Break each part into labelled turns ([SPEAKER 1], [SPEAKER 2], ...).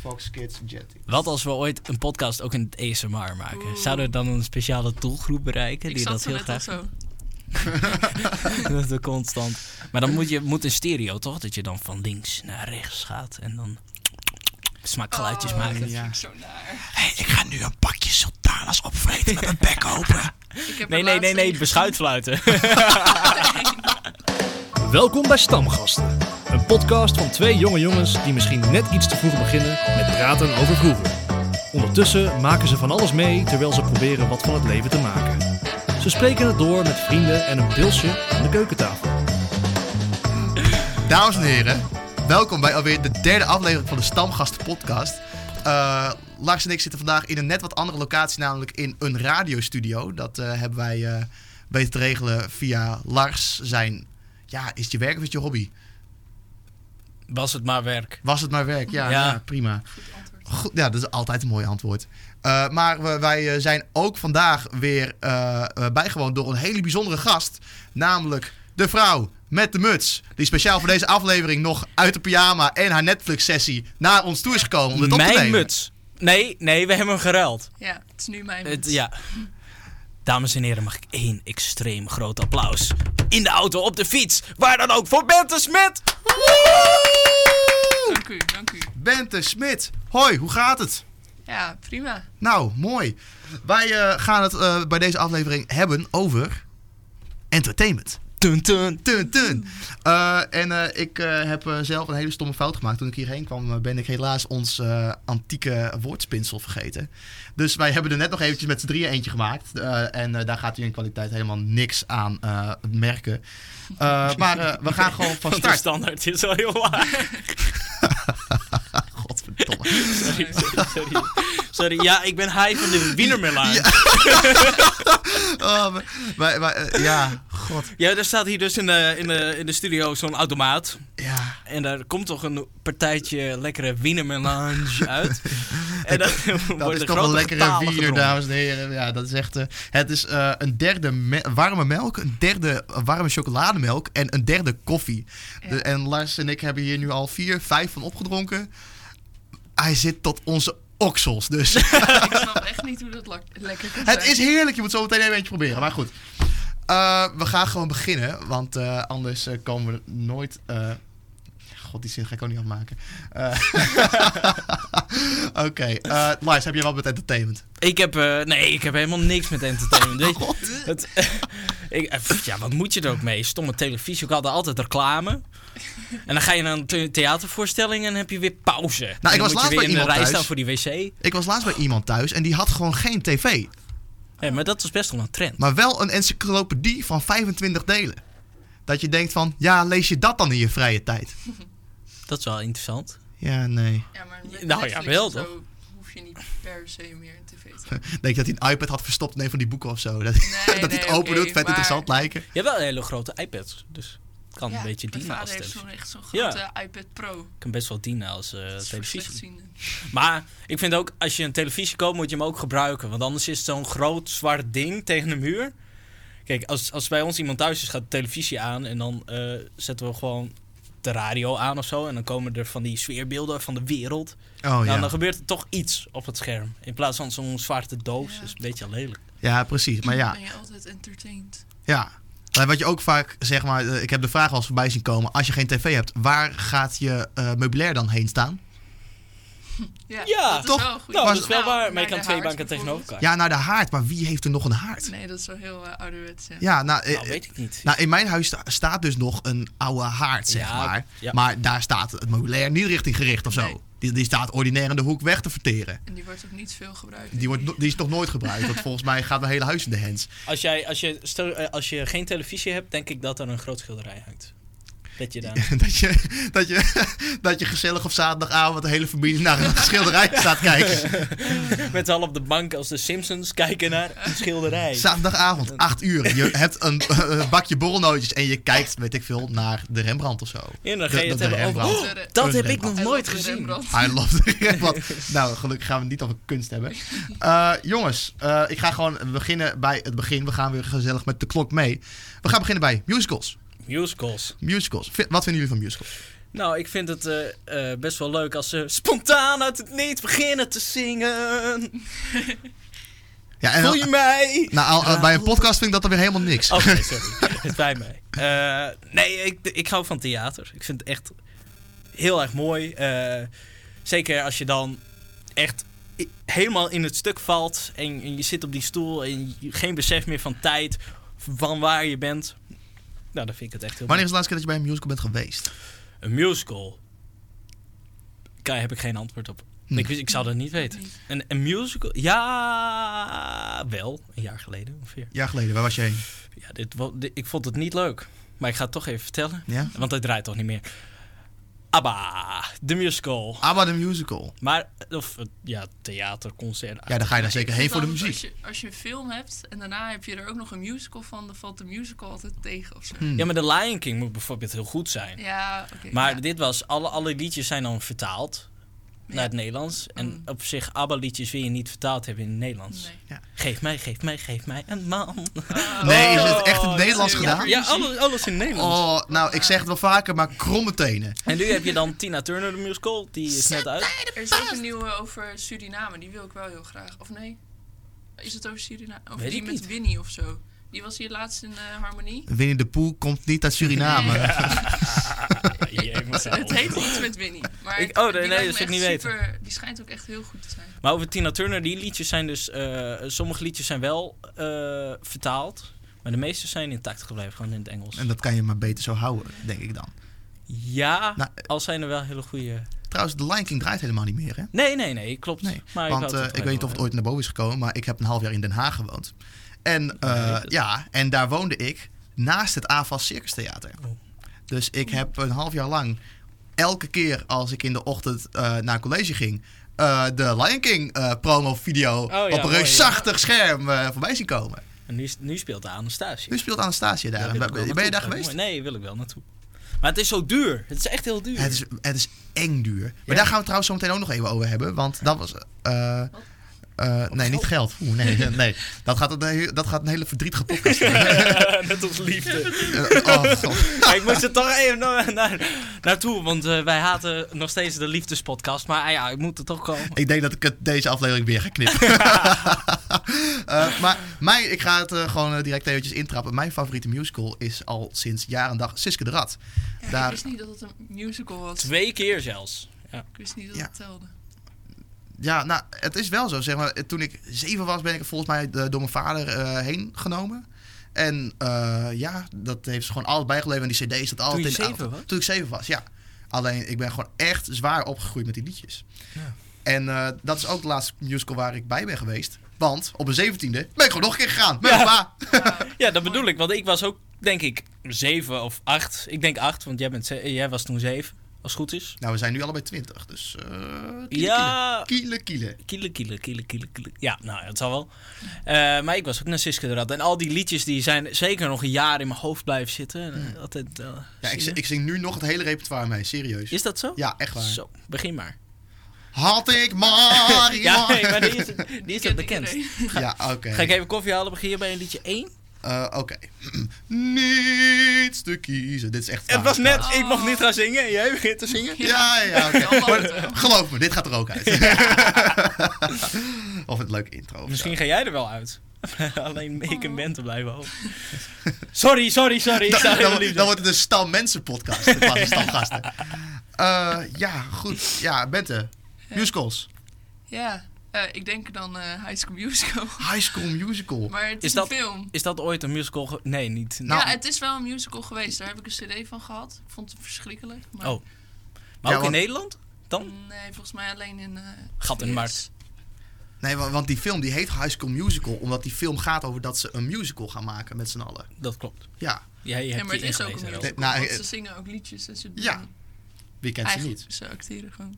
[SPEAKER 1] Fox Kids Jetix.
[SPEAKER 2] Wat als we ooit een podcast ook in het ASMR maken? Zouden we dan een speciale doelgroep bereiken
[SPEAKER 3] Ik
[SPEAKER 2] die
[SPEAKER 3] zat
[SPEAKER 2] dat
[SPEAKER 3] zo
[SPEAKER 2] heel
[SPEAKER 3] net al
[SPEAKER 2] graag
[SPEAKER 3] zo.
[SPEAKER 2] dat we constant. Maar dan moet je moet een stereo toch? Dat je dan van links naar rechts gaat en dan smaakgeluidjes
[SPEAKER 3] Oh,
[SPEAKER 2] maken.
[SPEAKER 3] dat
[SPEAKER 4] Ja.
[SPEAKER 3] vind ik zo naar.
[SPEAKER 4] Hey, ik ga nu een pakje sultanas opvreten met mijn bek open.
[SPEAKER 3] Ik
[SPEAKER 2] Nee,
[SPEAKER 3] heb er
[SPEAKER 2] nee,
[SPEAKER 3] laatst
[SPEAKER 2] nee, nee,
[SPEAKER 3] een-
[SPEAKER 2] beschuitfluiten.
[SPEAKER 5] Welkom bij Stamgasten. Een podcast van twee jonge jongens die misschien net iets te vroeg beginnen met praten over vroeger. Ondertussen maken ze van alles mee terwijl ze proberen wat van het leven te maken. Ze spreken het door met vrienden en een pilsje aan de keukentafel.
[SPEAKER 1] Dames en heren, welkom bij alweer de derde aflevering van de Stamgasten podcast. Eh Lars en ik zitten vandaag in een net wat andere locatie, namelijk in een radiostudio. Dat eh, hebben wij eh, weten te regelen via Lars zijn... Ja, is het je werk of is het je hobby?
[SPEAKER 2] Was het maar werk.
[SPEAKER 1] Was het maar werk? Ja,
[SPEAKER 2] Ja.
[SPEAKER 1] ja, prima. Goed, ja, dat is altijd een mooi antwoord. Eh, maar we- wij eh, zijn ook vandaag weer eh, eh, bijgewoond door een hele bijzondere gast. Namelijk de vrouw met de muts. Die speciaal voor deze aflevering nog uit de pyjama en haar Netflix-sessie naar ons toe is gekomen om dit op te
[SPEAKER 2] Mijn
[SPEAKER 1] nemen.
[SPEAKER 2] muts. Nee, nee, we hebben hem geruild.
[SPEAKER 3] Ja, het is nu mijn
[SPEAKER 2] Het,
[SPEAKER 3] beurt.
[SPEAKER 2] ja. Dames en heren, mag ik één extreem groot applaus? In de auto, op de fiets, waar dan ook, voor Bente Smit!
[SPEAKER 1] Woe!
[SPEAKER 3] Dank u, dank u.
[SPEAKER 1] Bente Smit, hoi, hoe gaat het?
[SPEAKER 3] Ja, prima.
[SPEAKER 1] Nou, mooi. Wij eh, gaan het eh, bij deze aflevering hebben over entertainment.
[SPEAKER 2] Tun, tun.
[SPEAKER 1] Tun, tun. Eh, en eh, ik eh, heb eh, zelf een hele stomme fout gemaakt. Toen ik hierheen kwam, eh, ben ik helaas ons eh, antieke woordspinsel vergeten. Dus wij hebben er net nog eventjes met z'n drieën eentje gemaakt. Eh, en eh, daar gaat u in kwaliteit helemaal niks aan eh, merken. Eh, maar eh, we gaan gewoon van
[SPEAKER 2] Want de
[SPEAKER 1] start.
[SPEAKER 2] standaard is al heel laag.
[SPEAKER 1] Godverdomme.
[SPEAKER 2] Sorry, sorry, sorry. Sorry, ja, ik ben high van de Wienermelaan. Ja.
[SPEAKER 1] Oh, maar- maar- maar, eh, ja, god.
[SPEAKER 2] er staat hier dus in de, in de, in de studio zo'n automaat.
[SPEAKER 1] Ja.
[SPEAKER 2] En daar komt toch een partijtje lekkere Wienermelange uit. En dan
[SPEAKER 1] Dat
[SPEAKER 2] worden
[SPEAKER 1] is
[SPEAKER 2] de
[SPEAKER 1] toch een
[SPEAKER 2] grote
[SPEAKER 1] lekkere
[SPEAKER 2] getalen
[SPEAKER 1] bier,
[SPEAKER 2] gedronken.
[SPEAKER 1] dames en heren. Ja, dat is echt. eh, het is eh, een derde me- warme melk, een derde warme chocolademelk en een derde koffie.
[SPEAKER 3] Ja.
[SPEAKER 1] De- en Lars en ik hebben hier nu al vier, vijf van opgedronken. Hij zit tot onze oksels. Dus
[SPEAKER 3] Ik snap echt niet hoe dat lak- lekker kan
[SPEAKER 1] het
[SPEAKER 3] zijn.
[SPEAKER 1] is heerlijk. Je moet zo meteen even eentje proberen. Maar goed. Eh, we gaan gewoon beginnen. Want eh, anders eh, komen we nooit. eh, God, die zin ga ik ook niet afmaken. Eh, Oké. eh, Lars, heb je wat met entertainment?
[SPEAKER 2] Ik heb, eh, nee, ik heb helemaal niks met entertainment. Weet je, het, ik, eh, pff, ja, wat moet je er ook mee? Stomme televisie, ik had er altijd reclame. En dan ga je naar een the- theatervoorstelling en heb je weer pauze. Nou,
[SPEAKER 1] was
[SPEAKER 2] moet
[SPEAKER 1] laatst
[SPEAKER 2] je
[SPEAKER 1] bij
[SPEAKER 2] weer in de
[SPEAKER 1] iemand
[SPEAKER 2] rij
[SPEAKER 1] thuis.
[SPEAKER 2] staan voor die wc.
[SPEAKER 1] Ik was laatst bij iemand thuis en die had gewoon geen tv.
[SPEAKER 2] Hé, maar dat was best wel een trend.
[SPEAKER 1] Maar wel een encyclopedie van 25 delen. Dat je denkt van, ja, lees je dat dan in je vrije tijd?
[SPEAKER 2] Dat is wel interessant.
[SPEAKER 1] Ja, nee.
[SPEAKER 3] Ja, maar met
[SPEAKER 2] Nou,
[SPEAKER 3] Netflix
[SPEAKER 2] jawel,
[SPEAKER 3] en zo hoef je niet per se meer een tv te hebben.
[SPEAKER 1] Denk je dat hij een iPad had verstopt in een van die boeken of zo? Dat,
[SPEAKER 3] Nee,
[SPEAKER 1] dat hij
[SPEAKER 3] nee,
[SPEAKER 1] het open
[SPEAKER 3] oké,
[SPEAKER 1] doet, vet
[SPEAKER 3] maar-
[SPEAKER 1] interessant lijken.
[SPEAKER 2] Je hebt wel hele grote iPads, dus het kan een beetje
[SPEAKER 3] mijn
[SPEAKER 2] dienen als
[SPEAKER 3] vader heeft
[SPEAKER 2] televisie.
[SPEAKER 3] zo'n echt zo'n
[SPEAKER 2] Ja.
[SPEAKER 3] grote iPad Pro.
[SPEAKER 2] kan best wel dienen als eh,
[SPEAKER 3] Dat is voor
[SPEAKER 2] televisie.
[SPEAKER 3] slechtzienden.
[SPEAKER 2] Maar ik vind ook, als je een televisie koopt, moet je hem ook gebruiken. Want anders is het zo'n groot zwart ding tegen de muur. Kijk, als, als bij ons iemand thuis is, gaat de televisie aan. En dan eh, zetten we gewoon de radio aan of zo. En dan komen er van die sfeerbeelden van de wereld.
[SPEAKER 1] Oh
[SPEAKER 2] nou, dan
[SPEAKER 1] ja.
[SPEAKER 2] gebeurt er toch iets op het scherm. In plaats van zo'n zwarte doos.
[SPEAKER 3] Ja.
[SPEAKER 2] Dat is een beetje lelijk.
[SPEAKER 1] Ja, precies. Maar ja,
[SPEAKER 3] Ben je altijd entertained?
[SPEAKER 1] ja. Maar Wat je ook vaak, zeg maar, eh, ik heb de vraag al eens voorbij zien komen. Als je geen tv hebt, waar gaat je eh, meubilair dan heen staan?
[SPEAKER 2] Ja,
[SPEAKER 3] dat is
[SPEAKER 1] toch?
[SPEAKER 3] wel een goede
[SPEAKER 2] Nou, dat
[SPEAKER 1] was-
[SPEAKER 2] is wel
[SPEAKER 3] Nou,
[SPEAKER 2] waar. Maar
[SPEAKER 3] naar
[SPEAKER 2] je kan
[SPEAKER 3] de
[SPEAKER 2] twee
[SPEAKER 3] haard
[SPEAKER 2] banken tegenover
[SPEAKER 3] bijvoorbeeld.
[SPEAKER 2] elkaar.
[SPEAKER 1] Ja, naar de haard. Maar wie heeft er nog een haard?
[SPEAKER 3] Nee, dat is wel heel eh, ouderwets, ja.
[SPEAKER 1] Ja, nou, eh,
[SPEAKER 2] Nou, weet ik niet.
[SPEAKER 1] nou, in mijn huis sta- staat dus nog een oude haard, zeg
[SPEAKER 2] Ja,
[SPEAKER 1] maar.
[SPEAKER 2] ja.
[SPEAKER 1] Maar daar staat het meubilair niet richting gericht of zo.
[SPEAKER 3] Nee.
[SPEAKER 1] Die, die staat ordinair in de hoek weg te verteren.
[SPEAKER 3] En die wordt ook niet veel gebruikt.
[SPEAKER 1] Die, wordt, no- die is nog nooit gebruikt, want volgens mij gaat mijn hele huis in de hens.
[SPEAKER 2] Als, jij, als, je, stel, eh, als je geen televisie hebt, denk ik dat er een groot schilderij hangt. Dat je daar.
[SPEAKER 1] Dat je, dat, je, dat je gezellig op zaterdagavond de hele familie naar een schilderij staat kijken.
[SPEAKER 2] Met z'n allen op de bank als de Simpsons kijken naar een schilderij.
[SPEAKER 1] Zaterdagavond, 8 uur. Je hebt een eh, bakje borrelnootjes en je kijkt, weet ik veel, naar de Rembrandt of zo.
[SPEAKER 2] en dan ga je
[SPEAKER 1] Dat-
[SPEAKER 2] het
[SPEAKER 1] dat
[SPEAKER 2] hebben
[SPEAKER 1] de
[SPEAKER 2] over...
[SPEAKER 1] Rembrandt.
[SPEAKER 2] Oh, dat heb ik nog nooit
[SPEAKER 3] Hij loopt weer
[SPEAKER 2] gezien.
[SPEAKER 3] Rembrandt.
[SPEAKER 1] I love the Rembrandt. Nou, gelukkig gaan we het niet over kunst hebben. Eh, jongens, eh, ik ga gewoon beginnen bij het begin. We gaan weer gezellig met de klok mee. We gaan beginnen bij musicals.
[SPEAKER 2] Musicals.
[SPEAKER 1] Musicals. Vi- Wat vinden jullie van musicals?
[SPEAKER 2] Nou, ik vind het eh, eh, best wel leuk als ze spontaan uit het niet beginnen te zingen.
[SPEAKER 1] Ja, en
[SPEAKER 2] Voel je Oh. mij?
[SPEAKER 1] nou, al- al- bij een podcast vind ik dat dan weer helemaal niks.
[SPEAKER 2] Oké, sorry. Het spijt mij. Eh, nee, ik, ik hou van theater. Ik vind het echt heel erg mooi. Eh, zeker als je dan echt i- helemaal in het stuk valt en, en je zit op die stoel en je- geen besef meer van tijd, van waar je bent. Nou, dan vind ik het echt heel
[SPEAKER 1] Wanneer is de laatste keer dat je bij een musical bent geweest?
[SPEAKER 2] mooi. Een musical. Daar heb ik geen antwoord op.
[SPEAKER 1] Hm.
[SPEAKER 2] Ik, wist- ik zou dat niet weten.
[SPEAKER 3] Niet.
[SPEAKER 2] Een, een musical? Ja, wel. Een jaar geleden ongeveer.
[SPEAKER 1] Een jaar geleden, waar was je heen?
[SPEAKER 2] Ja, dit, wa- dit- ik vond het niet leuk. Maar ik ga het toch even vertellen.
[SPEAKER 1] Ja?
[SPEAKER 2] Want hij draait toch niet meer. ABBA, de musical.
[SPEAKER 1] ABBA Ah, de musical.
[SPEAKER 2] Maar, of eh, ja, theaterconcert.
[SPEAKER 1] Ja, dan ga je daar zeker heen voor de
[SPEAKER 3] Dan
[SPEAKER 1] muziek.
[SPEAKER 3] Als je, als je een film hebt en daarna heb je er ook nog een musical van, dan valt de musical altijd tegen of zo.
[SPEAKER 2] Ja, maar The Lion King moet bijvoorbeeld heel goed zijn.
[SPEAKER 3] Ja, oké.
[SPEAKER 2] Hmm. Maar
[SPEAKER 3] ja.
[SPEAKER 2] dit was, alle, alle liedjes zijn dan vertaald naar het Nederlands. En
[SPEAKER 3] Mm.
[SPEAKER 2] op zich, ABBA-liedjes wil je niet vertaald hebben in het Nederlands.
[SPEAKER 3] Nee.
[SPEAKER 2] Geef mij, geef mij, geef mij een man.
[SPEAKER 1] Nee, is het echt in
[SPEAKER 2] Oh,
[SPEAKER 1] het Nederlands
[SPEAKER 3] dat is-
[SPEAKER 1] gedaan?
[SPEAKER 2] Ja, alles, alles in Nederlands.
[SPEAKER 1] Ah. Oh, nou, ik zeg het wel vaker, maar kromme tenen.
[SPEAKER 2] En nu heb je dan Tina Turner, de musical. Die is net uit.
[SPEAKER 3] Er is ook een nieuwe over Suriname, die wil ik wel heel graag. Of nee? Is het over Suriname? Of
[SPEAKER 2] Weet
[SPEAKER 3] die
[SPEAKER 2] ik
[SPEAKER 3] met
[SPEAKER 2] niet.
[SPEAKER 3] Winnie of zo? Die was hier laatst in eh, Harmonie.
[SPEAKER 1] Winnie de Pooh komt niet uit Suriname.
[SPEAKER 2] Jee, maar zo.
[SPEAKER 3] Het heet iets met Winnie. Maar
[SPEAKER 2] Ik- oh, nee,
[SPEAKER 3] die
[SPEAKER 2] nee,
[SPEAKER 3] lijkt
[SPEAKER 2] dat zou
[SPEAKER 3] me
[SPEAKER 2] ik
[SPEAKER 3] echt
[SPEAKER 2] niet
[SPEAKER 3] super, weten. Die schijnt ook echt heel goed te zijn.
[SPEAKER 2] Maar over Tina Turner, die liedjes zijn dus... eh, sommige liedjes zijn wel eh, vertaald. Maar de meeste zijn intact gebleven, gewoon in het Engels.
[SPEAKER 1] En dat kan je maar beter zo houden, denk ik dan.
[SPEAKER 2] Ja,
[SPEAKER 1] Nou,
[SPEAKER 2] al zijn er wel hele goede...
[SPEAKER 1] Trouwens, de Lion King draait helemaal niet meer, hè?
[SPEAKER 2] Nee, nee, nee, klopt.
[SPEAKER 1] Nee,
[SPEAKER 2] maar ik
[SPEAKER 1] want
[SPEAKER 2] wou
[SPEAKER 1] eh,
[SPEAKER 2] het
[SPEAKER 1] ik weet niet of het ooit naar boven is gekomen, maar ik heb een half jaar in Den Haag gewoond. En, eh,
[SPEAKER 2] weet het.
[SPEAKER 1] ja, en daar woonde ik naast het AFAS Circus Theater.
[SPEAKER 2] Oh.
[SPEAKER 1] Dus ik heb een half jaar lang, elke keer als ik in de ochtend eh, naar college ging, eh, de Lion King eh promo video
[SPEAKER 2] Oh ja,
[SPEAKER 1] op een
[SPEAKER 2] mooi, ja.
[SPEAKER 1] reusachtig scherm eh, voorbij zien komen.
[SPEAKER 2] En nu, nu speelt de Anastasia.
[SPEAKER 1] Nu speelt Anastasia daar.
[SPEAKER 2] Daar wil ik
[SPEAKER 1] Dus, ben,
[SPEAKER 2] wel
[SPEAKER 1] ben
[SPEAKER 2] naartoe.
[SPEAKER 1] je daar
[SPEAKER 2] Oh,
[SPEAKER 1] geweest?
[SPEAKER 2] mooi. Nee, wil ik wel naartoe. Maar het is zo duur. Het is echt heel duur.
[SPEAKER 1] Het is, het is eng duur. Maar daar gaan we het trouwens zo meteen ook nog even over hebben. Want dat was. eh, eh, nee, niet geld. Oeh, nee, nee, nee. Dat gaat, een, he- dat gaat een hele verdrietige podcast worden.
[SPEAKER 2] Net als liefde.
[SPEAKER 1] Eh, oh, god.
[SPEAKER 2] Maar ik moest er toch even naar, naar- naartoe, want eh, wij haten nog steeds de liefdespodcast. Maar ah ja, ik moet er toch komen.
[SPEAKER 1] ik denk dat ik het deze aflevering weer ga knippen. Eh, maar mijn, ik ga het eh, gewoon eh, direct eventjes intrappen. Mijn favoriete musical is al sinds jaar en dag Siske de Rat.
[SPEAKER 3] Ja,
[SPEAKER 1] Daar-
[SPEAKER 3] Ik wist niet dat het een musical was.
[SPEAKER 2] Twee keer zelfs. Ja.
[SPEAKER 3] Ik wist niet dat
[SPEAKER 1] Ja.
[SPEAKER 3] het telde.
[SPEAKER 1] Ja, nou, het is wel zo. Zeg maar, toen ik zeven was, ben ik er volgens mij eh, door mijn vader eh, heen genomen. En eh, ja, dat heeft ze gewoon alles bijgeleverd. En die cd staat altijd
[SPEAKER 2] je
[SPEAKER 1] in de
[SPEAKER 2] zeven
[SPEAKER 1] auto.
[SPEAKER 2] was?
[SPEAKER 1] Toen ik zeven was, ja. Alleen, ik ben gewoon echt zwaar opgegroeid met die liedjes.
[SPEAKER 2] Ja.
[SPEAKER 1] En eh, dat is ook de laatste musical waar ik bij ben geweest. Want op mijn zeventiende ben ik gewoon nog een keer gegaan. Met
[SPEAKER 2] Ja.
[SPEAKER 1] mijn pa.
[SPEAKER 2] Ja, dat bedoel ik. Want ik was ook, denk ik, zeven of acht. Ik denk acht, want jij, bent ze- jij was toen zeven, als het goed is.
[SPEAKER 1] Nou, we zijn nu allebei twintig. Dus eh kielen,
[SPEAKER 2] Ja.
[SPEAKER 1] kielen. Kielen, kielen.
[SPEAKER 2] Kielen, kielen, kielen, kielen, kielen. Ja, nou, dat zal wel. Eh, maar ik was ook naar Siske de Rat. En al die liedjes die zijn zeker nog een jaar in mijn hoofd blijven zitten. En, eh, Altijd, eh,
[SPEAKER 1] Ja, ik,
[SPEAKER 2] zingen.
[SPEAKER 1] zing- ik zing nu nog het hele repertoire mee. Serieus.
[SPEAKER 2] Is dat zo?
[SPEAKER 1] Ja, echt waar.
[SPEAKER 2] Zo, begin maar.
[SPEAKER 1] Had ik maar
[SPEAKER 2] Ja,
[SPEAKER 1] iemand-
[SPEAKER 2] nee, maar die is, die is het bekendst.
[SPEAKER 1] Ja, oké.
[SPEAKER 2] Ga ik even koffie halen, begin je bij een liedje 1?
[SPEAKER 1] Eh, Oké. Niets te kiezen. Dit is echt.
[SPEAKER 2] Ah.
[SPEAKER 1] waar.
[SPEAKER 2] ik mocht niet gaan zingen en jij begint te zingen.
[SPEAKER 1] Ja, ja, oké.
[SPEAKER 3] Ja,
[SPEAKER 1] Maar,
[SPEAKER 3] wel.
[SPEAKER 1] Geloof me, dit gaat er ook uit. of een leuke intro. of
[SPEAKER 2] Misschien ga jij er wel uit. Alleen ik en Ben te blijven hopen. Sorry, sorry, sorry. Ik
[SPEAKER 1] zo.
[SPEAKER 2] zou
[SPEAKER 1] Dan,
[SPEAKER 2] heel
[SPEAKER 1] dan,
[SPEAKER 2] lief dus.
[SPEAKER 1] dan wordt het een Stam Mensen podcast. In plaats van Stam Gasten. Eh, ja, goed. Ja, Bente. Musicals.
[SPEAKER 3] Ja, eh, ik denk dan eh, High School Musical.
[SPEAKER 1] High School Musical.
[SPEAKER 3] Maar het is,
[SPEAKER 2] Is dat-
[SPEAKER 3] een film.
[SPEAKER 2] Is dat ooit een musical? ge- Nee, niet.
[SPEAKER 1] Nou,
[SPEAKER 3] ja, het is wel een musical geweest. Daar heb ik een cd van gehad. Ik vond het verschrikkelijk. Maar
[SPEAKER 2] Oh. Maar
[SPEAKER 1] Ja,
[SPEAKER 2] ook
[SPEAKER 1] want-
[SPEAKER 2] in Nederland? Dan?
[SPEAKER 3] Nee, volgens mij alleen in... eh,
[SPEAKER 2] Gat in de
[SPEAKER 3] VS.
[SPEAKER 2] markt.
[SPEAKER 1] Nee, wa- want die film die heet High School Musical. Omdat die film gaat over dat ze een musical gaan maken met z'n allen.
[SPEAKER 2] Dat klopt.
[SPEAKER 1] Ja,
[SPEAKER 2] Jij hebt
[SPEAKER 3] Ja, maar het
[SPEAKER 2] je
[SPEAKER 3] is ook een
[SPEAKER 2] ingelezen, Harold.
[SPEAKER 3] musical.
[SPEAKER 1] Nou,
[SPEAKER 3] want
[SPEAKER 1] eh,
[SPEAKER 3] ze zingen ook liedjes. Dus ze
[SPEAKER 1] ja,
[SPEAKER 3] doen-
[SPEAKER 1] wie kent ze
[SPEAKER 3] eigenlijk,
[SPEAKER 1] niet?
[SPEAKER 3] ze acteren gewoon.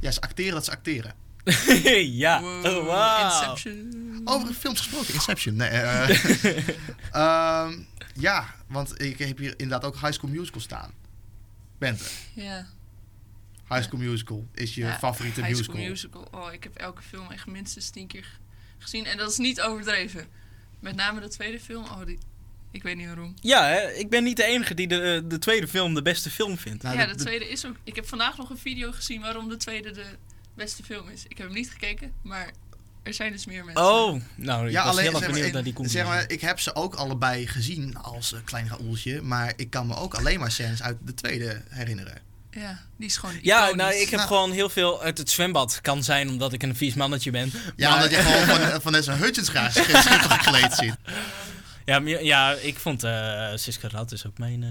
[SPEAKER 1] Ja, ze acteren dat ze acteren.
[SPEAKER 2] ja.
[SPEAKER 3] Wow,
[SPEAKER 2] Oh, wauw.
[SPEAKER 3] Inception.
[SPEAKER 1] Over films gesproken, Inception. Nee, eh, ehm, ja, want ik heb hier inderdaad ook High School Musical staan. Bente,
[SPEAKER 3] Ja.
[SPEAKER 1] High School Musical is je
[SPEAKER 3] Ja,
[SPEAKER 1] favoriete
[SPEAKER 3] High
[SPEAKER 1] musical.
[SPEAKER 3] School musical. Oh, ik heb elke film echt minstens tien keer g- gezien. En dat is niet overdreven. Met name de tweede film. Oh, die, Ik weet niet waarom.
[SPEAKER 2] Ja, hè? ik ben niet de enige die de, de tweede film de beste film vindt.
[SPEAKER 1] Nou,
[SPEAKER 3] ja,
[SPEAKER 1] de-
[SPEAKER 3] de
[SPEAKER 1] de-
[SPEAKER 3] tweede is ook... Ik heb vandaag nog een video gezien waarom de tweede de beste film is. Ik heb hem niet gekeken, maar er zijn dus meer mensen.
[SPEAKER 2] Oh, nou, ik
[SPEAKER 1] Ja,
[SPEAKER 2] was
[SPEAKER 1] alleen
[SPEAKER 2] heel erg
[SPEAKER 1] zeg maar,
[SPEAKER 2] benieuwd
[SPEAKER 1] in-
[SPEAKER 2] naar die komt.
[SPEAKER 1] zeg maar, ik heb ze ook allebei gezien als eh, klein Raoultje, maar ik kan me ook alleen maar scènes uit de tweede herinneren.
[SPEAKER 3] Ja, die is gewoon
[SPEAKER 2] ja,
[SPEAKER 3] iconisch.
[SPEAKER 2] nou, ik heb
[SPEAKER 1] Nou.
[SPEAKER 2] gewoon heel veel uit het zwembad. Kan zijn omdat ik een vies mannetje ben.
[SPEAKER 1] Ja,
[SPEAKER 2] Maar-
[SPEAKER 1] omdat je gewoon van, van Nessa Hutchins graag schi- schitterend gekleed ziet.
[SPEAKER 2] ja, maar- ja, ik vond eh Siska Rad is ook mijn... eh,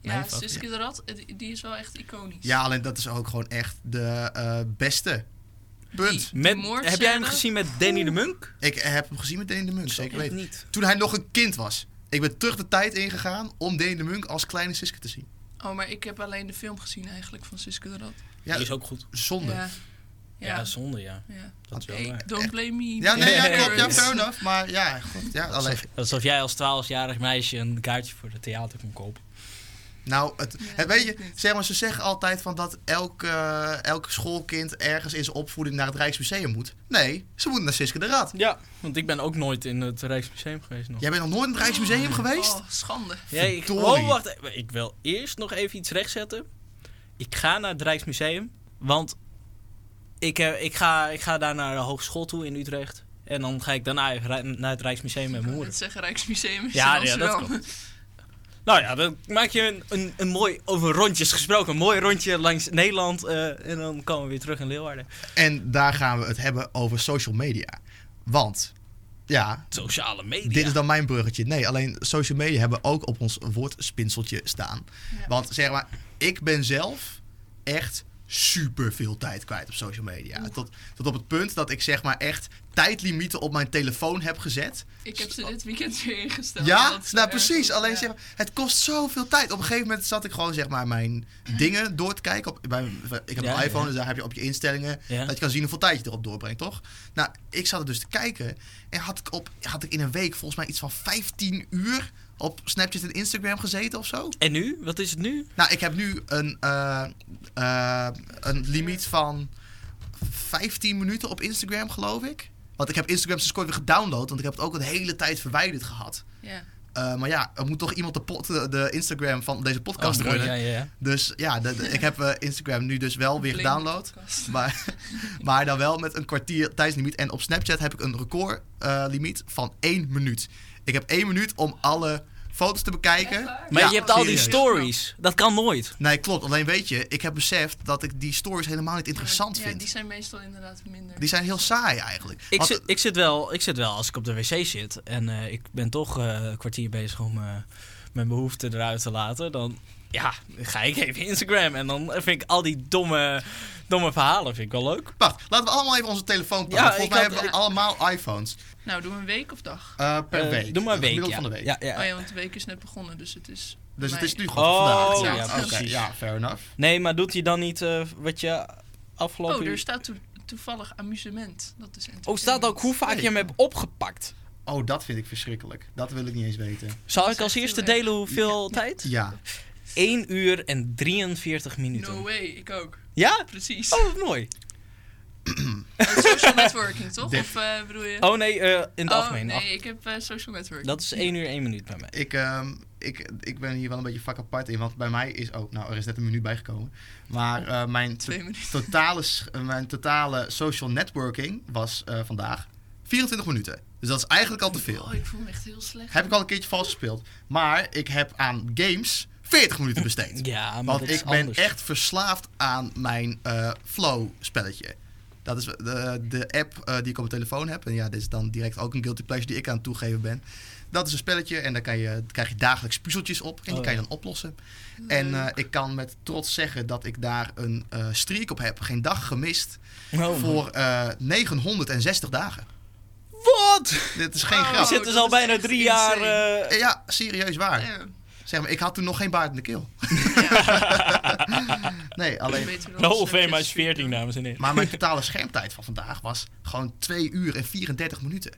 [SPEAKER 3] Ja,
[SPEAKER 2] mijn favoriet.
[SPEAKER 3] Suske de Rat, eh, die- die is wel echt iconisch.
[SPEAKER 1] Ja, alleen dat is ook gewoon echt de eh, beste. Punt.
[SPEAKER 3] Die
[SPEAKER 2] Met,
[SPEAKER 3] moordscène?
[SPEAKER 2] heb jij hem gezien met Danny de Munk?
[SPEAKER 1] Ik heb hem gezien met Danny de Munk, zeker weten.
[SPEAKER 2] niet.
[SPEAKER 1] Toen hij nog een kind was. Ik ben terug de tijd ingegaan om Danny de Munk als kleine Siske te zien.
[SPEAKER 3] Oh, maar ik heb alleen de film gezien eigenlijk van Suske de Rat.
[SPEAKER 1] Ja,
[SPEAKER 2] Die is ook goed.
[SPEAKER 1] zonde.
[SPEAKER 3] Ja.
[SPEAKER 1] Ja,
[SPEAKER 2] Ja,
[SPEAKER 3] Ja.
[SPEAKER 2] zonde, ja.
[SPEAKER 3] Ja.
[SPEAKER 2] Dat is wel
[SPEAKER 3] Hey,
[SPEAKER 2] waar.
[SPEAKER 3] don't blame me.
[SPEAKER 1] nee, ja,
[SPEAKER 2] Ja.
[SPEAKER 1] klopt. Ja, fair enough. Maar ja, goed. Ja, alleen,
[SPEAKER 2] Alsof, alsof jij als 12-jarig meisje een kaartje voor de theater kon kopen.
[SPEAKER 1] Nou, het,
[SPEAKER 3] Ja,
[SPEAKER 1] het- weet
[SPEAKER 3] weet
[SPEAKER 1] je,
[SPEAKER 3] ik niet.
[SPEAKER 1] zeg maar, ze zeggen altijd van dat elk, eh, elk schoolkind ergens in zijn opvoeding naar het Rijksmuseum moet. Nee, ze moeten naar Siske de Rad.
[SPEAKER 2] Ja, want ik ben ook nooit in het Rijksmuseum geweest nog.
[SPEAKER 1] Jij bent nog nooit in het Rijksmuseum geweest?
[SPEAKER 3] Oh, schande.
[SPEAKER 2] Jij- ik,
[SPEAKER 1] verdorie.
[SPEAKER 2] oh, wacht. even. Ik wil eerst nog even iets rechtzetten. Ik ga naar het Rijksmuseum, want ik, eh, ik, ga, ik ga daar naar de hogeschool toe in Utrecht. En dan ga ik daarna even rij- naar het Rijksmuseum met mijn
[SPEAKER 3] Ik
[SPEAKER 2] moeder.
[SPEAKER 3] het zeggen, Rijksmuseum is
[SPEAKER 2] Ja,
[SPEAKER 3] in
[SPEAKER 2] ja,
[SPEAKER 3] Amsterdam.
[SPEAKER 2] dat Nou ja, dan maak je een, een, een mooi, over rondjes gesproken, een mooi rondje langs Nederland. eh, en dan komen we weer terug in Leeuwarden.
[SPEAKER 1] En daar gaan we het hebben over social media. Want, ja,
[SPEAKER 2] Sociale media.
[SPEAKER 1] dit is dan mijn bruggetje. Nee, alleen social media hebben we ook op ons woordspinseltje staan.
[SPEAKER 3] Ja.
[SPEAKER 1] Want zeg maar, ik ben zelf echt super veel tijd kwijt op social media. Tot, tot op het punt dat ik zeg maar echt tijdlimieten op mijn telefoon heb gezet.
[SPEAKER 3] Ik heb ze dit weekend weer ingesteld.
[SPEAKER 1] Ja,
[SPEAKER 3] omdat ze
[SPEAKER 1] nou
[SPEAKER 3] erg
[SPEAKER 1] precies.
[SPEAKER 3] goed-
[SPEAKER 1] Alleen
[SPEAKER 3] ja.
[SPEAKER 1] zeg maar, het kost zoveel tijd. Op een gegeven moment zat ik gewoon zeg maar mijn dingen door te kijken. Op, bij, ik heb
[SPEAKER 2] Ja,
[SPEAKER 1] een iPhone,
[SPEAKER 2] ja.
[SPEAKER 1] dus daar heb je op je instellingen
[SPEAKER 2] Ja.
[SPEAKER 1] dat je kan zien hoeveel tijd je erop doorbrengt, toch? Nou, ik zat er dus te kijken en had ik, op, had ik in een week volgens mij iets van 15 uur op Snapchat en Instagram gezeten of zo.
[SPEAKER 2] En nu? Wat is het nu?
[SPEAKER 1] Nou, ik heb nu een, eh, eh, een limiet van 15 minuten op Instagram, geloof ik. Want ik heb Instagram sinds kort weer gedownload, want ik heb het ook een hele tijd verwijderd gehad.
[SPEAKER 3] Ja.
[SPEAKER 1] Eh, maar ja, er moet toch iemand de, pot- de- de Instagram van deze podcast
[SPEAKER 2] Oh,
[SPEAKER 1] runnen.
[SPEAKER 2] ja, ja, ja.
[SPEAKER 1] Dus ja, de- de- ik heb eh, Instagram nu dus wel weer
[SPEAKER 3] Blame
[SPEAKER 1] gedownload.
[SPEAKER 3] podcast.
[SPEAKER 1] Maar, maar dan wel met een kwartier tijdslimiet. En op Snapchat heb ik een recordlimiet limiet van één minuut. Ik heb één minuut om alle foto's te bekijken.
[SPEAKER 3] Echt waar?
[SPEAKER 2] Maar
[SPEAKER 1] Ja,
[SPEAKER 2] je hebt al die
[SPEAKER 1] serieus.
[SPEAKER 2] stories. Dat kan nooit.
[SPEAKER 1] Nee, klopt. Alleen weet je, ik heb beseft dat ik die stories helemaal niet interessant
[SPEAKER 3] ja,
[SPEAKER 1] vind.
[SPEAKER 3] die zijn meestal inderdaad minder.
[SPEAKER 1] Die zijn heel saai eigenlijk.
[SPEAKER 2] Ik
[SPEAKER 1] Want-
[SPEAKER 2] zit, ik, zit wel, ik zit wel als ik op de wc zit en eh, ik ben toch eh, een kwartier bezig om eh, mijn behoeften eruit te laten. Dan ja, ga ik even Instagram en dan vind ik al die domme, domme verhalen vind ik wel leuk.
[SPEAKER 1] Wacht, laten we allemaal even onze telefoon pakken.
[SPEAKER 2] Ja,
[SPEAKER 1] Volgens
[SPEAKER 2] ik
[SPEAKER 1] mij
[SPEAKER 2] had-
[SPEAKER 1] hebben we allemaal iPhones.
[SPEAKER 3] Nou, doe een week of dag.
[SPEAKER 1] Eh, per
[SPEAKER 2] Eh,
[SPEAKER 1] week.
[SPEAKER 2] Doe maar een
[SPEAKER 1] Het
[SPEAKER 2] week.
[SPEAKER 1] gemiddelde
[SPEAKER 2] Ja.
[SPEAKER 1] van de week.
[SPEAKER 2] Ja, ja.
[SPEAKER 3] Oh ja, want de week is net begonnen, dus het is...
[SPEAKER 1] Dus het
[SPEAKER 3] Nee.
[SPEAKER 1] is nu gewoon
[SPEAKER 2] Oh,
[SPEAKER 1] vandaag.
[SPEAKER 3] ja,
[SPEAKER 1] Oké,
[SPEAKER 2] precies.
[SPEAKER 1] ja, fair enough.
[SPEAKER 2] Nee, maar doet hij dan niet eh, wat je afgelopen
[SPEAKER 3] Oh, er
[SPEAKER 2] uur-
[SPEAKER 3] staat to- toevallig amusement. Dat is
[SPEAKER 2] Oh, staat ook hoe vaak
[SPEAKER 1] Nee.
[SPEAKER 2] je hem hebt opgepakt.
[SPEAKER 1] Oh, dat vind ik verschrikkelijk. Dat wil ik niet eens weten.
[SPEAKER 2] Zal ik
[SPEAKER 3] is
[SPEAKER 2] als
[SPEAKER 3] echt
[SPEAKER 2] eerste
[SPEAKER 3] heel erg.
[SPEAKER 2] delen hoeveel tijd?
[SPEAKER 1] Ja.
[SPEAKER 2] 1 uur en 43 minuten.
[SPEAKER 3] No way, ik ook.
[SPEAKER 2] Ja?
[SPEAKER 3] Precies.
[SPEAKER 2] Oh, wat mooi.
[SPEAKER 3] Eh, Social networking, toch?
[SPEAKER 1] Dit-
[SPEAKER 3] Of eh, bedoel je...
[SPEAKER 2] Oh nee, eh, in het
[SPEAKER 3] Oh,
[SPEAKER 2] algemeen.
[SPEAKER 3] nee, ik heb eh, social networking.
[SPEAKER 2] Dat is 1 uur 1 minuut bij mij.
[SPEAKER 1] Ik, ehm, ik, ik ben hier wel een beetje vak apart in. Want bij mij is ook... nou, er is net een minuut bijgekomen. Maar eh, mijn, to-
[SPEAKER 3] Twee minuten.
[SPEAKER 1] totale, s- eh, mijn totale social networking was eh, vandaag 24 minuten. Dus dat is eigenlijk al te veel.
[SPEAKER 3] Oh, ik voel me echt heel slecht.
[SPEAKER 1] Heb ik al een keertje vals gespeeld. Maar ik heb aan games 40 minuten besteed.
[SPEAKER 2] Ja, Ah, maar
[SPEAKER 1] Want
[SPEAKER 2] dat is
[SPEAKER 1] ik ben
[SPEAKER 2] anders.
[SPEAKER 1] echt verslaafd aan mijn eh, Flow-spelletje. Dat is eh, de, de app eh, die ik op mijn telefoon heb. En ja, dit is dan direct ook een guilty pleasure die ik aan het toegeven ben. Dat is een spelletje en daar kan je, krijg je dagelijks puzzeltjes op. En die
[SPEAKER 2] Oh,
[SPEAKER 1] kan je
[SPEAKER 2] ja.
[SPEAKER 1] dan oplossen. En eh, ik kan met trots zeggen dat ik daar een eh, streak op heb. Geen dag gemist.
[SPEAKER 2] Oh,
[SPEAKER 1] voor eh 960 dagen.
[SPEAKER 2] Wat?
[SPEAKER 1] Dit is geen
[SPEAKER 3] Oh.
[SPEAKER 1] grap.
[SPEAKER 2] Zit dus
[SPEAKER 3] dat
[SPEAKER 2] al
[SPEAKER 3] is
[SPEAKER 2] bijna
[SPEAKER 3] echt
[SPEAKER 2] drie jaar.
[SPEAKER 3] insane.
[SPEAKER 2] eh,
[SPEAKER 1] Eh, Ja, serieus waar.
[SPEAKER 3] Ja,
[SPEAKER 1] Zeg maar, ik had toen nog geen baard in de keel. nee, alleen...
[SPEAKER 3] beter dan
[SPEAKER 2] No
[SPEAKER 3] Snapchat
[SPEAKER 2] fame is
[SPEAKER 3] stream.
[SPEAKER 2] 14, dames en heren.
[SPEAKER 1] Maar mijn totale schermtijd van vandaag was gewoon 2 uur en 34 minuten.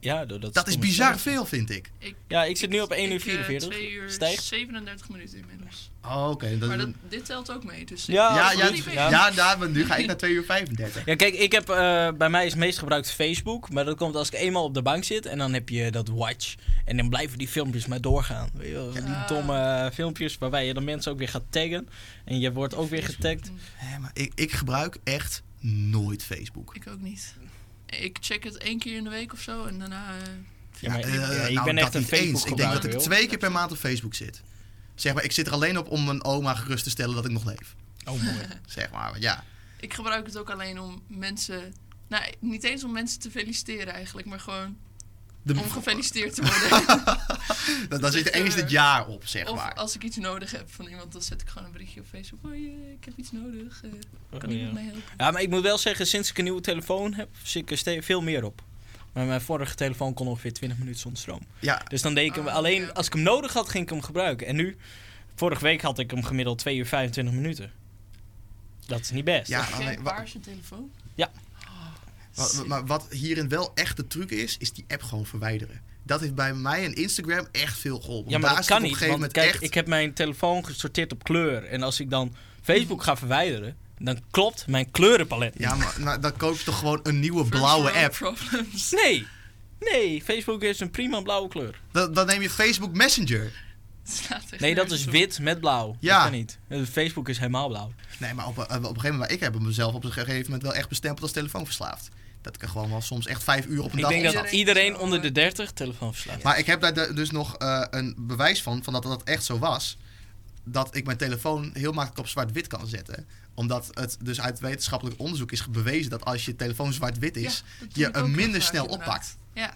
[SPEAKER 2] Ja, doordat
[SPEAKER 1] Dat is
[SPEAKER 2] Thomas
[SPEAKER 1] bizar
[SPEAKER 2] Sanders-
[SPEAKER 1] veel, vind ik.
[SPEAKER 3] Ik,
[SPEAKER 2] Ja, ik zit nu op 1 uur
[SPEAKER 3] ik, eh,
[SPEAKER 2] 44.
[SPEAKER 3] twee uur
[SPEAKER 2] Stijgt.
[SPEAKER 3] 37 minuten inmiddels.
[SPEAKER 1] Oh, oké. dat-
[SPEAKER 3] Maar dat, dit telt ook mee. Dus ik-
[SPEAKER 2] Ja,
[SPEAKER 1] ja,
[SPEAKER 3] dat
[SPEAKER 1] ja,
[SPEAKER 3] is niet
[SPEAKER 1] ja,
[SPEAKER 3] meer.
[SPEAKER 1] ja, maar nu ga ik naar 2 uur 35.
[SPEAKER 2] Ja, kijk, ik heb, eh, bij mij is het meest gebruikt Facebook. Maar dat komt als ik eenmaal op de bank zit en dan heb je dat watch. En dan blijven die filmpjes maar doorgaan. Weet je wel, van die
[SPEAKER 3] Ja.
[SPEAKER 2] domme eh, filmpjes waarbij je de mensen ook weer gaat taggen. En je wordt ook weer getagd.
[SPEAKER 1] Hè, maar ik, ik gebruik echt nooit Facebook.
[SPEAKER 3] Ik ook niet. Ik check het één keer in de week of zo en daarna. eh,
[SPEAKER 2] Ja, maar,
[SPEAKER 1] Eh,
[SPEAKER 2] ik- ja, ik
[SPEAKER 1] nou,
[SPEAKER 2] ben echt
[SPEAKER 1] dat
[SPEAKER 2] een
[SPEAKER 1] niet eens.
[SPEAKER 2] Facebook
[SPEAKER 1] Ik denk dat ik
[SPEAKER 2] gebruiker,
[SPEAKER 1] twee keer per maand op Facebook zit. Zeg maar, ik zit er alleen op om mijn oma gerust te stellen dat ik nog leef.
[SPEAKER 2] joh. Oh, mooi.
[SPEAKER 1] Zeg maar, ja.
[SPEAKER 3] ik gebruik het ook alleen om mensen. Nou, niet eens om mensen te feliciteren eigenlijk, maar gewoon
[SPEAKER 1] De-
[SPEAKER 3] om gefeliciteerd te worden.
[SPEAKER 1] dan, dan zit er eens het jaar op, zeg
[SPEAKER 3] of
[SPEAKER 1] maar.
[SPEAKER 3] als ik iets nodig heb van iemand, dan zet ik gewoon een berichtje op Facebook. Hoi, eh, ik heb iets nodig. eh, kan
[SPEAKER 2] Oh,
[SPEAKER 3] iemand
[SPEAKER 2] ja.
[SPEAKER 3] mij helpen?
[SPEAKER 2] Ja, maar ik moet wel zeggen, sinds ik een nieuwe telefoon heb, zit ik er ste- veel meer op. Maar mijn vorige telefoon kon ongeveer 20 minuten zonder stroom.
[SPEAKER 1] Ja,
[SPEAKER 2] Dus dan deed ik hem
[SPEAKER 3] Ah,
[SPEAKER 2] alleen,
[SPEAKER 3] ja.
[SPEAKER 2] als ik hem nodig had, ging ik hem gebruiken. En nu, vorige week had ik hem gemiddeld 2 uur 25 minuten. Dat is niet best.
[SPEAKER 1] ja
[SPEAKER 3] Jij
[SPEAKER 1] alleen,
[SPEAKER 3] hebt
[SPEAKER 1] wa-
[SPEAKER 3] waar is je telefoon?
[SPEAKER 2] Ja.
[SPEAKER 3] Oh,
[SPEAKER 1] wa- wa-
[SPEAKER 3] shit.
[SPEAKER 1] maar wat hierin wel echt de truc is, is die app gewoon verwijderen. Dat heeft bij mij en Instagram echt veel geholpen.
[SPEAKER 2] Ja,
[SPEAKER 1] Want
[SPEAKER 2] maar
[SPEAKER 1] daar
[SPEAKER 2] dat
[SPEAKER 1] is het
[SPEAKER 2] kan
[SPEAKER 1] op
[SPEAKER 2] niet.
[SPEAKER 1] een
[SPEAKER 2] Want
[SPEAKER 1] gegeven moment
[SPEAKER 2] kijk,
[SPEAKER 1] echt...
[SPEAKER 2] ik heb mijn telefoon gesorteerd op kleur. En als ik dan Facebook ga verwijderen, dan klopt mijn kleurenpalet niet.
[SPEAKER 1] Ja, maar, maar dan koop je toch gewoon een nieuwe
[SPEAKER 3] First
[SPEAKER 1] blauwe
[SPEAKER 3] world
[SPEAKER 1] app.
[SPEAKER 3] Problems.
[SPEAKER 2] Nee, nee, Facebook is een prima blauwe kleur.
[SPEAKER 1] Dan, dan neem je Facebook Messenger.
[SPEAKER 3] Het slaat echt
[SPEAKER 2] Nee, dat is
[SPEAKER 3] nergens op.
[SPEAKER 2] wit met blauw.
[SPEAKER 1] Ja.
[SPEAKER 2] Dat kan niet. Eh, Facebook is helemaal blauw.
[SPEAKER 1] Nee, maar op, een- op een gegeven moment... Ik heb mezelf op een gegeven moment wel echt bestempeld als telefoonverslaafd. Dat ik er gewoon wel soms echt vijf uur op een
[SPEAKER 2] Ik
[SPEAKER 1] dag
[SPEAKER 2] denk
[SPEAKER 1] op
[SPEAKER 2] dat
[SPEAKER 1] zat.
[SPEAKER 3] Iedereen
[SPEAKER 2] iedereen
[SPEAKER 3] zo,
[SPEAKER 2] onder
[SPEAKER 3] eh,
[SPEAKER 2] de 30 telefoon verslaat.
[SPEAKER 1] Maar ik heb daar de- dus nog eh, een bewijs van, van dat dat echt zo was. Dat ik mijn telefoon heel makkelijk op zwart-wit kan zetten. Omdat het dus uit wetenschappelijk onderzoek is bewezen dat als je telefoon zwart-wit
[SPEAKER 3] Ja,
[SPEAKER 1] is,
[SPEAKER 3] dat doe
[SPEAKER 1] je
[SPEAKER 3] ik ook
[SPEAKER 1] hem
[SPEAKER 3] heel
[SPEAKER 1] minder
[SPEAKER 3] vaak,
[SPEAKER 1] snel
[SPEAKER 3] inderdaad.
[SPEAKER 1] oppakt.
[SPEAKER 3] Ja,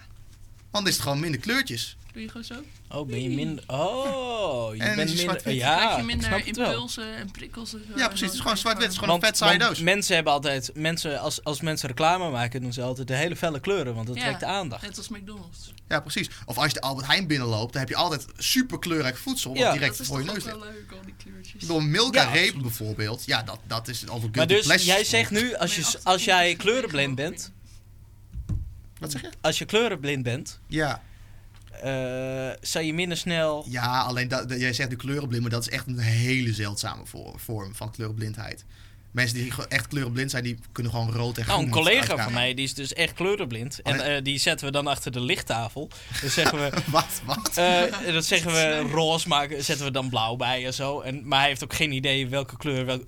[SPEAKER 1] Want is het gewoon minder kleurtjes.
[SPEAKER 3] doe je gewoon zo.
[SPEAKER 2] Oh, ben je minder... Oh, je
[SPEAKER 1] En is
[SPEAKER 2] bent
[SPEAKER 1] je
[SPEAKER 2] minder...
[SPEAKER 1] zwart-wit.
[SPEAKER 2] Ja,
[SPEAKER 3] krijg je
[SPEAKER 2] ik snap
[SPEAKER 3] minder
[SPEAKER 2] het wel.
[SPEAKER 3] impulsen en prikkels. En zo.
[SPEAKER 1] Ja, precies. Het is gewoon zwart-wit. Het is gewoon
[SPEAKER 2] Want,
[SPEAKER 1] een vet saaie
[SPEAKER 2] want
[SPEAKER 1] doos.
[SPEAKER 2] mensen hebben altijd... Mensen, als, als mensen reclame maken, doen ze altijd de hele felle kleuren. Want dat
[SPEAKER 3] Ja.
[SPEAKER 2] trekt de aandacht.
[SPEAKER 3] Net als McDonald's.
[SPEAKER 1] Ja, precies. Of als je de Albert Heijn binnenloopt, dan heb je altijd super kleurrijk voedsel. Wat
[SPEAKER 2] Ja.
[SPEAKER 1] direct
[SPEAKER 3] dat is
[SPEAKER 1] voor je
[SPEAKER 3] toch
[SPEAKER 1] neus
[SPEAKER 3] ook
[SPEAKER 1] ligt.
[SPEAKER 3] wel leuk, al die kleurtjes.
[SPEAKER 1] Door Milka
[SPEAKER 2] Ja,
[SPEAKER 1] reep bijvoorbeeld. Ja, dat, dat is over
[SPEAKER 2] Maar
[SPEAKER 1] guilty
[SPEAKER 2] dus,
[SPEAKER 1] pleasures
[SPEAKER 2] jij
[SPEAKER 1] gesproken.
[SPEAKER 2] zegt nu, als,
[SPEAKER 3] Mijn
[SPEAKER 2] je,
[SPEAKER 3] achtergrond
[SPEAKER 2] als
[SPEAKER 3] is
[SPEAKER 2] jij
[SPEAKER 3] gewoon
[SPEAKER 2] kleurenblind
[SPEAKER 3] weer
[SPEAKER 2] bent...
[SPEAKER 1] Wat zeg je?
[SPEAKER 2] Als je kleurenblind bent,
[SPEAKER 1] Ja,
[SPEAKER 2] eh, zou je minder snel...
[SPEAKER 1] ja alleen dat, dat- jij zegt nu kleurenblind, maar dat is echt een hele zeldzame voor- vorm van kleurenblindheid. Mensen die ge- echt kleurenblind zijn, die kunnen gewoon rood en groen.
[SPEAKER 2] Nou, een
[SPEAKER 1] niet
[SPEAKER 2] collega
[SPEAKER 1] uitgaan. Oh,
[SPEAKER 2] van mij, die is dus echt kleurenblind. En
[SPEAKER 1] Alleen-
[SPEAKER 2] eh, die zetten we dan achter de lichttafel. Dan zeggen we...
[SPEAKER 1] Wat, wat?
[SPEAKER 2] eh, dat zeggen we roze, maar zetten we dan blauw bij en zo. En, maar hij heeft ook geen idee welke kleur, wel-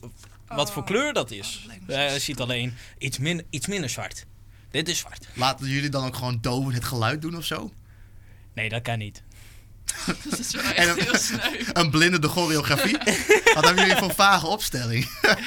[SPEAKER 2] wat voor kleur dat
[SPEAKER 3] Oh,
[SPEAKER 2] is. Eh,
[SPEAKER 3] dat lijkt me zo
[SPEAKER 2] hij ziet alleen iets, min, iets minder zwart. Dit is zwart.
[SPEAKER 1] Laten jullie dan ook gewoon doven het geluid doen of zo?
[SPEAKER 2] Nee, dat kan niet.
[SPEAKER 3] Dat is wel echt
[SPEAKER 1] En dan-
[SPEAKER 3] heel sneu.
[SPEAKER 1] Een blinde de choreografie? Wat hebben jullie voor vage opstelling?
[SPEAKER 3] Een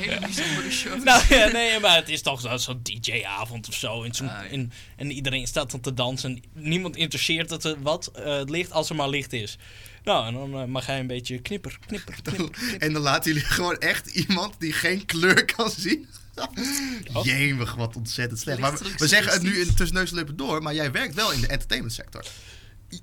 [SPEAKER 3] hele bijzondere show.
[SPEAKER 2] Nou ja, nee, maar het is toch zo- zo'n DJ-avond of zo. En, zo'n-
[SPEAKER 3] Ah, ja.
[SPEAKER 2] en, en iedereen staat dan te dansen. Niemand interesseert het eh, wat eh, het licht, als er maar licht is. Nou, en dan eh, mag hij een beetje knipper, knipper, knipper.
[SPEAKER 1] En dan laten jullie gewoon echt iemand die geen kleur kan zien.
[SPEAKER 2] Oh.
[SPEAKER 1] Jemig, wat ontzettend slecht. Maar we, we zeggen het nu in tussen neus en lippen door, maar jij werkt wel in de entertainmentsector.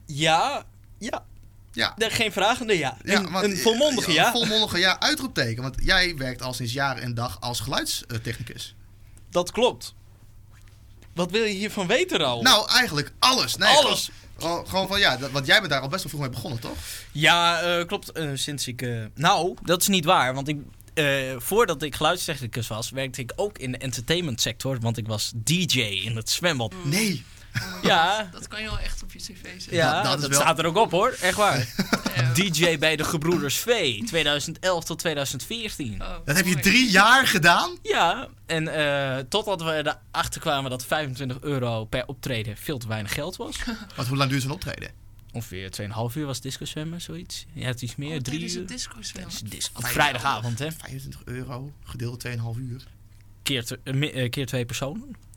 [SPEAKER 2] Ja, ja.
[SPEAKER 1] Ja.
[SPEAKER 2] De- geen vragende ja.
[SPEAKER 1] Ja,
[SPEAKER 2] een,
[SPEAKER 1] want-
[SPEAKER 2] een volmondige
[SPEAKER 1] Een
[SPEAKER 2] ja.
[SPEAKER 1] volmondige ja, uitroepteken. Want jij werkt al sinds jaar en dag als geluidstechnicus.
[SPEAKER 2] Dat klopt. Wat wil je hiervan weten, Raoul?
[SPEAKER 1] Nou, eigenlijk alles. Nee,
[SPEAKER 2] Oh. Alles.
[SPEAKER 1] Gewoon, gewoon van ja, dat- want jij bent daar al best wel vroeg mee begonnen, toch?
[SPEAKER 2] Ja, eh, klopt. Eh, sinds ik. eh, nou, dat is niet waar. Want ik, eh, voordat ik geluidstechnicus was, werkte ik ook in de entertainment sector. Want ik was DJ in het zwembad.
[SPEAKER 1] Nee.
[SPEAKER 2] Ja,
[SPEAKER 3] Dat kan je wel echt op je cv zetten.
[SPEAKER 2] ja
[SPEAKER 1] dat- dat
[SPEAKER 2] dat,
[SPEAKER 1] is wel-
[SPEAKER 2] staat er ook op hoor. Echt waar.
[SPEAKER 3] Ja.
[SPEAKER 2] DJ bij de Gebroeders V. 2011 tot 2014.
[SPEAKER 3] Oh,
[SPEAKER 1] Dat heb je
[SPEAKER 3] mooi.
[SPEAKER 1] drie jaar gedaan?
[SPEAKER 2] Ja, en eh, totdat we erachter kwamen dat 25 euro per optreden veel te weinig geld was.
[SPEAKER 1] Want hoe lang duurt zo'n optreden?
[SPEAKER 2] Ongeveer 2,5 uur was disco zwemmen, zoiets. Ja, het is meer. drie
[SPEAKER 3] Oh, tijdens
[SPEAKER 2] uur.
[SPEAKER 3] het disco zwemmen.
[SPEAKER 2] Tijdens het disco. Dus Op vrijdagavond, hè?
[SPEAKER 1] 25 euro, gedeeld 2,5 uur.
[SPEAKER 2] Keer, te- eh, mi- eh, keer twee personen.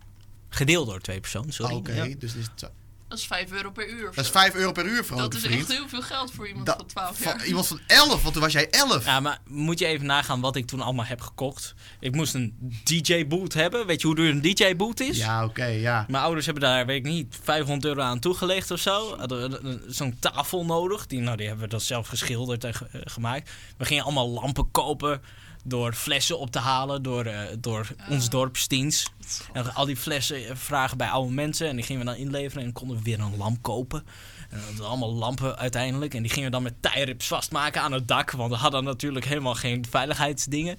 [SPEAKER 2] Gedeeld door twee personen,
[SPEAKER 1] Oké,
[SPEAKER 2] sorry. Ja.
[SPEAKER 1] dus dit is het zo.
[SPEAKER 3] Dat is 5 euro per uur. of
[SPEAKER 1] dat is
[SPEAKER 3] zo.
[SPEAKER 1] 5 euro per uur, vrolijk
[SPEAKER 3] Dat is echt
[SPEAKER 1] vriend.
[SPEAKER 3] heel veel geld voor iemand
[SPEAKER 1] Da-
[SPEAKER 3] van 12
[SPEAKER 1] van
[SPEAKER 3] jaar.
[SPEAKER 1] iemand van 11, want toen was jij 11.
[SPEAKER 2] Ja, maar moet je even nagaan wat ik toen allemaal heb gekocht. Ik moest een DJ-boot hebben. Weet je hoe duur een DJ-boot is?
[SPEAKER 1] Ja, oké, ja.
[SPEAKER 2] Mijn ouders hebben daar, weet ik niet, 500 euro aan toegelegd of zo. Hadden we een- Zo'n eh, tafel nodig. Die, nou, die hebben we dan zelf geschilderd en ge- eh, gemaakt. We gingen allemaal lampen kopen. Door flessen op te halen, door, eh, door ons dorpsdienst. En al die flessen eh, vragen bij oude mensen. En die gingen we dan inleveren en konden we weer een lamp kopen. En dat waren allemaal lampen uiteindelijk. En die gingen we dan met tijrips vastmaken aan het dak. Want we hadden natuurlijk helemaal geen veiligheidsdingen.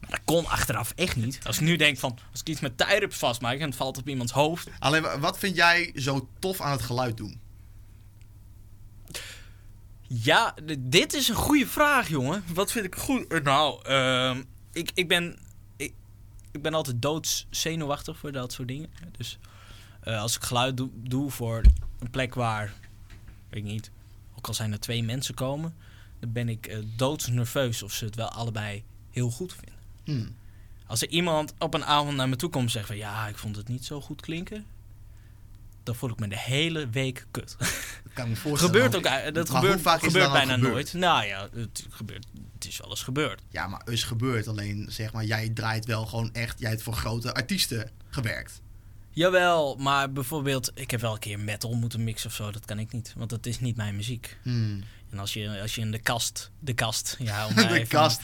[SPEAKER 2] Maar dat kon achteraf echt niet. Als ik nu denk van, als ik iets met tijrips vastmaak en het valt op iemands hoofd.
[SPEAKER 1] Alleen, wa- wat vind jij zo tof aan het geluid doen?
[SPEAKER 2] Ja, d- dit is een goede vraag, jongen. Wat vind ik goed? Eh, Nou, ehm, ik, ik ben... Ik, ik ben altijd doods zenuwachtig voor dat soort dingen. Dus eh, als ik geluid doe, doe voor een plek waar... Weet ik niet. Ook al zijn er twee mensen komen... Dan ben ik eh, doodsnerveus of ze het wel allebei heel goed vinden.
[SPEAKER 1] Hmm.
[SPEAKER 2] Als er iemand op een avond naar me toe komt en zegt van... Ja, ik vond het niet zo goed klinken. Dan voel ik me de hele week kut.
[SPEAKER 1] Dat kan ik me voorstellen.
[SPEAKER 2] Gebeurt
[SPEAKER 1] want-
[SPEAKER 2] ook, eh, dat
[SPEAKER 1] Maar
[SPEAKER 2] gebeurt,
[SPEAKER 1] hoe vaak is het
[SPEAKER 2] gebeurt
[SPEAKER 1] dan al
[SPEAKER 2] bijna
[SPEAKER 1] gebeurd?
[SPEAKER 2] nooit. Nou ja, het, gebeurt, het is wel eens gebeurd.
[SPEAKER 1] Ja, maar is gebeurd. Alleen, zeg maar, jij draait wel gewoon echt... Jij hebt voor grote artiesten gewerkt.
[SPEAKER 2] Jawel, maar bijvoorbeeld, ik heb wel een keer metal moeten mixen of zo. Dat kan ik niet, want dat is niet mijn muziek.
[SPEAKER 1] Hmm.
[SPEAKER 2] En als je, als je in de kast, de kast, ja, om maar
[SPEAKER 1] De
[SPEAKER 2] even-
[SPEAKER 1] kast.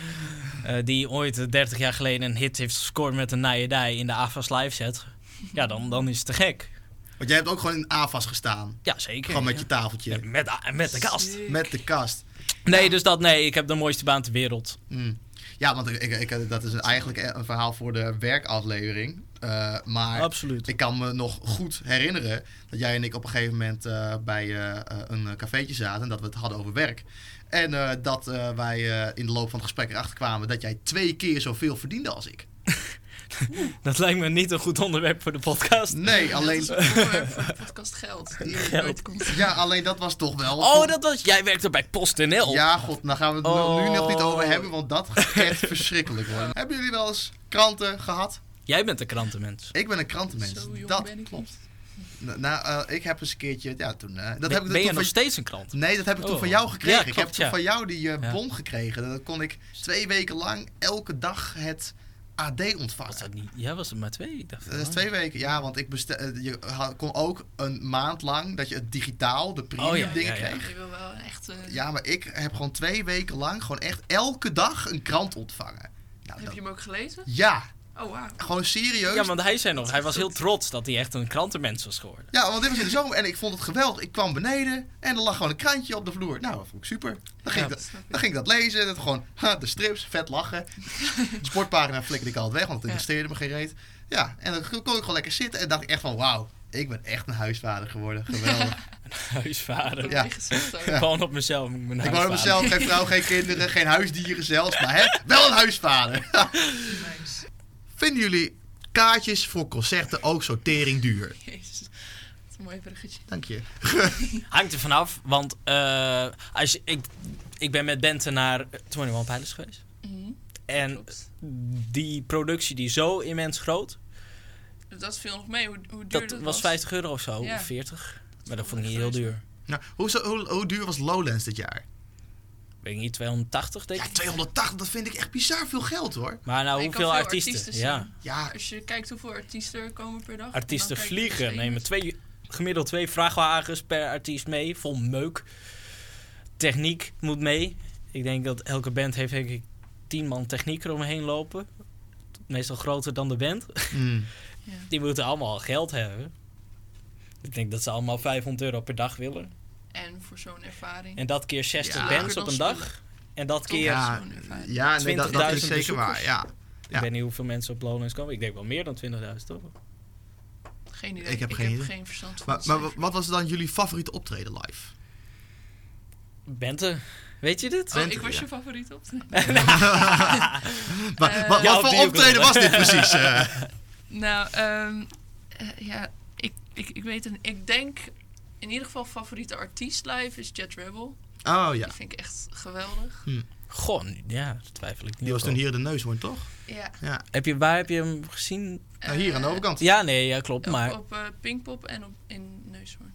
[SPEAKER 2] eh, die ooit eh, 30 jaar geleden een hit heeft gescoord met een naaierij in de AFAS live set. Ja, dan, dan is het te gek.
[SPEAKER 1] Want jij hebt ook gewoon in AFAS gestaan.
[SPEAKER 2] Ja, zeker.
[SPEAKER 1] Gewoon met
[SPEAKER 2] ja.
[SPEAKER 1] je tafeltje.
[SPEAKER 2] met, a- met de kast.
[SPEAKER 1] Met de kast.
[SPEAKER 2] Nee, dus dat nee. Ik heb de mooiste baan ter wereld.
[SPEAKER 1] Hmm. Ja, want ik, ik, ik- dat is een- eigenlijk een verhaal voor de werkaflevering. Eh, maar
[SPEAKER 2] Absoluut.
[SPEAKER 1] ik kan me nog goed herinneren dat jij en ik op een gegeven moment eh, bij eh, eh, een eh, cafeetje zaten en dat we het hadden over werk. En eh, dat eh, wij eh, in de loop van het gesprek erachter kwamen dat jij twee keer zoveel verdiende als ik.
[SPEAKER 2] Dat lijkt me niet een goed onderwerp voor de podcast.
[SPEAKER 1] Nee, alleen,
[SPEAKER 3] Dat is het onderwerp voor de podcast geld. Die er nooit komt.
[SPEAKER 1] ja, alleen dat was toch wel.
[SPEAKER 2] Oh, dat was. Jij werkte bij PostNL.
[SPEAKER 1] Ja, god, daar gaan we het nu- nu nog niet over
[SPEAKER 2] Oh.
[SPEAKER 1] hebben, want dat gaat echt verschrikkelijk worden. Hebben jullie wel eens kranten gehad?
[SPEAKER 2] Jij bent een krantenmens.
[SPEAKER 1] Ik ben een krantenmens.
[SPEAKER 3] Zo jong
[SPEAKER 1] dat
[SPEAKER 3] ben ik
[SPEAKER 1] klopt.
[SPEAKER 3] niet.
[SPEAKER 1] Nou, nou, eh, ik heb eens een keertje. Ja, toen. eh, dat
[SPEAKER 2] ben
[SPEAKER 1] heb ik
[SPEAKER 2] ben je
[SPEAKER 1] toen
[SPEAKER 2] nog
[SPEAKER 1] van,
[SPEAKER 2] steeds een krant?
[SPEAKER 1] Nee, dat heb ik toen
[SPEAKER 2] Oh.
[SPEAKER 1] van jou gekregen.
[SPEAKER 2] Ja,
[SPEAKER 1] ik heb
[SPEAKER 2] klopt,
[SPEAKER 1] toen
[SPEAKER 2] ja.
[SPEAKER 1] van jou die eh,
[SPEAKER 2] Ja.
[SPEAKER 1] bon gekregen. Dan kon ik twee weken lang elke dag het AD
[SPEAKER 2] Was
[SPEAKER 1] ontvangen.
[SPEAKER 2] dat niet? Ja, was het maar twee? Ik dacht,
[SPEAKER 1] Ah, Dat is
[SPEAKER 2] oh.
[SPEAKER 1] twee weken, ja, want ik bestel, eh, je ha- kon ook een maand lang dat je het digitaal, de premium
[SPEAKER 2] Oh, ja,
[SPEAKER 1] dingen
[SPEAKER 2] ja, ja.
[SPEAKER 1] kreeg.
[SPEAKER 3] Je wil wel echt... eh,
[SPEAKER 1] Ja, maar ik heb gewoon twee weken lang gewoon echt elke dag een krant ontvangen. Nou,
[SPEAKER 3] Heb
[SPEAKER 1] dat-
[SPEAKER 3] je hem ook gelezen?
[SPEAKER 1] Ja,
[SPEAKER 3] Oh, wauw.
[SPEAKER 1] gewoon serieus.
[SPEAKER 2] Ja, want hij zei nog, hij was heel trots dat hij echt een krantenmens was geworden.
[SPEAKER 1] Ja, want dit was in de zomer en ik vond het geweldig. Ik kwam beneden en er lag gewoon een krantje op de vloer. Nou, dat vond ik super. Dan ging,
[SPEAKER 2] Ja,
[SPEAKER 1] ik, dat,
[SPEAKER 3] snap ik.
[SPEAKER 1] dan ging ik dat lezen. Dat gewoon, ha, de strips, vet lachen. Sportpagina flikkerde ik altijd weg, want het interesseerde me geen reet. Ja, en dan kon ik gewoon lekker zitten en dacht ik echt van, wauw, ik ben echt een huisvader geworden. Geweldig.
[SPEAKER 2] Huisvader.
[SPEAKER 1] Ja.
[SPEAKER 3] Ja. Gezicht ook.
[SPEAKER 2] Gewoon op mezelf. Ik ben
[SPEAKER 1] ik woon op mezelf, geen vrouw, geen kinderen, geen huisdieren zelfs. Maar hè, wel een huisvader.
[SPEAKER 3] Nice.
[SPEAKER 1] Vinden jullie kaartjes voor concerten ook zo tering duur?
[SPEAKER 3] Jezus. Wat een mooi bruggetje.
[SPEAKER 1] Dank je.
[SPEAKER 2] Hangt er vanaf, want eh, als je, ik, ik ben met Bente naar 21 Pilots geweest.
[SPEAKER 3] Mhm.
[SPEAKER 2] En
[SPEAKER 3] Klopt.
[SPEAKER 2] die productie die is zo immens groot,
[SPEAKER 3] Dat viel nog mee, hoe, hoe duur
[SPEAKER 2] dat
[SPEAKER 3] dat,
[SPEAKER 2] was 50 euro of zo,
[SPEAKER 3] Ja.
[SPEAKER 2] of 40. Maar dat
[SPEAKER 3] wel
[SPEAKER 2] vond ik niet heel
[SPEAKER 3] prijs,
[SPEAKER 2] duur.
[SPEAKER 1] Nou, hoe, zo- hoe, hoe duur was Lowlands dit jaar?
[SPEAKER 2] Weet ik niet, 280 denk
[SPEAKER 1] Ja,
[SPEAKER 2] ik.
[SPEAKER 1] 280, dat vind ik echt bizar veel geld hoor.
[SPEAKER 2] Maar nou,
[SPEAKER 3] Maar je kan
[SPEAKER 2] hoeveel
[SPEAKER 3] veel
[SPEAKER 2] artiesten?
[SPEAKER 3] artiesten
[SPEAKER 2] ja.
[SPEAKER 3] zien.
[SPEAKER 1] Ja,
[SPEAKER 3] Als je kijkt hoeveel artiesten er komen per dag.
[SPEAKER 2] Artiesten
[SPEAKER 3] dan kijk je
[SPEAKER 2] vliegen,
[SPEAKER 3] dus
[SPEAKER 2] nemen
[SPEAKER 3] één.
[SPEAKER 2] twee, gemiddeld twee vrachtwagens per artiest mee, vol meuk. Techniek moet mee. Ik denk dat elke band heeft denk ik tien man techniek eromheen lopen. Meestal groter dan de band.
[SPEAKER 1] Mm.
[SPEAKER 2] Die moeten allemaal geld hebben. Ik denk dat ze allemaal 500 euro per dag willen.
[SPEAKER 3] En voor zo'n ervaring.
[SPEAKER 2] En dat keer 60
[SPEAKER 1] Ja.
[SPEAKER 2] bands op een dag. En dat keer...
[SPEAKER 1] Ja,
[SPEAKER 3] zo'n ervaring.
[SPEAKER 1] ja nee, dat, dat
[SPEAKER 2] 20.000
[SPEAKER 1] is zeker
[SPEAKER 2] bezoekers.
[SPEAKER 1] waar. Ja.
[SPEAKER 2] Ik weet niet hoeveel mensen op Lowlands komen. Ik denk wel meer dan 20.000, toch?
[SPEAKER 3] Geen idee.
[SPEAKER 1] Ik heb geen idee.
[SPEAKER 3] verstand van
[SPEAKER 1] Maar,
[SPEAKER 3] het
[SPEAKER 1] maar
[SPEAKER 3] cijfer.
[SPEAKER 1] wat was dan jullie favoriete optreden live?
[SPEAKER 2] Bente, weet je dit?
[SPEAKER 3] Oh,
[SPEAKER 1] Twente,
[SPEAKER 3] ik was
[SPEAKER 1] ja.
[SPEAKER 3] je favoriet op. Eh,
[SPEAKER 1] Wa- wa- wat
[SPEAKER 2] Ja, op die
[SPEAKER 1] voor
[SPEAKER 2] ook
[SPEAKER 1] optreden
[SPEAKER 2] nog.
[SPEAKER 1] was dit precies? eh?
[SPEAKER 3] nou, ehm, eh, ja, ik, ik, ik weet het. Ik denk in ieder geval favoriete artiest live is Jet Rebel.
[SPEAKER 1] oh ja,
[SPEAKER 3] Die vind ik echt geweldig.
[SPEAKER 2] Goh, ja, daar twijfel ik niet
[SPEAKER 1] die was
[SPEAKER 2] op.
[SPEAKER 1] toen hier de neushoorn, toch?
[SPEAKER 3] Ja.
[SPEAKER 2] Heb je, waar heb je hem gezien?
[SPEAKER 1] Nou, hier aan de
[SPEAKER 3] eh,
[SPEAKER 1] overkant.
[SPEAKER 2] Ja, nee, ja, klopt.
[SPEAKER 3] Op-
[SPEAKER 2] Maar
[SPEAKER 3] Op, eh, Pinkpop en op, in Neushoorn.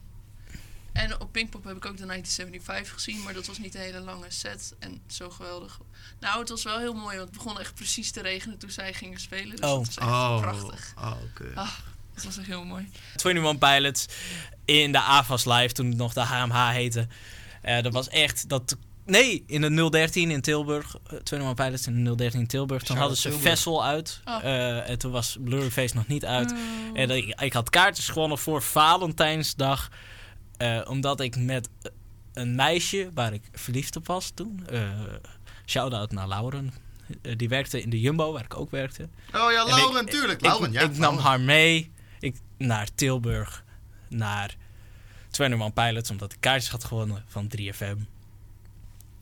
[SPEAKER 3] En op Pinkpop heb ik ook de 1975 gezien, maar dat was niet een hele lange set en zo geweldig. Nou, het was wel heel mooi, want het begon echt precies te regenen toen zij gingen spelen. Dus
[SPEAKER 2] Oh.
[SPEAKER 3] dat was echt
[SPEAKER 1] Oh,
[SPEAKER 3] prachtig.
[SPEAKER 1] oh oké.
[SPEAKER 3] Ah, dat was echt heel mooi.
[SPEAKER 2] 21 Pilots in de AFAS Live, toen het nog de HMH heette. Eh, dat was echt, dat Nee, in de 013 in Tilburg. eh, Tweede Man Pilots in de 013 in Tilburg. Toen
[SPEAKER 1] Shout-out
[SPEAKER 2] hadden ze
[SPEAKER 1] Tilburg.
[SPEAKER 2] Vessel uit.
[SPEAKER 3] Oh.
[SPEAKER 2] eh, en toen was Blurryface nog niet uit. En ik, ik had kaartjes gewonnen voor Valentijnsdag. eh, omdat ik met eh, een meisje waar ik verliefd op was toen. eh Shout-out naar Lauren. eh, die werkte in de Jumbo, waar ik ook werkte.
[SPEAKER 1] Oh ja,
[SPEAKER 2] En ik-
[SPEAKER 1] Lauren, tuurlijk. Lauren,
[SPEAKER 2] ik,
[SPEAKER 1] ja.
[SPEAKER 2] ik nam
[SPEAKER 1] Lauren.
[SPEAKER 2] haar mee ik, naar Tilburg, naar 20 Man Pilots, omdat ik kaartjes had gewonnen van 3FM.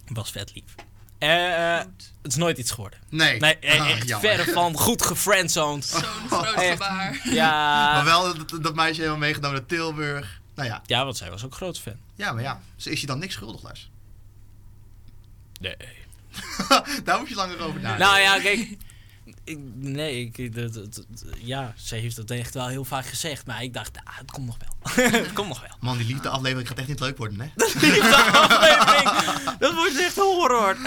[SPEAKER 2] Was vet lief. Eh, eh,
[SPEAKER 3] Goed.
[SPEAKER 2] het is nooit iets geworden.
[SPEAKER 1] Nee,
[SPEAKER 2] Nee, eh,
[SPEAKER 1] Ah,
[SPEAKER 2] echt
[SPEAKER 1] jammer.
[SPEAKER 2] verre van goed gefriendzoned.
[SPEAKER 3] Zo'n groot
[SPEAKER 2] Echt.
[SPEAKER 3] gebaar.
[SPEAKER 2] Ja.
[SPEAKER 1] Maar wel dat, dat meisje helemaal meegenomen naar Tilburg. Nou ja,
[SPEAKER 2] ja, want zij was ook groot fan.
[SPEAKER 1] ja, maar ja. Dus is je dan niks schuldig, Lars?
[SPEAKER 2] Nee.
[SPEAKER 1] Daar moet je langer over nadenken.
[SPEAKER 2] Nou ja, kijk. Ik, nee, ik, dat- dat- dat- ja, ze heeft dat echt wel heel vaak gezegd. Maar ik dacht, ah, het komt nog wel. het komt nog wel.
[SPEAKER 1] Man, die liefde aflevering gaat echt niet leuk worden, hè?
[SPEAKER 2] De aflevering. Dat wordt echt horror.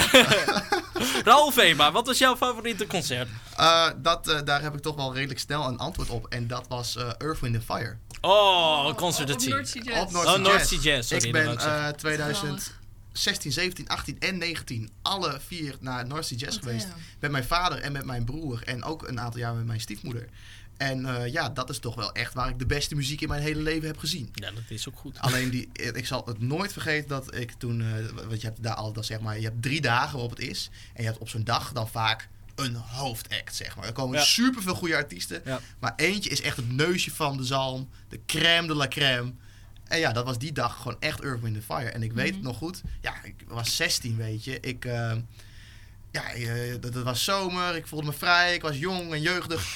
[SPEAKER 2] Ralf Ema, wat was jouw favoriete concert?
[SPEAKER 1] Eh, dat, eh, daar heb ik toch wel redelijk snel een antwoord op. En dat was eh, Earth, Wind and Fire.
[SPEAKER 2] Oh, concert
[SPEAKER 3] op
[SPEAKER 2] at Sea.
[SPEAKER 3] North Sea Jazz.
[SPEAKER 1] Op North
[SPEAKER 2] Oh,
[SPEAKER 1] Sea
[SPEAKER 2] North
[SPEAKER 1] Jazz.
[SPEAKER 2] Sea Jazz, sorry,
[SPEAKER 1] ik
[SPEAKER 2] dat
[SPEAKER 1] ben
[SPEAKER 2] wou ik zeggen.
[SPEAKER 1] eh,
[SPEAKER 3] Geweldig.
[SPEAKER 1] 2016, 17, 18 en 19 alle vier naar North Sea Jazz
[SPEAKER 3] Wat
[SPEAKER 1] geweest.
[SPEAKER 3] Oh, damn.
[SPEAKER 1] Met mijn vader en met mijn broer. En ook een aantal jaar met mijn stiefmoeder. En eh, ja, dat is toch wel echt waar ik de beste muziek in mijn hele leven heb gezien.
[SPEAKER 2] Ja, dat is ook goed.
[SPEAKER 1] Alleen die, ik zal het nooit vergeten dat ik toen, eh, want je hebt daar altijd zeg maar, je hebt drie dagen waarop het is. En je hebt op zo'n dag dan vaak een hoofdact, zeg maar. Er komen
[SPEAKER 2] Ja.
[SPEAKER 1] superveel goede artiesten.
[SPEAKER 2] Ja.
[SPEAKER 1] Maar eentje is echt het neusje van de zalm, de crème de la crème. En ja, dat was die dag gewoon echt Earth, Wind and Fire. En ik weet het nog goed. Ja, ik was 16, weet je. Ik, eh, ja, eh, dat, dat was zomer. Ik voelde me vrij. Ik was jong en jeugdig.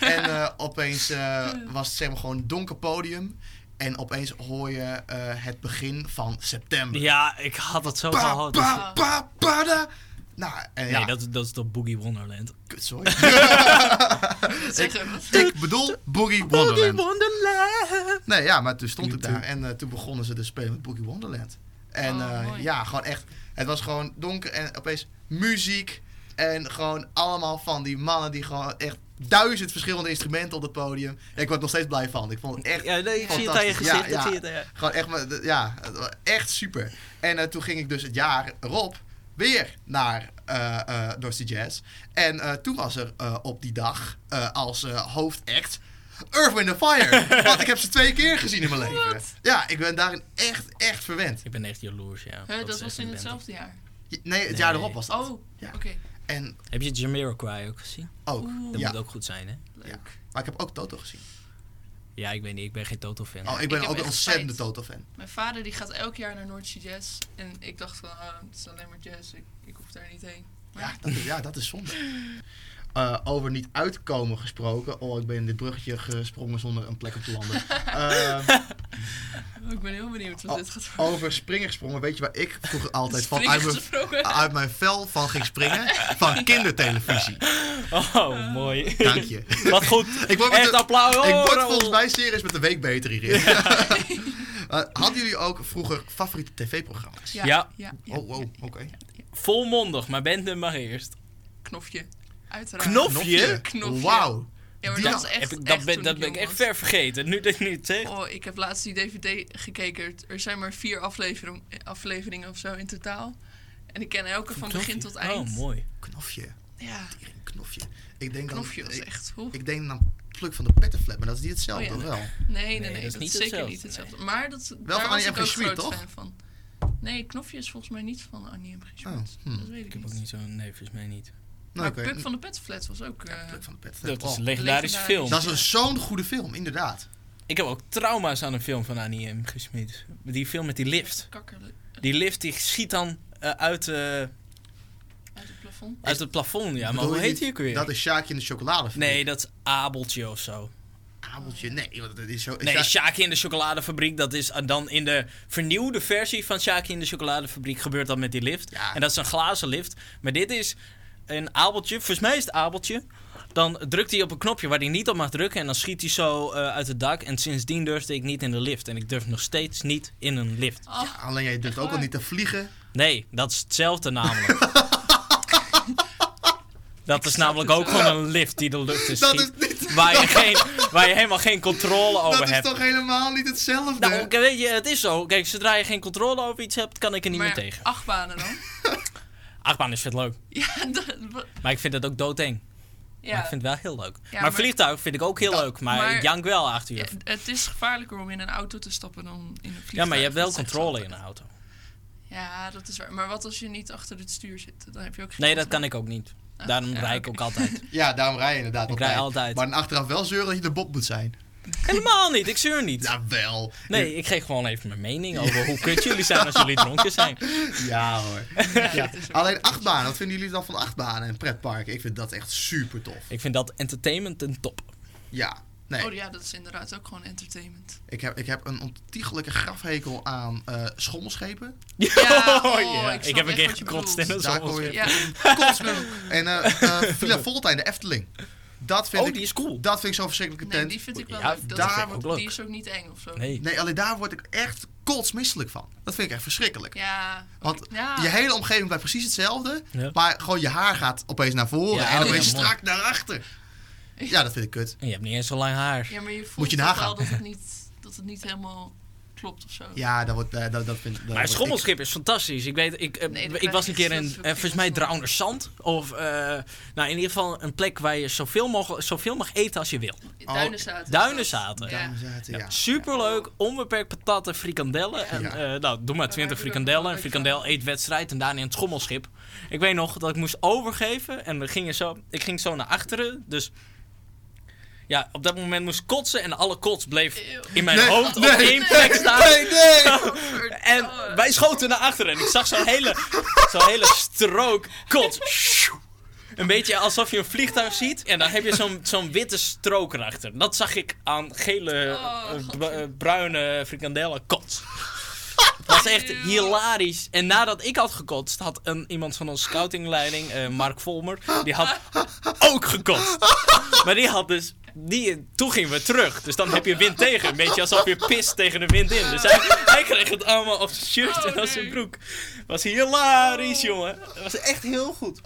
[SPEAKER 1] en eh, opeens eh, was het zeg maar gewoon een donker podium. En opeens hoor je eh, het begin van september.
[SPEAKER 2] Ja, ik had dat zo
[SPEAKER 1] Pa,
[SPEAKER 2] gehad.
[SPEAKER 1] pa, pa, pa, da. Nou, en ja,
[SPEAKER 2] dus- Nee, dat, dat is toch Boogie Wonderland.
[SPEAKER 1] kut, sorry.
[SPEAKER 3] Zeg hem.
[SPEAKER 1] ik bedoel Boogie Wonderland.
[SPEAKER 2] Wonderland.
[SPEAKER 1] Nee, ja, maar toen stond ik
[SPEAKER 5] YouTube.
[SPEAKER 1] daar en eh, toen begonnen ze te spelen met Boogie Wonderland. En
[SPEAKER 3] Oh,
[SPEAKER 1] eh,
[SPEAKER 3] mooi.
[SPEAKER 1] ja, gewoon echt. Het was gewoon donker en opeens muziek. En gewoon allemaal van die mannen die gewoon echt duizend verschillende instrumenten op het podium. En ik word er nog steeds blij van. Ik vond het echt.
[SPEAKER 2] Ja, nee, ik zie het aan je
[SPEAKER 1] Fantastisch. Ja,
[SPEAKER 2] gezicht. dat
[SPEAKER 1] ja.
[SPEAKER 2] zie je het, ja.
[SPEAKER 1] Gewoon echt, maar, d- ja, het was echt super. En eh, toen ging ik dus het jaar erop weer naar eh eh Dorsey Jazz. En eh, toen was er eh, op die dag eh, als eh, hoofdact Earth, Wind and Fire. Want ik heb ze twee keer gezien in mijn leven. Ja, ik ben daarin echt, echt verwend.
[SPEAKER 2] Ik ben echt jaloers, ja.
[SPEAKER 3] Huh, dat
[SPEAKER 2] is
[SPEAKER 3] was
[SPEAKER 2] echt
[SPEAKER 3] in
[SPEAKER 2] een band.
[SPEAKER 3] hetzelfde jaar.
[SPEAKER 1] Je- Nee, het jaar
[SPEAKER 2] Nee.
[SPEAKER 1] erop was dat.
[SPEAKER 3] Oh,
[SPEAKER 1] Ja.
[SPEAKER 3] oké.
[SPEAKER 1] En
[SPEAKER 2] Heb je Jamiroquai ook gezien?
[SPEAKER 1] ook.
[SPEAKER 3] Oeh.
[SPEAKER 2] Dat
[SPEAKER 1] Ja,
[SPEAKER 2] moet ook goed zijn, hè?
[SPEAKER 1] ja. Maar ik heb ook Toto gezien.
[SPEAKER 2] Ja, ik weet niet. Ik ben geen Toto-fan.
[SPEAKER 1] Oh, ik
[SPEAKER 3] heb
[SPEAKER 1] ben ook
[SPEAKER 3] echt
[SPEAKER 1] een ontzettende
[SPEAKER 3] spijt.
[SPEAKER 1] Toto-fan.
[SPEAKER 3] Mijn vader die gaat elk jaar naar North Sea Jazz. En ik dacht van, ah, het is alleen maar jazz. Ik, ik hoef daar niet heen.
[SPEAKER 1] Ja, dat, ja, dat is zonde. Eh, over niet uitkomen gesproken. Oh, ik ben in dit bruggetje gesprongen zonder een plek op te landen. Eh,
[SPEAKER 3] Oh, ik ben heel benieuwd wat
[SPEAKER 1] Oh,
[SPEAKER 3] dit gaat worden.
[SPEAKER 1] over springen gesprongen. Weet je waar ik vroeger altijd van
[SPEAKER 3] Springen
[SPEAKER 1] uit mijn,
[SPEAKER 3] gesproken.
[SPEAKER 1] uit mijn vel van ging springen? Van kindertelevisie.
[SPEAKER 2] Oh, mooi.
[SPEAKER 1] Dank je.
[SPEAKER 2] Wat goed.
[SPEAKER 1] Ik word met
[SPEAKER 2] Echt
[SPEAKER 1] de-
[SPEAKER 2] applaus.
[SPEAKER 1] Ik
[SPEAKER 2] Oh,
[SPEAKER 1] word
[SPEAKER 2] Raoul.
[SPEAKER 1] volgens mij serieus met de week beter hierin. Eh, hadden jullie ook vroeger favoriete tv-programma's?
[SPEAKER 2] Ja.
[SPEAKER 3] ja, ja.
[SPEAKER 1] Oh, wow, oké.
[SPEAKER 2] Volmondig, maar Bente mag eerst.
[SPEAKER 3] Knofje. Uiteraard.
[SPEAKER 2] Knofje?
[SPEAKER 3] Knofje.
[SPEAKER 1] Wauw.
[SPEAKER 3] Ja, maar
[SPEAKER 1] Ja,
[SPEAKER 3] dat was echt,
[SPEAKER 2] Heb ik- dat
[SPEAKER 3] echt
[SPEAKER 2] ben,
[SPEAKER 3] toen
[SPEAKER 2] dat ben ik
[SPEAKER 3] jong
[SPEAKER 2] echt
[SPEAKER 3] was.
[SPEAKER 2] ver vergeten. Nu dat je het zegt.
[SPEAKER 3] Oh, ik heb laatst die DVD gekeken. Er zijn maar vier aflevering, afleveringen of zo in totaal. En ik ken elke van begin tot eind.
[SPEAKER 2] Oh, mooi.
[SPEAKER 1] Knofje.
[SPEAKER 3] Ja,
[SPEAKER 1] Knofje. Ik denk
[SPEAKER 3] Knofje
[SPEAKER 1] dan,
[SPEAKER 3] was
[SPEAKER 1] ik,
[SPEAKER 3] echt... Oeh.
[SPEAKER 1] ik denk dan pluk van de pettenflap, maar dat is niet hetzelfde,
[SPEAKER 3] Oh ja.
[SPEAKER 1] wel? Nou,
[SPEAKER 3] Nee, nee, nee,
[SPEAKER 2] dat is
[SPEAKER 3] dat,
[SPEAKER 2] niet
[SPEAKER 3] is zeker
[SPEAKER 2] hetzelfde,
[SPEAKER 3] niet hetzelfde. Maar dat,
[SPEAKER 1] van
[SPEAKER 3] daar
[SPEAKER 1] Annie
[SPEAKER 3] was ik
[SPEAKER 1] M.
[SPEAKER 3] ook
[SPEAKER 1] G. Schmid,
[SPEAKER 3] groot
[SPEAKER 1] toch?
[SPEAKER 3] fan van. Nee, Knofje is volgens mij niet van Annie M. G. Schmid.
[SPEAKER 1] Oh, hm.
[SPEAKER 3] Dat weet
[SPEAKER 2] Ik
[SPEAKER 3] ik,
[SPEAKER 2] heb ook
[SPEAKER 3] niet.
[SPEAKER 2] niet zo'n... Nee, volgens mij niet.
[SPEAKER 1] Nou,
[SPEAKER 3] Maar
[SPEAKER 1] oké.
[SPEAKER 3] Puk van de Petflat was ook... eh,
[SPEAKER 1] Pluk van de pettenflap.
[SPEAKER 2] Dat is een
[SPEAKER 1] Oh.
[SPEAKER 2] legendarische film.
[SPEAKER 1] Dat is een zo'n goede film, inderdaad.
[SPEAKER 2] Ik heb ook trauma's aan een film van Annie M. gesmeed. Die film met die lift.
[SPEAKER 3] Kakker
[SPEAKER 2] Die lift die schiet dan eh, uit, eh,
[SPEAKER 3] uit het plafond.
[SPEAKER 2] uit het plafond. Ja, maar
[SPEAKER 1] Bedoel
[SPEAKER 2] hoe
[SPEAKER 1] je
[SPEAKER 2] heet
[SPEAKER 1] niet-
[SPEAKER 2] die ook weer?
[SPEAKER 1] Dat is Sjaakje in de chocoladefabriek.
[SPEAKER 2] Nee, dat is Abeltje of zo.
[SPEAKER 1] Abeltje, nee. joh, Dat is zo...
[SPEAKER 2] Nee,
[SPEAKER 1] Sja-
[SPEAKER 2] Sjaakje in de chocoladefabriek. Dat is eh, dan in de vernieuwde versie van Sjaakje in de chocoladefabriek gebeurt dat met die lift.
[SPEAKER 1] Ja.
[SPEAKER 2] En dat is een glazen lift. Maar dit is een abeltje. Volgens mij is het abeltje. Dan drukt hij op een knopje waar hij niet op mag drukken. En dan schiet hij zo eh, uit het dak. En sindsdien durfde ik niet in de lift. En ik durf nog steeds niet in een lift.
[SPEAKER 3] Oh,
[SPEAKER 1] Alleen jij durft ook al
[SPEAKER 3] waar?
[SPEAKER 1] niet te vliegen.
[SPEAKER 2] Nee, dat is hetzelfde namelijk. dat is namelijk ook gewoon een lift die de lucht in
[SPEAKER 1] Dat is
[SPEAKER 2] schiet.
[SPEAKER 1] niet...
[SPEAKER 2] Waar je, geen, waar je helemaal geen controle over
[SPEAKER 1] Dat is
[SPEAKER 2] hebt.
[SPEAKER 1] toch helemaal niet hetzelfde?
[SPEAKER 2] Nou, oké, weet je, het is zo. Kijk, zodra je geen controle over iets hebt, kan ik er niet
[SPEAKER 3] maar
[SPEAKER 2] meer tegen.
[SPEAKER 3] acht banen dan?
[SPEAKER 2] Achtbaan is vet leuk.
[SPEAKER 3] Ja, dat, wa-
[SPEAKER 2] Maar ik vind het ook doodeng.
[SPEAKER 3] ja.
[SPEAKER 2] Maar ik vind het wel heel leuk. maar,
[SPEAKER 3] maar-
[SPEAKER 2] vliegtuig vind ik ook heel leuk. Maar,
[SPEAKER 3] maar-
[SPEAKER 2] ik jank wel acht uur.
[SPEAKER 3] Ja,
[SPEAKER 2] Ja,
[SPEAKER 3] het is gevaarlijker om in een auto te stappen dan in een vliegtuig.
[SPEAKER 2] maar je hebt wel
[SPEAKER 3] Dat is echt
[SPEAKER 2] controle
[SPEAKER 3] zo.
[SPEAKER 2] in de auto.
[SPEAKER 3] Ja, dat is waar. Maar wat als je niet achter het stuur zit? Dan heb je ook geen
[SPEAKER 2] Nee, dat kan ik ook niet. Daarom
[SPEAKER 3] Ah, ja,
[SPEAKER 2] rij ik
[SPEAKER 3] oké.
[SPEAKER 2] ook altijd.
[SPEAKER 1] Ja, daarom rij je inderdaad
[SPEAKER 2] Ik
[SPEAKER 1] altijd.
[SPEAKER 2] rij altijd.
[SPEAKER 1] Maar dan achteraf wel zeuren dat je de bob moet zijn.
[SPEAKER 2] Helemaal niet, ik zeur niet.
[SPEAKER 1] Jawel.
[SPEAKER 2] Nee, ik geef gewoon even mijn mening over hoe kut jullie zijn als jullie dronken zijn.
[SPEAKER 1] Ja hoor.
[SPEAKER 3] Ja,
[SPEAKER 1] Ja.
[SPEAKER 3] dat is waar.
[SPEAKER 1] Alleen achtbanen, wat vinden jullie dan van achtbanen en pretparken? Ik vind dat echt super tof.
[SPEAKER 2] Ik vind dat entertainment een top.
[SPEAKER 1] Ja. Nee,
[SPEAKER 3] Oh ja, dat is inderdaad ook gewoon entertainment.
[SPEAKER 1] ik heb, ik heb een ontiegelijke grafhekel aan eh, schommelschepen.
[SPEAKER 3] Ja, oh, ik
[SPEAKER 2] ik,
[SPEAKER 3] snap
[SPEAKER 2] heb een
[SPEAKER 3] echt
[SPEAKER 2] keer
[SPEAKER 3] wat je
[SPEAKER 2] gekotst in
[SPEAKER 3] bedoelt.
[SPEAKER 2] een
[SPEAKER 1] Daar kon
[SPEAKER 2] zonneschijn.
[SPEAKER 1] je-
[SPEAKER 3] Ja,
[SPEAKER 1] Kotsmelk. En eh eh, Villa Volta in de Efteling. Dat vind
[SPEAKER 2] Oh,
[SPEAKER 1] ik,
[SPEAKER 2] die is cool.
[SPEAKER 1] dat vind ik zo'n verschrikkelijke
[SPEAKER 3] nee,
[SPEAKER 1] tent.
[SPEAKER 3] die vind ik wel
[SPEAKER 2] Ja,
[SPEAKER 3] leuk. Dat
[SPEAKER 1] daar
[SPEAKER 3] is,
[SPEAKER 1] vind ik
[SPEAKER 3] ook-
[SPEAKER 2] ook leuk.
[SPEAKER 3] Die is ook niet eng of zo.
[SPEAKER 2] Nee.
[SPEAKER 1] Nee, alleen daar word ik echt kotsmisselijk van. Dat vind ik echt verschrikkelijk.
[SPEAKER 3] Ja.
[SPEAKER 1] Want
[SPEAKER 3] ja.
[SPEAKER 1] je hele omgeving blijft precies hetzelfde,
[SPEAKER 2] Ja.
[SPEAKER 1] maar gewoon je haar gaat opeens naar voren
[SPEAKER 2] Ja,
[SPEAKER 1] en
[SPEAKER 3] oh,
[SPEAKER 1] opeens
[SPEAKER 2] ja, mooi.
[SPEAKER 1] strak naar achter. Ja, dat vind ik kut.
[SPEAKER 2] En je hebt niet eens zo lang haar.
[SPEAKER 3] Ja, maar je voelt
[SPEAKER 1] Moet je
[SPEAKER 3] toch
[SPEAKER 1] nagaan.
[SPEAKER 3] wel dat het, niet, dat het niet helemaal klopt of zo.
[SPEAKER 1] Ja, dat, wordt, eh, dat, dat vind dat
[SPEAKER 2] Maar
[SPEAKER 1] word
[SPEAKER 2] het
[SPEAKER 1] ik-
[SPEAKER 2] schommelschip is fantastisch. Ik weet, ik, eh,
[SPEAKER 3] Nee, dat
[SPEAKER 2] ik was een
[SPEAKER 3] is-
[SPEAKER 2] keer
[SPEAKER 3] dat
[SPEAKER 2] in,
[SPEAKER 3] is
[SPEAKER 2] eh,
[SPEAKER 3] ook
[SPEAKER 2] volgens mij
[SPEAKER 3] niet zo.
[SPEAKER 2] Drowner Zand. Of, eh, nou in ieder geval een plek waar je zoveel, mogelijk, zoveel mag eten als je wil.
[SPEAKER 3] Duinenzaten.
[SPEAKER 2] Duinenzaten.
[SPEAKER 3] Ja.
[SPEAKER 1] Dames en heren, ja.
[SPEAKER 2] Superleuk, onbeperkt patatten, frikandellen. En,
[SPEAKER 1] Ja.
[SPEAKER 2] eh, nou, doe maar
[SPEAKER 3] daar heb ik ook
[SPEAKER 2] 20
[SPEAKER 3] wel
[SPEAKER 2] frikandellen.
[SPEAKER 3] een
[SPEAKER 2] Een
[SPEAKER 3] leuk
[SPEAKER 2] frikandel eetwedstrijd en daarna in het schommelschip. Ik weet nog dat ik moest overgeven en we gingen zo, ik ging zo naar achteren. Dus ja, op dat moment moest ik kotsen en alle kots bleef
[SPEAKER 3] Eeuw.
[SPEAKER 2] in mijn
[SPEAKER 1] Nee,
[SPEAKER 2] hoofd
[SPEAKER 1] nee,
[SPEAKER 2] op één plek staan.
[SPEAKER 1] Nee, nee!
[SPEAKER 3] Oh,
[SPEAKER 2] En wij schoten naar achteren en ik zag zo'n hele, zo'n hele strook kot. Een beetje alsof je een vliegtuig ziet en dan heb je zo'n zo'n witte strook erachter. Dat zag ik aan gele,
[SPEAKER 3] Oh,
[SPEAKER 2] eh,
[SPEAKER 3] God.
[SPEAKER 2] bru- eh, bruine frikandellen kot. Het was echt
[SPEAKER 3] Eeuw.
[SPEAKER 2] hilarisch. En nadat ik had gekotst, had een, iemand van onze scoutingleiding, eh, Mark Volmer, die had ook gekotst. Maar die had dus. Die, toen gingen we terug. Dus dan heb je wind tegen. Een beetje alsof je pist tegen de wind in. Dus hij, hij kreeg het allemaal op zijn shirt
[SPEAKER 3] Oh,
[SPEAKER 2] en op
[SPEAKER 3] nee.
[SPEAKER 2] zijn broek. Was hilarisch, jongen. Dat was echt heel goed.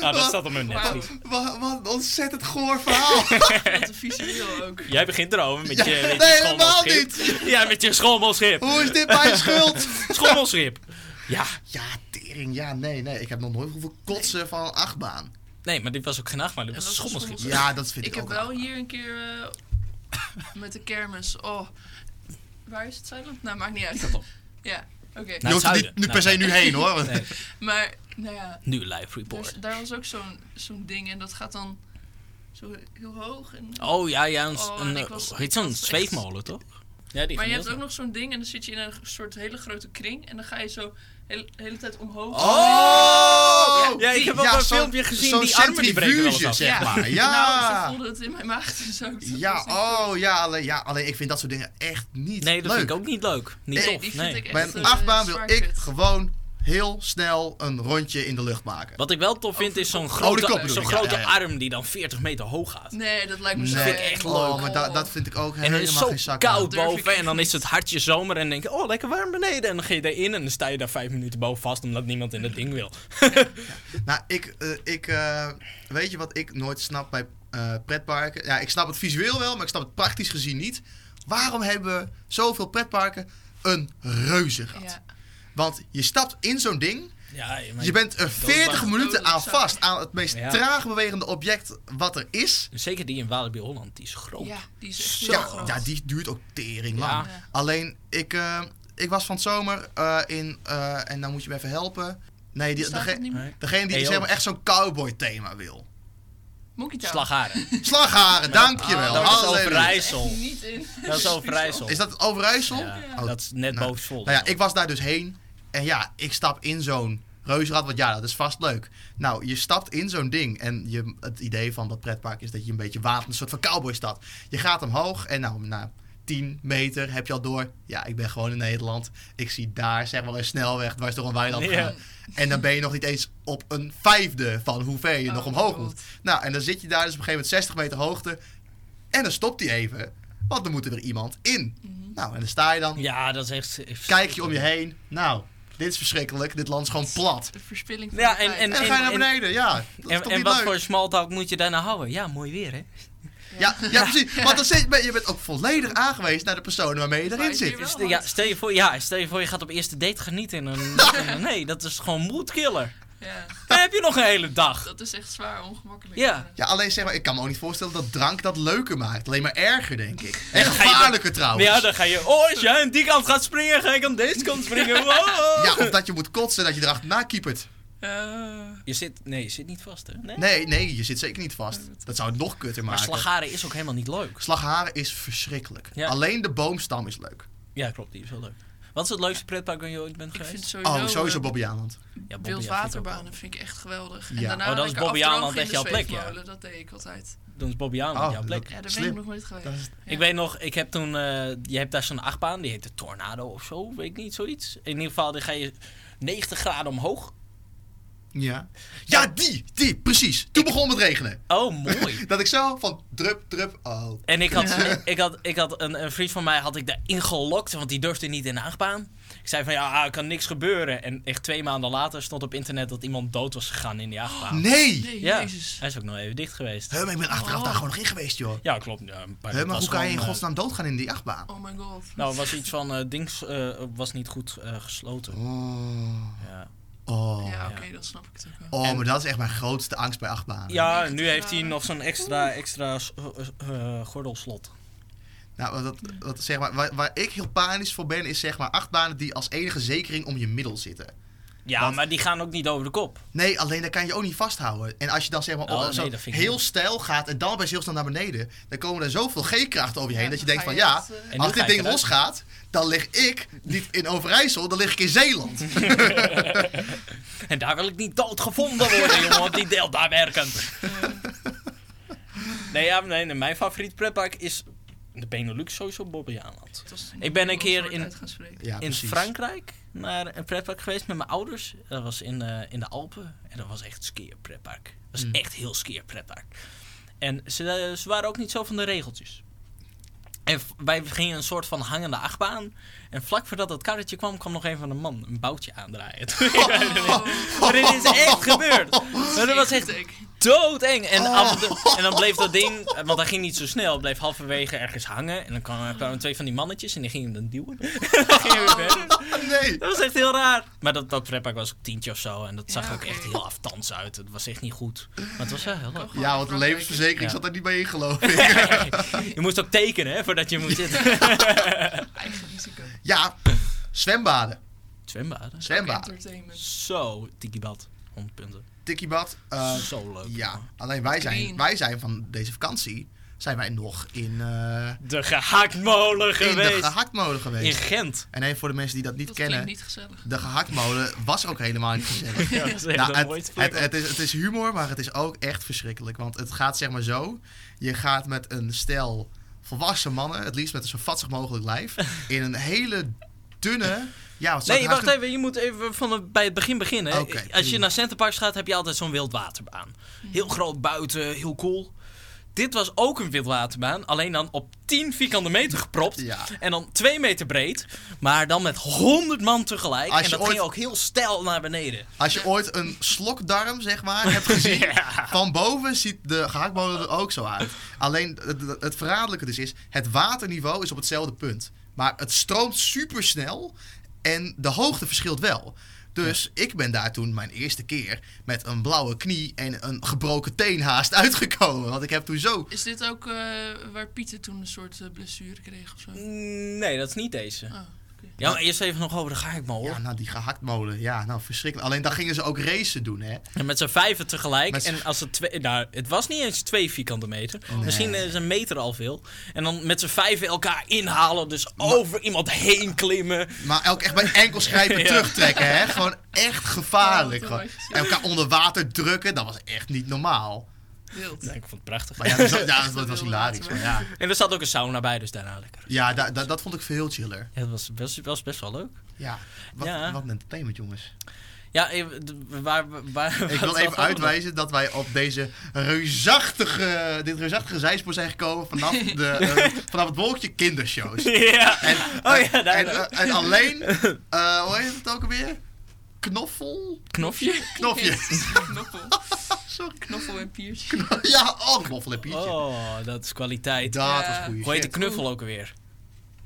[SPEAKER 2] Nou, dat staat op mijn
[SPEAKER 3] Wauw,
[SPEAKER 2] Netflix.
[SPEAKER 1] Wat, wat een ontzettend goor verhaal.
[SPEAKER 3] wat een visueel ook.
[SPEAKER 2] Jij begint erover met je,
[SPEAKER 1] Ja,
[SPEAKER 2] met je
[SPEAKER 1] nee, helemaal
[SPEAKER 2] schommelschip.
[SPEAKER 1] niet.
[SPEAKER 2] Ja, met je schommelschip.
[SPEAKER 1] Hoe is dit mijn schuld?
[SPEAKER 2] Schommelschip. Ja,
[SPEAKER 1] Ja, tering, ja, nee, nee. Ik heb nog nooit hoeveel kotsen van een achtbaan.
[SPEAKER 2] nee, maar dit was ook geen achtbaan. Dit was een
[SPEAKER 3] dat was een
[SPEAKER 2] schommelschip.
[SPEAKER 1] Ja, dat vind ik,
[SPEAKER 3] Ik heb
[SPEAKER 1] ook
[SPEAKER 3] wel
[SPEAKER 2] Nou,
[SPEAKER 1] raar.
[SPEAKER 3] hier een keer eh, met de kermis. Oh, waar is het Zuidland? Nou, maakt niet uit.
[SPEAKER 2] op.
[SPEAKER 3] Ja, oké.
[SPEAKER 1] Je
[SPEAKER 2] Nou,
[SPEAKER 1] hoeft er niet
[SPEAKER 2] zuiden.
[SPEAKER 1] nu per se nu heen hoor. want-
[SPEAKER 2] Nee.
[SPEAKER 3] Maar, nou ja,
[SPEAKER 2] Nu live
[SPEAKER 3] dus
[SPEAKER 2] report.
[SPEAKER 3] daar was ook zo'n zo'n ding en dat gaat dan zo heel hoog. En,
[SPEAKER 2] Oh ja, ja, een,
[SPEAKER 3] Oh,
[SPEAKER 2] een,
[SPEAKER 3] en ik was-
[SPEAKER 2] hoe heet zo'n
[SPEAKER 3] ik was echt-
[SPEAKER 2] zweefmolen toch? Ja, die
[SPEAKER 3] maar je
[SPEAKER 2] van
[SPEAKER 3] hebt
[SPEAKER 2] Nielsen.
[SPEAKER 3] ook nog zo'n ding en dan zit je in een soort hele grote kring en dan ga je zo heel- de hele tijd omhoog.
[SPEAKER 1] Oh!
[SPEAKER 2] Ja, ik heb ook
[SPEAKER 1] Ja,
[SPEAKER 2] wel een
[SPEAKER 1] zo'n-
[SPEAKER 2] filmpje gezien.
[SPEAKER 1] zo'n
[SPEAKER 2] die armen die breken wel eens af.
[SPEAKER 1] centrifuge, zeg maar.
[SPEAKER 3] Nou,
[SPEAKER 1] Ja.
[SPEAKER 3] zo voelde het in mijn maag dus ook. Dat
[SPEAKER 1] Ja,
[SPEAKER 3] was niet goed.
[SPEAKER 1] oh ja, alleen ja, alleen ik vind dat soort dingen echt niet
[SPEAKER 2] Nee, dat
[SPEAKER 1] leuk.
[SPEAKER 2] vind ik ook niet leuk. Niet
[SPEAKER 1] Nee,
[SPEAKER 2] tof,
[SPEAKER 3] die vind
[SPEAKER 2] nee.
[SPEAKER 3] ik echt-
[SPEAKER 1] Bij een
[SPEAKER 3] eh,
[SPEAKER 1] achtbaan wil
[SPEAKER 3] zwaar
[SPEAKER 1] ik
[SPEAKER 3] kut.
[SPEAKER 1] gewoon heel snel een rondje in de lucht maken.
[SPEAKER 2] Wat ik wel tof vind is zo'n
[SPEAKER 1] die kop
[SPEAKER 2] grote,
[SPEAKER 1] bedoel
[SPEAKER 2] zo'n
[SPEAKER 1] ik, ja,
[SPEAKER 2] grote
[SPEAKER 1] ja, ja.
[SPEAKER 2] arm die dan 40 meter hoog gaat.
[SPEAKER 3] Nee, dat lijkt me zo
[SPEAKER 1] Nee.
[SPEAKER 2] vind ik echt leuk.
[SPEAKER 1] Oh, maar da- dat vind ik ook
[SPEAKER 2] En
[SPEAKER 1] helemaal
[SPEAKER 2] het is zo
[SPEAKER 1] geen zak aan.
[SPEAKER 2] koud
[SPEAKER 3] Durf ik
[SPEAKER 2] boven
[SPEAKER 3] echt
[SPEAKER 2] en dan
[SPEAKER 3] niet.
[SPEAKER 2] is het hartje zomer en dan denk je, oh lekker warm beneden. En dan ga je daarin en dan sta je daar vijf minuten boven vast omdat niemand in dat ding wil.
[SPEAKER 1] Nou, ik, eh, ik eh, weet je wat ik nooit snap bij eh, pretparken? Ja, ik snap het visueel wel, maar ik snap het praktisch gezien niet. Waarom hebben we zoveel pretparken een reuzenrad?
[SPEAKER 3] Ja.
[SPEAKER 1] Want je stapt in zo'n ding,
[SPEAKER 2] Ja, maar
[SPEAKER 1] je bent er 40
[SPEAKER 3] Doodbang.
[SPEAKER 1] minuten aan
[SPEAKER 3] Dodelijk
[SPEAKER 1] vast aan het meest
[SPEAKER 2] Ja.
[SPEAKER 1] traag bewegende object wat er is.
[SPEAKER 2] Zeker die in Walibi Holland, die is groot.
[SPEAKER 3] Ja, die is echt heel
[SPEAKER 1] Ja,
[SPEAKER 3] groot.
[SPEAKER 1] ja, die duurt ook tering lang.
[SPEAKER 2] Ja.
[SPEAKER 1] Alleen, ik, eh, ik was van het zomer eh, in, eh, en dan moet je me even helpen. Nee, die,
[SPEAKER 3] Bestaat dat
[SPEAKER 1] dege-
[SPEAKER 3] niet meer?
[SPEAKER 2] Nee.
[SPEAKER 1] degene die
[SPEAKER 2] Hey,
[SPEAKER 1] zeg maar
[SPEAKER 2] joh.
[SPEAKER 1] echt zo'n cowboy thema wil.
[SPEAKER 3] Monkey Town.
[SPEAKER 2] Slagharen.
[SPEAKER 1] Slagharen, dankjewel.
[SPEAKER 2] dat is
[SPEAKER 1] Halleluja.
[SPEAKER 2] Overijssel.
[SPEAKER 3] Echt niet in.
[SPEAKER 2] Dat is Overijssel.
[SPEAKER 1] Is dat het Overijssel?
[SPEAKER 2] Ja,
[SPEAKER 1] Oh,
[SPEAKER 2] dat is net
[SPEAKER 1] nou,
[SPEAKER 2] boven Zwolle.
[SPEAKER 1] Nou ja, ik was daar dus heen. En ja, ik stap in zo'n reuzenrad. Want ja, dat is vast leuk. Nou, je stapt in zo'n ding. En je, het idee van dat pretpark is dat je een beetje waant. Een soort van cowboystad. Je gaat omhoog. En nou, na 10 meter heb je al door. Ja, ik ben gewoon in Nederland. Ik zie daar zeg maar een snelweg dwars door een weiland
[SPEAKER 2] Ja.
[SPEAKER 1] gaan. En dan ben je nog niet eens op een vijfde van hoe ver je
[SPEAKER 3] Oh,
[SPEAKER 1] nog omhoog
[SPEAKER 3] God.
[SPEAKER 1] moet. Nou, en dan zit je daar dus op een gegeven moment 60 meter hoogte. En dan stopt hij even. Want dan moet er iemand in.
[SPEAKER 3] Mhm.
[SPEAKER 1] Nou, en dan sta je dan.
[SPEAKER 2] Ja, dat is echt...
[SPEAKER 1] Kijk je om je heen. Nou, dit is verschrikkelijk. Dit land is gewoon plat.
[SPEAKER 3] De verspilling van
[SPEAKER 2] Ja,
[SPEAKER 3] de tijd.
[SPEAKER 1] En dan ga je naar
[SPEAKER 2] en-
[SPEAKER 1] beneden. Ja, dat is
[SPEAKER 2] En,
[SPEAKER 1] toch
[SPEAKER 2] en
[SPEAKER 1] niet
[SPEAKER 2] wat
[SPEAKER 1] leuk? Oh,
[SPEAKER 2] voor smalltalk moet je daarna houden? Ja, mooi weer, hè?
[SPEAKER 1] Ja, ja, precies. Want dan zit, je bent ook volledig aangewezen naar de personen waarmee je erin
[SPEAKER 3] Waar je
[SPEAKER 1] zit.
[SPEAKER 3] wel
[SPEAKER 2] Dus,
[SPEAKER 3] hard.
[SPEAKER 2] ja, stel je voor, ja, stel je voor je gaat op eerste date genieten. En, dan- nee, dat is gewoon moodkiller.
[SPEAKER 3] Ja,
[SPEAKER 2] Dan heb je nog een hele dag.
[SPEAKER 3] dat is echt zwaar ongemakkelijk.
[SPEAKER 2] Ja.
[SPEAKER 1] Ja, alleen zeg maar, ik kan me ook niet voorstellen dat drank dat leuker maakt. Alleen maar erger, denk ik. En
[SPEAKER 2] dan ga je-
[SPEAKER 1] gevaarlijker trouwens.
[SPEAKER 2] Ja, dan ga je. Oh, als jij aan die kant gaat springen, ga ik aan deze kant springen. Wow.
[SPEAKER 1] Ja, of dat je moet kotsen dat je erachterna keepert.
[SPEAKER 3] Eh,
[SPEAKER 2] Je zit, nee, je zit niet vast, hè? Nee.
[SPEAKER 1] Nee, nee, je zit zeker niet vast. Dat zou het nog kutter
[SPEAKER 2] Maar
[SPEAKER 1] maken.
[SPEAKER 2] slagharen is ook helemaal niet leuk.
[SPEAKER 1] Slagharen is verschrikkelijk.
[SPEAKER 2] Ja.
[SPEAKER 1] Alleen de boomstam is leuk.
[SPEAKER 2] Ja, klopt, die is wel leuk. Wat is het leukste pretpark waar je ooit bent
[SPEAKER 3] ik
[SPEAKER 2] geweest?
[SPEAKER 3] vind sowieso...
[SPEAKER 1] Oh, sowieso
[SPEAKER 3] eh,
[SPEAKER 1] Bobby Aland.
[SPEAKER 2] ja, Bobby, ja, vind ik ook wel.
[SPEAKER 3] Wildwaterbanen vind ik echt geweldig.
[SPEAKER 1] Ja.
[SPEAKER 3] En daarna
[SPEAKER 2] Oh, dan is
[SPEAKER 3] lekker
[SPEAKER 2] Bobbejaanland
[SPEAKER 3] afdrogen in
[SPEAKER 2] echt
[SPEAKER 3] de
[SPEAKER 2] jouw plek, ja.
[SPEAKER 3] zweefmolen, Dat deed ik altijd.
[SPEAKER 2] Dan is Bobby aan
[SPEAKER 1] Oh,
[SPEAKER 2] jouw plek.
[SPEAKER 1] leuk.
[SPEAKER 3] Ja, daar ben
[SPEAKER 1] Slim.
[SPEAKER 3] ik nog nooit geweest.
[SPEAKER 1] Dat is-
[SPEAKER 3] Ja.
[SPEAKER 2] Ik weet nog, ik heb toen, eh, je hebt daar zo'n achtbaan, die heet de Tornado of zo, weet ik niet, zoiets. In ieder geval, dan ga je 90 graden omhoog.
[SPEAKER 1] Ja. Ja, die, die, precies. Toen begon het regenen.
[SPEAKER 2] Oh, mooi.
[SPEAKER 1] Dat ik zo van drup, drup, oh.
[SPEAKER 2] En ik had, ik had, ik had een, een vriend van mij had ik daarin gelokt, want die durfde niet in de achtbaan. Ik zei van, ja, ah, er kan niks gebeuren. En echt twee maanden later stond op internet dat iemand dood was gegaan in die achtbaan.
[SPEAKER 1] Nee!
[SPEAKER 3] Nee,
[SPEAKER 2] ja,
[SPEAKER 3] jezus.
[SPEAKER 2] hij is ook nog even dicht geweest.
[SPEAKER 1] Oh, Huh, Ah. maar ik ben achteraf
[SPEAKER 3] Oh.
[SPEAKER 1] daar gewoon nog in geweest, joh.
[SPEAKER 2] Ja, klopt. Ja, een paar-
[SPEAKER 1] Huh,
[SPEAKER 2] het
[SPEAKER 1] maar
[SPEAKER 2] was
[SPEAKER 1] hoe kan je in
[SPEAKER 2] gewoon, eh,
[SPEAKER 1] godsnaam doodgaan in die achtbaan?
[SPEAKER 3] Oh my god.
[SPEAKER 2] Nou, was iets van, eh, dings eh, was niet goed eh, gesloten.
[SPEAKER 1] Oh.
[SPEAKER 2] Ja.
[SPEAKER 1] Oh.
[SPEAKER 3] ja, oké, dan snap ik het ook wel.
[SPEAKER 1] Oh, maar dat is echt mijn grootste angst bij achtbanen.
[SPEAKER 2] Ja, en nu heeft hij nog zo'n extra, extra s- eh, eh, gordelslot.
[SPEAKER 1] Nou, dat, dat, zeg maar, waar, waar ik heel panisch voor ben, is zeg maar achtbanen die als enige zekering om je middel zitten.
[SPEAKER 2] Ja,
[SPEAKER 1] Want-
[SPEAKER 2] maar die gaan ook niet over de kop.
[SPEAKER 1] Nee, alleen dat kan je ook niet vasthouden. En als je dan zeg maar
[SPEAKER 2] Oh,
[SPEAKER 1] op-
[SPEAKER 2] nee,
[SPEAKER 1] zo
[SPEAKER 2] dat vind ik
[SPEAKER 1] heel
[SPEAKER 2] niet.
[SPEAKER 1] stijl gaat en dan bij heel snel naar beneden, dan komen er zoveel G-krachten over je heen
[SPEAKER 3] Ja,
[SPEAKER 1] dat je
[SPEAKER 3] dan
[SPEAKER 1] denkt van
[SPEAKER 3] ga je
[SPEAKER 1] ja,
[SPEAKER 3] echt, eh, En
[SPEAKER 2] nu
[SPEAKER 1] als
[SPEAKER 2] ga
[SPEAKER 1] dit
[SPEAKER 2] je
[SPEAKER 1] ding
[SPEAKER 2] eruit.
[SPEAKER 1] losgaat, dan lig ik niet in Overijssel, dan lig ik in Zeeland.
[SPEAKER 2] En daar wil ik niet doodgevonden worden, jongen, want die deelt daar werken. Nee, ja, nee, nee, mijn favoriet pretpark is de Benelux sowieso Bobbejaanland.
[SPEAKER 3] Het was-
[SPEAKER 2] Ik ben een keer
[SPEAKER 3] soort
[SPEAKER 2] in-
[SPEAKER 3] uit gaan spreken.
[SPEAKER 1] Ja,
[SPEAKER 2] in
[SPEAKER 1] precies.
[SPEAKER 2] Frankrijk naar een pretpark geweest met mijn ouders. Dat was in, eh, in de Alpen. En dat was echt skeer pretpark. Dat
[SPEAKER 1] Mm.
[SPEAKER 2] was echt heel skeer pretpark. En ze, eh, ze waren ook niet zo van de regeltjes. En v- wij gingen een soort van hangende achtbaan. En vlak voordat dat karretje kwam, kwam nog een van de man een boutje aandraaien.
[SPEAKER 3] Oh,
[SPEAKER 1] Oh.
[SPEAKER 2] maar dit is echt gebeurd. Maar dat was echt
[SPEAKER 3] Ik-
[SPEAKER 2] doodeng. En, af en, toe- en dan bleef dat ding, eh, want hij ging niet zo snel, het bleef halverwege ergens hangen. En dan kwamen, kwamen twee van die mannetjes en die gingen hem dan duwen. En dan gingen we verder.
[SPEAKER 1] Ah, Nee.
[SPEAKER 2] Dat was echt heel raar. Maar dat, dat pretpark was ook tientje of zo. En dat zag
[SPEAKER 3] Ja,
[SPEAKER 2] ook
[SPEAKER 3] oké.
[SPEAKER 2] echt heel aftans uit. Het was echt niet goed. Maar het was wel heel
[SPEAKER 3] Oh,
[SPEAKER 2] leuk.
[SPEAKER 1] Ja, want de levensverzekering
[SPEAKER 2] Ja.
[SPEAKER 1] zat er niet bij in, geloof ik.
[SPEAKER 2] Je moest ook tekenen, hè, voordat je moest zitten.
[SPEAKER 3] Eigen risico.
[SPEAKER 1] Ja, zwembaden.
[SPEAKER 2] Zwembaden.
[SPEAKER 1] Zwembaden.
[SPEAKER 3] Entertainment.
[SPEAKER 2] Zo, tikibad. 100 punten.
[SPEAKER 1] Tikkiebad. eh,
[SPEAKER 2] zo leuk.
[SPEAKER 1] ja, alleen wij zijn,
[SPEAKER 3] Green.
[SPEAKER 1] wij zijn van deze vakantie, zijn wij nog in, eh
[SPEAKER 2] De gehaktmolen
[SPEAKER 1] in de
[SPEAKER 2] geweest.
[SPEAKER 1] gehaktmolen geweest.
[SPEAKER 2] in Gent.
[SPEAKER 1] En even voor de mensen die dat niet
[SPEAKER 3] Dat
[SPEAKER 1] kennen,
[SPEAKER 3] klinkt niet gezellig.
[SPEAKER 1] de gehaktmolen was ook helemaal niet gezellig.
[SPEAKER 2] Ja, dat is echt
[SPEAKER 1] Nou,
[SPEAKER 2] een
[SPEAKER 1] het,
[SPEAKER 2] mooiste plek.
[SPEAKER 1] het, het, is, het is humor, maar het is ook echt verschrikkelijk. Want het gaat zeg maar zo. Je gaat met een stel volwassen mannen, het liefst met een zo vatsig mogelijk lijf, in een hele dunne... Ja, wat zou
[SPEAKER 2] Nee,
[SPEAKER 1] ik
[SPEAKER 2] wacht
[SPEAKER 1] haast
[SPEAKER 2] even. Je moet even van het, bij het begin beginnen.
[SPEAKER 1] Oké,
[SPEAKER 2] Als je
[SPEAKER 1] prima.
[SPEAKER 2] naar Centerparks gaat, heb je altijd zo'n wildwaterbaan. Heel groot buiten, heel cool. Dit was ook een wildwaterbaan, alleen dan op 10 vierkante meter gepropt.
[SPEAKER 1] Ja.
[SPEAKER 2] En dan 2 meter breed, maar dan met 100 man tegelijk.
[SPEAKER 1] Als
[SPEAKER 2] en
[SPEAKER 1] je
[SPEAKER 2] dat
[SPEAKER 1] ooit-
[SPEAKER 2] ging ook heel stijl naar beneden.
[SPEAKER 1] doen? Als je ooit een slokdarm, zeg maar, hebt gezien,
[SPEAKER 2] Ja.
[SPEAKER 1] van boven ziet de gehaktmolen er ook zo uit. Alleen, het, het- het verraderlijke dus is, het waterniveau is op hetzelfde punt. Maar het stroomt supersnel en de hoogte verschilt wel. Dus ik ben daar toen mijn eerste keer met een blauwe knie en een gebroken teen haast uitgekomen. Want ik heb toen zo...
[SPEAKER 3] Is dit ook eh, waar Pieter toen een soort eh, blessure kreeg of zo?
[SPEAKER 2] Mm, Nee, dat is niet deze.
[SPEAKER 3] Ah,
[SPEAKER 2] Ja, maar eerst even nog over de gehaktmolen.
[SPEAKER 1] Ja, nou die gehaktmolen. Ja, nou verschrikkelijk. Alleen dan gingen ze ook racen doen, hè.
[SPEAKER 2] En met z'n vijven tegelijk.
[SPEAKER 1] Met z'n- Oh.
[SPEAKER 2] En als het twee. Nou, het was niet eens twee vierkante meter. Misschien is een meter al veel. En dan met z'n vijven elkaar inhalen. Dus over iemand heen klimmen.
[SPEAKER 1] Maar ook echt bij enkels grijpen
[SPEAKER 2] Ja.
[SPEAKER 1] terugtrekken, hè. Gewoon echt gevaarlijk.
[SPEAKER 3] Oh, wat
[SPEAKER 1] gewoon.
[SPEAKER 3] een mooi gezicht.
[SPEAKER 1] En elkaar onder water drukken, dat was echt niet normaal.
[SPEAKER 3] wild.
[SPEAKER 2] Nee, ik vond het prachtig.
[SPEAKER 1] Maar ja, dat, is- ja, dat, was hilarisch. Maar ja.
[SPEAKER 2] En er zat ook een sauna bij, dus daarna lekker.
[SPEAKER 1] Ja, da- da- dat vond ik veel chiller.
[SPEAKER 2] Ja, dat was best, was best wel leuk.
[SPEAKER 1] Ja. Wat,
[SPEAKER 2] Ja.
[SPEAKER 1] wat een entertainment, jongens.
[SPEAKER 2] Ja, eh, d- waar. waar, waar-
[SPEAKER 1] Ik wil
[SPEAKER 2] wat
[SPEAKER 1] even
[SPEAKER 2] was er nog?
[SPEAKER 1] uitwijzen dat wij op deze reusachtige, dit reusachtige zijspoor zijn gekomen vanaf, de, eh, vanaf het wolkje kindershows.
[SPEAKER 2] Ja.
[SPEAKER 1] En,
[SPEAKER 2] Oh
[SPEAKER 1] eh,
[SPEAKER 2] ja, daar.
[SPEAKER 1] en, eh, en alleen, eh, hoe heet het ook alweer? Knoffel?
[SPEAKER 2] knofje.
[SPEAKER 1] Knofje.
[SPEAKER 3] Knoffel.
[SPEAKER 1] Sorry.
[SPEAKER 3] Knoffel en piertje.
[SPEAKER 1] Ja, oh, knoffelpiertje.
[SPEAKER 2] Oh, dat is kwaliteit.
[SPEAKER 1] Dat was
[SPEAKER 3] Ja.
[SPEAKER 1] goeie
[SPEAKER 2] Hoe heet de
[SPEAKER 1] shit.
[SPEAKER 2] knuffel ook alweer?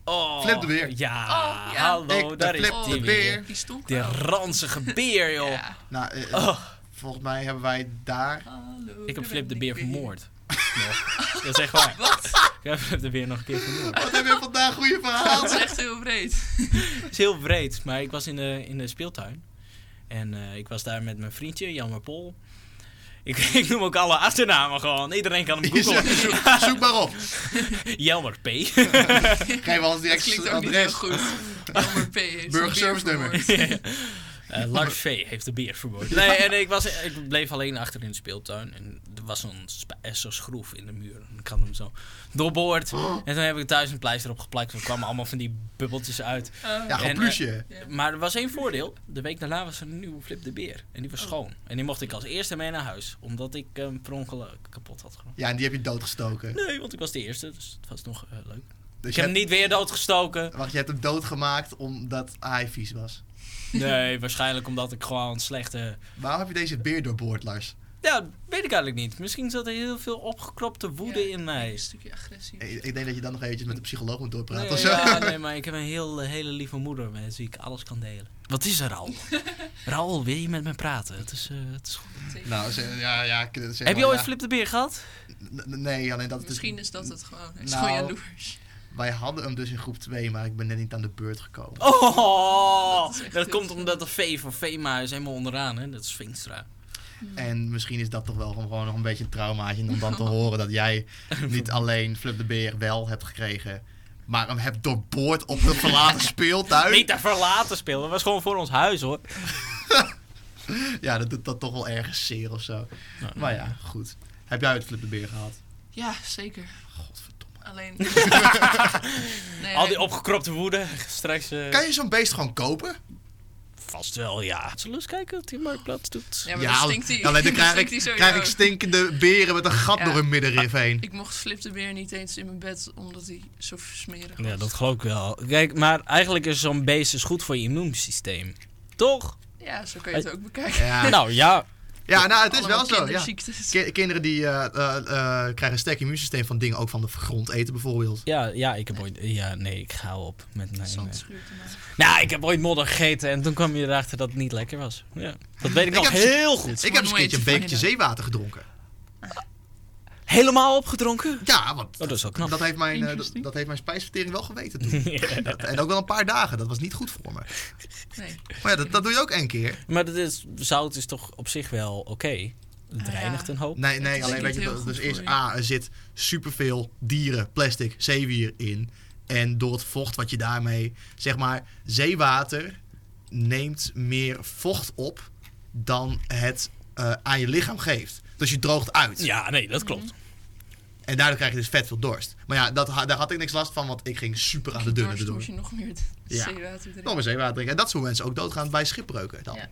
[SPEAKER 2] Oh,
[SPEAKER 1] Flip de beer.
[SPEAKER 2] Ja,
[SPEAKER 3] Oh, ja.
[SPEAKER 2] hallo,
[SPEAKER 1] Ik
[SPEAKER 2] daar
[SPEAKER 1] de
[SPEAKER 2] is
[SPEAKER 1] flip
[SPEAKER 2] die
[SPEAKER 1] de
[SPEAKER 2] weer.
[SPEAKER 1] beer.
[SPEAKER 3] Die stond
[SPEAKER 2] Die
[SPEAKER 3] er al.
[SPEAKER 2] ranzige beer, joh.
[SPEAKER 3] Ja.
[SPEAKER 1] Nou, eh, eh,
[SPEAKER 2] Oh,
[SPEAKER 1] volgens mij hebben wij daar...
[SPEAKER 3] Hallo,
[SPEAKER 2] ik
[SPEAKER 3] daar
[SPEAKER 2] heb Flip
[SPEAKER 3] ben
[SPEAKER 2] de
[SPEAKER 3] ik
[SPEAKER 2] beer
[SPEAKER 3] weer.
[SPEAKER 2] vermoord. Nog. Dat is echt waar.
[SPEAKER 3] Wat?
[SPEAKER 2] Ik heb Flip de beer nog een keer vermoord.
[SPEAKER 1] Wat hebben we vandaag goede verhaal?
[SPEAKER 3] Dat is echt heel breed.
[SPEAKER 2] Het is heel breed, maar ik was in de, in de speeltuin. En eh, ik was daar met mijn vriendje, Jan Pol. Ik, ik noem ook alle achternamen gewoon. Iedereen kan hem googlen.
[SPEAKER 1] Zoek, zoek maar op.
[SPEAKER 2] Jelmer P.
[SPEAKER 1] Geef ons
[SPEAKER 3] Dat
[SPEAKER 1] direct
[SPEAKER 3] klinkt
[SPEAKER 1] het
[SPEAKER 3] ook niet heel
[SPEAKER 1] adres.
[SPEAKER 3] goed. Jammer P heeft
[SPEAKER 1] Burgerservice
[SPEAKER 3] zijn beer
[SPEAKER 1] nummer.
[SPEAKER 3] vermoord.
[SPEAKER 2] Eh, Lars V. heeft de beer vermoord. Nee, en ik, was, ik bleef alleen achter in de speeltuin. En er was zo'n sp- eh, zo'n schroef in de muur. En Ik had hem zo doorboord. En toen heb ik thuis een pleister op geplakt. Er kwamen allemaal van die bubbeltjes uit.
[SPEAKER 3] Oh.
[SPEAKER 1] Ja, gewoon
[SPEAKER 2] En, eh,
[SPEAKER 1] plusje.
[SPEAKER 2] Maar er was één voordeel. De week daarna was er een nieuwe Flip de Beer. En die was
[SPEAKER 3] Oh.
[SPEAKER 2] schoon. En die mocht ik als eerste mee naar huis. Omdat ik hem per ongeluk kapot had gemaakt.
[SPEAKER 1] Ja, en die heb je doodgestoken.
[SPEAKER 2] Nee, want ik was de eerste. Dus het was nog eh, leuk.
[SPEAKER 1] Dus
[SPEAKER 2] Ik
[SPEAKER 1] je
[SPEAKER 2] heb hem
[SPEAKER 1] hebt,
[SPEAKER 2] niet weer doodgestoken.
[SPEAKER 1] wacht, je hebt hem doodgemaakt omdat hij vies was.
[SPEAKER 2] Nee, waarschijnlijk omdat ik gewoon slechte...
[SPEAKER 1] Waarom heb je deze beer doorboord, Lars?
[SPEAKER 2] Ja, weet ik eigenlijk niet. Misschien zat er heel veel opgekropte woede
[SPEAKER 3] Ja,
[SPEAKER 2] in
[SPEAKER 3] Een
[SPEAKER 2] mij.
[SPEAKER 3] stukje agressie.
[SPEAKER 1] Ik, ik denk dat je dan nog eventjes met de psycholoog moet doorpraten.
[SPEAKER 2] Nee,
[SPEAKER 1] of zo.
[SPEAKER 2] ja, nee, maar ik heb een heel, eh, hele lieve moeder met wie ik alles kan delen. Wat is er, Raoul? Raoul, wil je met me praten? Het is, eh, het is goed.
[SPEAKER 1] Nou, ze- ja, ja, ik- zeg
[SPEAKER 2] heb je
[SPEAKER 1] maar,
[SPEAKER 2] ooit
[SPEAKER 1] ja.
[SPEAKER 2] Flip de Beer gehad?
[SPEAKER 1] N- n- Nee, alleen dat het
[SPEAKER 3] Misschien is dat het gewoon. Hij is
[SPEAKER 1] Nou.
[SPEAKER 3] gewoon jaloers.
[SPEAKER 1] Wij hadden hem dus in groep 2, maar ik ben net niet aan de beurt gekomen.
[SPEAKER 2] Oh,
[SPEAKER 3] Dat is
[SPEAKER 2] dat,
[SPEAKER 3] echt heel
[SPEAKER 2] komt omdat de V voor Vema is helemaal onderaan, hè? Dat is Vinstra.
[SPEAKER 1] En misschien is dat toch wel gewoon nog een beetje een traumaatje om dan te horen dat jij niet alleen Flip de Beer wel hebt gekregen, maar hem hebt doorboord op een verlaten speeltuin.
[SPEAKER 2] Niet te verlaten spelen, dat was gewoon voor ons huis, hoor.
[SPEAKER 1] Ja, dat doet dat toch wel ergens zeer of zo. Maar ja, goed. Heb jij het Flip de Beer gehad?
[SPEAKER 3] Ja, zeker.
[SPEAKER 1] Godverdomme.
[SPEAKER 3] Alleen. nee,
[SPEAKER 2] Al die
[SPEAKER 3] hij-
[SPEAKER 2] opgekropte woede, straks... eh,
[SPEAKER 1] Kan je zo'n beest gewoon kopen?
[SPEAKER 2] Vast wel, ja. Zullen we eens kijken wat die Marktplaats doet?
[SPEAKER 3] Ja, maar dan stinkt hij.
[SPEAKER 1] alleen dan krijg, ik,
[SPEAKER 3] stinkt hij
[SPEAKER 1] krijg ik
[SPEAKER 3] sowieso.
[SPEAKER 1] stinkende beren met een gat
[SPEAKER 3] Ja.
[SPEAKER 1] door hun middenrif heen.
[SPEAKER 3] Ik mocht Flip de Beer niet eens in mijn bed, omdat hij zo smerig was.
[SPEAKER 2] Ja, dat geloof ik wel. Kijk, maar eigenlijk is zo'n beest is goed voor je immuunsysteem. Toch?
[SPEAKER 3] Ja, zo kan je het ook bekijken.
[SPEAKER 1] Ja.
[SPEAKER 2] Nou ja,
[SPEAKER 1] ja, nou, het is wel zo. Ja.
[SPEAKER 3] kinderziektes.
[SPEAKER 1] Ki- kinderen die eh, eh, eh, krijgen een sterk immuunsysteem van dingen ook van de grond eten bijvoorbeeld.
[SPEAKER 2] ja, ja, ik heb ooit... Ja, nee, ik ga op met mijn...
[SPEAKER 3] Zand schuurt hem uit.
[SPEAKER 2] Nou, ik heb ooit modder gegeten en toen kwam je erachter dat het niet lekker was. Ja, dat weet ik,
[SPEAKER 1] Ik
[SPEAKER 2] nog
[SPEAKER 1] heb-
[SPEAKER 2] heel goed.
[SPEAKER 1] Ik heb eens een keertje een
[SPEAKER 3] Nooit
[SPEAKER 1] bekertje
[SPEAKER 3] fijner.
[SPEAKER 1] zeewater gedronken.
[SPEAKER 2] Helemaal opgedronken?
[SPEAKER 1] Ja, want
[SPEAKER 2] Oh, dat is wel knap.
[SPEAKER 1] dat heeft mijn, eh, dat,
[SPEAKER 3] Interesting.
[SPEAKER 1] dat heeft mijn spijsvertering wel geweten toen. Dat- en ook wel een paar dagen, dat was niet goed voor me.
[SPEAKER 3] Nee.
[SPEAKER 1] Maar ja, dat, dat doe je ook één keer.
[SPEAKER 2] Maar dat is, zout is toch op zich wel oké? Het
[SPEAKER 3] Ah, ja.
[SPEAKER 2] reinigt een hoop.
[SPEAKER 1] Nee, nee
[SPEAKER 3] is
[SPEAKER 1] alleen
[SPEAKER 3] niet
[SPEAKER 1] weet je,
[SPEAKER 3] heel
[SPEAKER 1] dat-
[SPEAKER 3] goed
[SPEAKER 1] dus
[SPEAKER 3] voor
[SPEAKER 1] eerst
[SPEAKER 3] je.
[SPEAKER 1] A, er zit superveel dieren, plastic, zeewier in. En door het vocht wat je daarmee, zeg maar, zeewater neemt meer vocht op dan het eh, aan je lichaam geeft. Dus je droogt uit.
[SPEAKER 2] Ja, nee, dat klopt.
[SPEAKER 1] En daardoor krijg je dus vet veel dorst. Maar ja, dat, ha- daar had ik niks last van, want ik ging super aan de dunne
[SPEAKER 3] Dorst
[SPEAKER 1] doen.
[SPEAKER 3] moet je nog meer
[SPEAKER 1] Ja.
[SPEAKER 3] zeewater drinken.
[SPEAKER 1] Nog maar zeewater drinken. En dat is hoe mensen ook doodgaan bij schipbreuken dan.
[SPEAKER 3] Ja.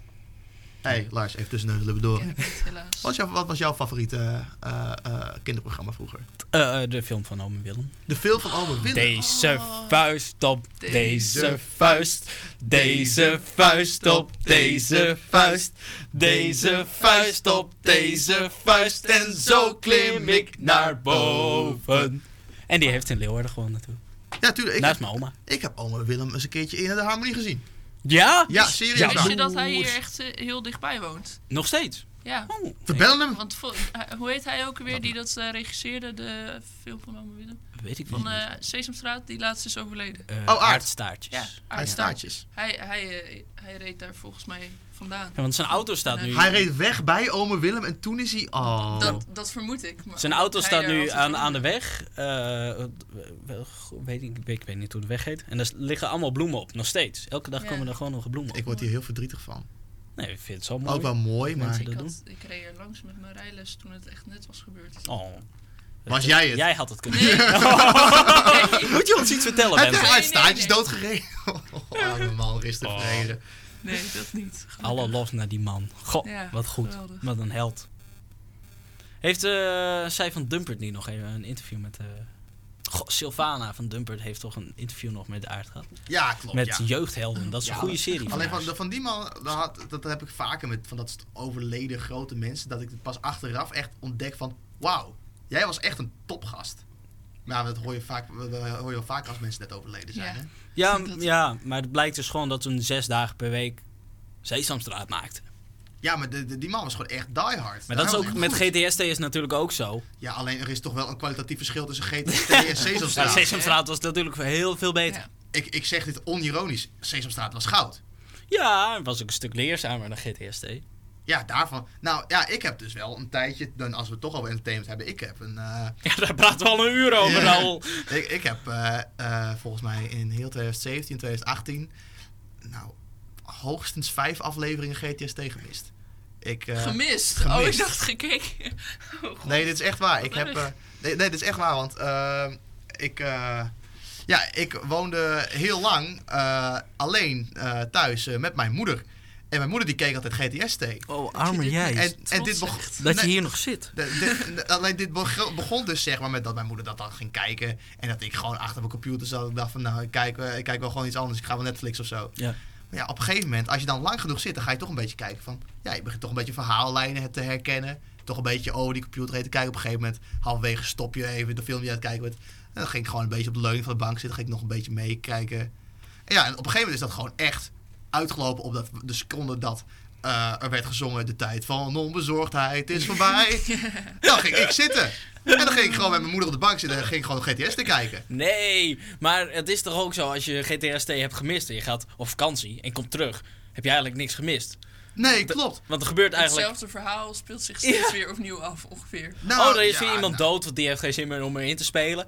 [SPEAKER 1] Hé, hey, Lars, even tussen de lippen door.
[SPEAKER 3] Ken ik niet, helaas.
[SPEAKER 1] Wat, is jouw- wat was jouw favoriete eh, eh, kinderprogramma vroeger?
[SPEAKER 2] Eh, eh, de film van Omen Willem.
[SPEAKER 1] De film van Albert Willem.
[SPEAKER 2] Deze vuist op deze,
[SPEAKER 3] Deze
[SPEAKER 2] vuist. Deze vuist op deze vuist. Deze vuist op deze vuist. En zo klim ik naar boven. En die heeft in Leeuwarden gewoon naartoe.
[SPEAKER 1] Ja, tuurlijk. Ik,
[SPEAKER 2] Naast
[SPEAKER 1] heb,
[SPEAKER 2] mijn oma.
[SPEAKER 1] ik heb Albert Willem eens een keertje in de harmonie gezien.
[SPEAKER 2] Ja?
[SPEAKER 1] Ja, serieus.
[SPEAKER 2] Ja,
[SPEAKER 1] nou,
[SPEAKER 3] Wist je dat hij hier
[SPEAKER 2] Oeh.
[SPEAKER 3] echt eh, heel dichtbij woont?
[SPEAKER 2] Nog steeds.
[SPEAKER 3] Ja.
[SPEAKER 2] Oh.
[SPEAKER 1] we bellen hem.
[SPEAKER 3] Want vo- eh, hoe heet hij ook weer die dat eh, regisseerde, de film van Ome Willem?
[SPEAKER 2] Weet ik
[SPEAKER 3] Van
[SPEAKER 2] niet.
[SPEAKER 3] eh, Sesamstraat, die laatst is overleden.
[SPEAKER 2] Eh,
[SPEAKER 1] Oh, Aard.
[SPEAKER 2] aardstaartjes.
[SPEAKER 3] Ja,
[SPEAKER 1] Hij
[SPEAKER 3] staat.
[SPEAKER 1] staartjes.
[SPEAKER 3] Hij, hij, eh, hij reed daar volgens mij vandaan.
[SPEAKER 2] Ja, want zijn auto staat nu.
[SPEAKER 1] eh, Hij reed weg bij ome Willem en toen is hij... Oh.
[SPEAKER 3] Dat, dat vermoed ik. maar
[SPEAKER 2] Zijn auto
[SPEAKER 3] hij
[SPEAKER 2] staat
[SPEAKER 3] daar
[SPEAKER 2] nu
[SPEAKER 3] altijd
[SPEAKER 2] aan, aan
[SPEAKER 3] woonde.
[SPEAKER 2] de weg. Eh, wel, weet ik, ik weet niet hoe de weg heet. En er liggen allemaal bloemen op, nog steeds. Elke dag
[SPEAKER 3] Ja.
[SPEAKER 2] komen er gewoon nog bloemen op.
[SPEAKER 1] Ik word hier heel verdrietig van.
[SPEAKER 2] Nee, ik vind het zo mooi.
[SPEAKER 1] Ook wel mooi, maar...
[SPEAKER 2] Mensen- dat
[SPEAKER 3] Ik, had, ik reed er langs met mijn rijles toen het echt net was gebeurd.
[SPEAKER 2] Oh.
[SPEAKER 1] Was jij het?
[SPEAKER 2] Jij had het kunnen
[SPEAKER 3] Nee.
[SPEAKER 2] Moet je ons iets vertellen,
[SPEAKER 1] Hij heeft
[SPEAKER 2] mensen?
[SPEAKER 1] echt
[SPEAKER 3] Nee,
[SPEAKER 1] uit
[SPEAKER 3] nee,
[SPEAKER 1] staartjes
[SPEAKER 3] nee.
[SPEAKER 1] doodgereden. Arme man, is te
[SPEAKER 2] Oh.
[SPEAKER 1] vrede.
[SPEAKER 3] Nee, dat niet.
[SPEAKER 2] Alle lof naar die man. Goh,
[SPEAKER 3] Ja,
[SPEAKER 2] wat goed.
[SPEAKER 3] geweldig.
[SPEAKER 2] Wat een held. Heeft eh, zij van Dumpert niet nog even een interview met... eh Goh, Sylvana van Dumpert heeft toch een interview nog met de aard gehad?
[SPEAKER 1] Ja, klopt.
[SPEAKER 2] Met
[SPEAKER 1] ja.
[SPEAKER 2] Jeugdhelden, dat is een
[SPEAKER 1] Ja,
[SPEAKER 2] goede serie. van
[SPEAKER 1] Alleen
[SPEAKER 2] haar.
[SPEAKER 1] van, van die man, dat, had- dat heb ik vaker met van dat overleden grote mensen, dat ik het pas achteraf echt ontdek van, wauw, jij was echt een topgast. Maar dat hoor je, vaak, dat hoor je wel vaak als mensen net overleden zijn.
[SPEAKER 3] Ja.
[SPEAKER 1] Hè?
[SPEAKER 2] Ja,
[SPEAKER 3] Dat-
[SPEAKER 2] ja, maar het blijkt dus gewoon dat toen zes dagen per week Sesamstraat maakte.
[SPEAKER 1] Ja, maar de, de- die man was gewoon echt diehard.
[SPEAKER 2] Maar dat is
[SPEAKER 1] was
[SPEAKER 2] ook
[SPEAKER 1] echt
[SPEAKER 2] met
[SPEAKER 1] Oh, goed.
[SPEAKER 2] GTST is natuurlijk ook zo.
[SPEAKER 1] Ja, alleen er is toch wel een kwalitatief verschil tussen GTST en
[SPEAKER 2] Maar
[SPEAKER 1] Sesamstraat.
[SPEAKER 2] Sesamstraat was natuurlijk heel veel beter.
[SPEAKER 1] ik, ik zeg dit onironisch. Sesamstraat was goud.
[SPEAKER 2] Ja, het was ook een stuk leerzamer dan GTST.
[SPEAKER 1] Ja, daarvan. Nou ja, ik heb dus wel een tijdje, dan als we het toch al entertainment hebben, ik heb een. eh,
[SPEAKER 2] Ja, daar praten we al een uur over
[SPEAKER 1] Ja.
[SPEAKER 2] al.
[SPEAKER 1] ik, ik heb eh, eh, volgens mij in heel 2017, 2018, nou, hoogstens vijf afleveringen GTST gemist. Ik, eh,
[SPEAKER 3] Gemist. Oh, ik
[SPEAKER 1] Gemist.
[SPEAKER 3] dacht gekeken. Oh, God.
[SPEAKER 1] nee, dit is echt waar. Ik
[SPEAKER 3] Wat
[SPEAKER 1] heb,
[SPEAKER 3] erg.
[SPEAKER 1] eh, nee, nee, dit is echt waar, want eh, ik, eh, ja, ik woonde heel lang eh, alleen eh, thuis eh, met mijn moeder. En mijn moeder die keek altijd GTST.
[SPEAKER 2] Oh,
[SPEAKER 3] arme jij.
[SPEAKER 1] En, en dit
[SPEAKER 3] trots
[SPEAKER 1] begon...
[SPEAKER 3] echt.
[SPEAKER 2] Dat
[SPEAKER 1] nee,
[SPEAKER 2] je hier nog zit.
[SPEAKER 1] De- de- de- alleen dit beg- begon dus zeg maar met dat mijn moeder dat dan ging kijken. En dat ik gewoon achter mijn computer zat. En dacht van nou, ik kijk, eh, ik kijk wel gewoon iets anders. Ik ga wel Netflix of zo.
[SPEAKER 2] Ja.
[SPEAKER 1] Maar ja, op een gegeven moment, als je dan lang genoeg zit, dan ga je toch een beetje kijken van... Ja, je begint toch een beetje verhaallijnen te herkennen. Toch een beetje over die computer heen te kijken. Op een gegeven moment, halverwege stop je even de film die je aan het kijken bent. En dan ging ik gewoon een beetje op de leuning van de bank zitten. Ging ik nog een beetje meekijken. En ja, en op een gegeven moment is dat gewoon echt uitgelopen op dat, de seconde dat... eh, er werd gezongen de tijd van onbezorgdheid is voorbij. Dan ging ik zitten. En dan ging ik gewoon met mijn moeder op de bank zitten en ging ik gewoon GTS te kijken.
[SPEAKER 2] Nee, maar het is toch ook zo als je GTST hebt gemist en je gaat op vakantie en komt terug, heb je eigenlijk niks gemist.
[SPEAKER 1] Nee, klopt.
[SPEAKER 2] Want er gebeurt eigenlijk.
[SPEAKER 3] Hetzelfde verhaal speelt zich steeds weer opnieuw af, ongeveer.
[SPEAKER 1] Nou,
[SPEAKER 2] Oh, er is
[SPEAKER 1] ja,
[SPEAKER 2] weer iemand
[SPEAKER 1] nou,
[SPEAKER 2] dood, want die heeft geen zin meer om erin te spelen.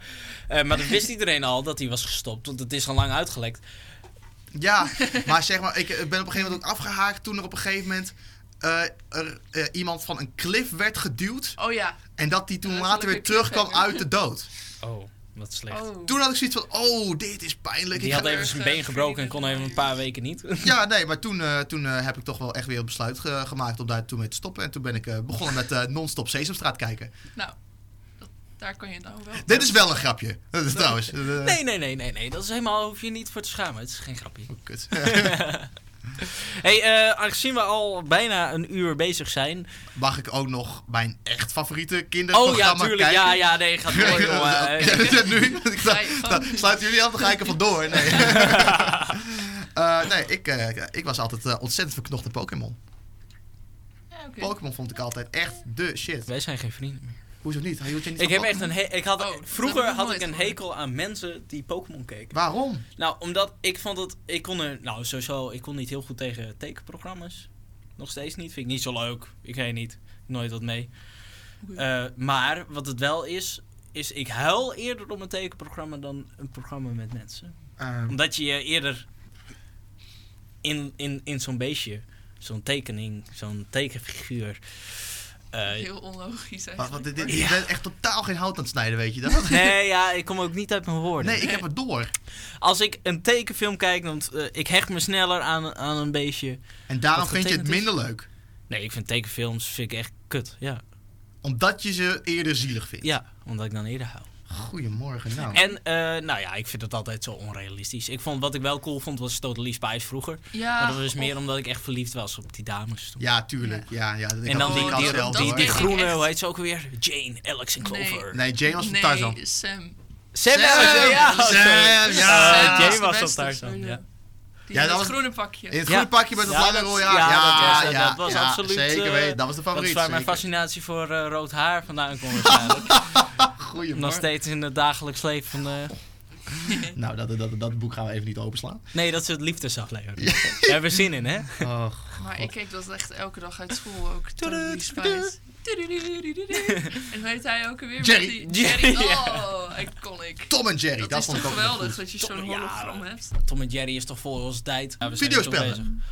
[SPEAKER 2] Eh, maar dat wist iedereen al dat hij was gestopt, want het is al lang uitgelekt.
[SPEAKER 1] Ja, maar zeg maar, ik eh, ben op een gegeven moment ook afgehaakt toen er op een gegeven moment eh, er, eh, iemand van een klif werd geduwd.
[SPEAKER 3] Oh ja.
[SPEAKER 1] En dat die toen
[SPEAKER 3] Letterlijk
[SPEAKER 1] later weer
[SPEAKER 3] een
[SPEAKER 1] terugkwam
[SPEAKER 3] cliffhanger.
[SPEAKER 1] uit de dood.
[SPEAKER 2] Oh, wat slecht.
[SPEAKER 3] Oh.
[SPEAKER 1] Toen had ik zoiets van, oh, dit is pijnlijk.
[SPEAKER 2] Die
[SPEAKER 1] Ik
[SPEAKER 2] had
[SPEAKER 1] ga-
[SPEAKER 2] even zijn been gebroken en kon even een paar weken niet.
[SPEAKER 1] Ja, nee, maar toen, eh, toen eh, heb ik toch wel echt weer een besluit ge- gemaakt om daar toen mee te stoppen. En toen ben ik eh, begonnen met eh, non-stop Sesamstraat kijken.
[SPEAKER 3] Nou, dat, daar kan je nou wel.
[SPEAKER 1] Dit is wel een grapje, dat is trouwens. eh,
[SPEAKER 2] Nee, nee, nee, nee, nee. Dat is helemaal, hoef je niet voor te schamen. Het is geen grapje.
[SPEAKER 1] Kut.
[SPEAKER 2] hey, eh, aangezien we al bijna een uur bezig zijn.
[SPEAKER 1] Mag ik ook nog mijn echt favoriete
[SPEAKER 2] Oh
[SPEAKER 1] kinderprogramma
[SPEAKER 2] ja, tuurlijk.
[SPEAKER 1] kijken?
[SPEAKER 2] Ja, ja, nee, gaat door, jongen. Eh,
[SPEAKER 1] Ja, ja, nu? Ik dacht,
[SPEAKER 3] Ga je
[SPEAKER 1] nou,
[SPEAKER 3] gang.
[SPEAKER 1] sluiten jullie af, dan ga ik er vandoor. Nee, Eh, nee ik, eh, ik was altijd eh, ontzettend verknocht aan Pokémon.
[SPEAKER 3] Ja, oké.
[SPEAKER 1] Pokémon vond ik altijd echt de shit.
[SPEAKER 2] Wij zijn geen vrienden meer.
[SPEAKER 1] Hoezo niet? Hield jij niet
[SPEAKER 2] Ik
[SPEAKER 1] van
[SPEAKER 2] heb echt
[SPEAKER 1] Pokémon?
[SPEAKER 2] een he- ik had,
[SPEAKER 3] Oh, dat
[SPEAKER 2] Vroeger
[SPEAKER 3] heb ik nog
[SPEAKER 2] had ik
[SPEAKER 3] nooit
[SPEAKER 2] een
[SPEAKER 3] gehoord.
[SPEAKER 2] hekel aan mensen die Pokémon keken.
[SPEAKER 1] Waarom?
[SPEAKER 2] Nou, omdat ik vond dat... Ik kon er... Nou, sowieso, ik kon niet heel goed tegen tekenprogramma's. Nog steeds niet. Vind ik niet zo leuk. Ik weet niet. Nooit wat mee.
[SPEAKER 3] Oei.
[SPEAKER 2] Eh, maar wat het wel is... Is ik huil eerder om een tekenprogramma dan een programma met mensen.
[SPEAKER 1] Eh,
[SPEAKER 2] Omdat je je eerder in, in, in zo'n beestje, zo'n tekening, zo'n tekenfiguur... eh,
[SPEAKER 3] Heel onlogisch
[SPEAKER 1] wat,
[SPEAKER 3] eigenlijk.
[SPEAKER 1] wat, dit, dit-
[SPEAKER 2] Ja.
[SPEAKER 1] Je bent echt totaal geen hout aan het snijden, weet je dat?
[SPEAKER 2] nee, ja, ik kom ook niet uit mijn woorden.
[SPEAKER 1] Nee, ik heb het door.
[SPEAKER 2] Als ik een tekenfilm kijk, dan eh, ik hecht me sneller aan, aan een beestje.
[SPEAKER 1] En daarom
[SPEAKER 2] Wat
[SPEAKER 1] vind je het
[SPEAKER 2] getekend
[SPEAKER 1] minder leuk.
[SPEAKER 2] Nee, ik vind tekenfilms vind ik echt kut. Ja,
[SPEAKER 1] Omdat je ze eerder zielig vindt.
[SPEAKER 2] ja omdat ik dan eerder hou.
[SPEAKER 1] Goedemorgen, nou.
[SPEAKER 2] En eh, nou ja, ik vind het altijd zo onrealistisch. Ik vond wat ik wel cool vond was Totally Spies vroeger.
[SPEAKER 3] ja,
[SPEAKER 2] maar Oh, dat
[SPEAKER 1] Ah.
[SPEAKER 2] was meer
[SPEAKER 3] of-
[SPEAKER 2] omdat ik echt verliefd was op die dames. toen.
[SPEAKER 1] Ja, tuurlijk. Ja, ja, dat- ik
[SPEAKER 2] en dan
[SPEAKER 1] had-
[SPEAKER 2] die, die,
[SPEAKER 1] ik had
[SPEAKER 2] die,
[SPEAKER 1] het wel
[SPEAKER 2] die, die
[SPEAKER 1] door.
[SPEAKER 3] denk ik
[SPEAKER 2] groene,
[SPEAKER 3] echt.
[SPEAKER 2] hoe heet ze ook weer? Jane, Alex en Clover.
[SPEAKER 1] Nee, Jane was van
[SPEAKER 3] nee,
[SPEAKER 1] Tarzan.
[SPEAKER 3] Sam.
[SPEAKER 2] Sam,
[SPEAKER 1] Sam,
[SPEAKER 2] Alex, ja, ja,
[SPEAKER 1] Sam,
[SPEAKER 2] sorry.
[SPEAKER 1] ja.
[SPEAKER 2] Eh,
[SPEAKER 1] Sam
[SPEAKER 2] Jane
[SPEAKER 3] de
[SPEAKER 2] was
[SPEAKER 3] beste,
[SPEAKER 2] op Tarzan,
[SPEAKER 3] sowieso.
[SPEAKER 2] ja.
[SPEAKER 3] Die
[SPEAKER 1] Ja,
[SPEAKER 3] met
[SPEAKER 1] dat
[SPEAKER 3] het
[SPEAKER 1] was-
[SPEAKER 3] groene pakje.
[SPEAKER 1] In het
[SPEAKER 2] Ja.
[SPEAKER 1] groene pakje met het
[SPEAKER 2] Ja,
[SPEAKER 1] lange
[SPEAKER 2] dat-
[SPEAKER 1] rode
[SPEAKER 2] ja,
[SPEAKER 1] haar. Ja,
[SPEAKER 2] dat
[SPEAKER 1] ja,
[SPEAKER 2] was-
[SPEAKER 1] ja,
[SPEAKER 2] dat was absoluut,
[SPEAKER 1] Zeker
[SPEAKER 2] eh,
[SPEAKER 1] weten, dat was de
[SPEAKER 2] Dat is
[SPEAKER 1] favoriet.
[SPEAKER 2] waar mijn
[SPEAKER 1] zeker.
[SPEAKER 2] fascinatie voor eh, rood haar vandaan komt waarschijnlijk. Nog
[SPEAKER 1] Goedemorgen.
[SPEAKER 2] steeds in het dagelijks leven van de...
[SPEAKER 1] Nou, dat, dat, dat boek gaan we even niet openslaan.
[SPEAKER 2] Nee, dat is het liefdesaflevering. Daar hebben we zin in, hè?
[SPEAKER 1] Oh,
[SPEAKER 3] Maar ik keek dat echt elke dag uit school ook.
[SPEAKER 2] Tudu,
[SPEAKER 3] Totally Spies. En hoe heet hij ook alweer?
[SPEAKER 1] Jerry.
[SPEAKER 3] Met die- Jerry.
[SPEAKER 2] Ja.
[SPEAKER 3] Oh, iconic.
[SPEAKER 1] Tom en Jerry, dat,
[SPEAKER 3] Dat is
[SPEAKER 1] vond
[SPEAKER 3] toch
[SPEAKER 1] ik ook wel
[SPEAKER 3] geweldig
[SPEAKER 1] goed.
[SPEAKER 3] dat je
[SPEAKER 2] Tom-
[SPEAKER 3] zo'n
[SPEAKER 2] ja.
[SPEAKER 3] hologram hebt.
[SPEAKER 2] Tom en Jerry is toch voor onze tijd. Ja, we zijn
[SPEAKER 1] Videospellen.
[SPEAKER 2] er toch bezig.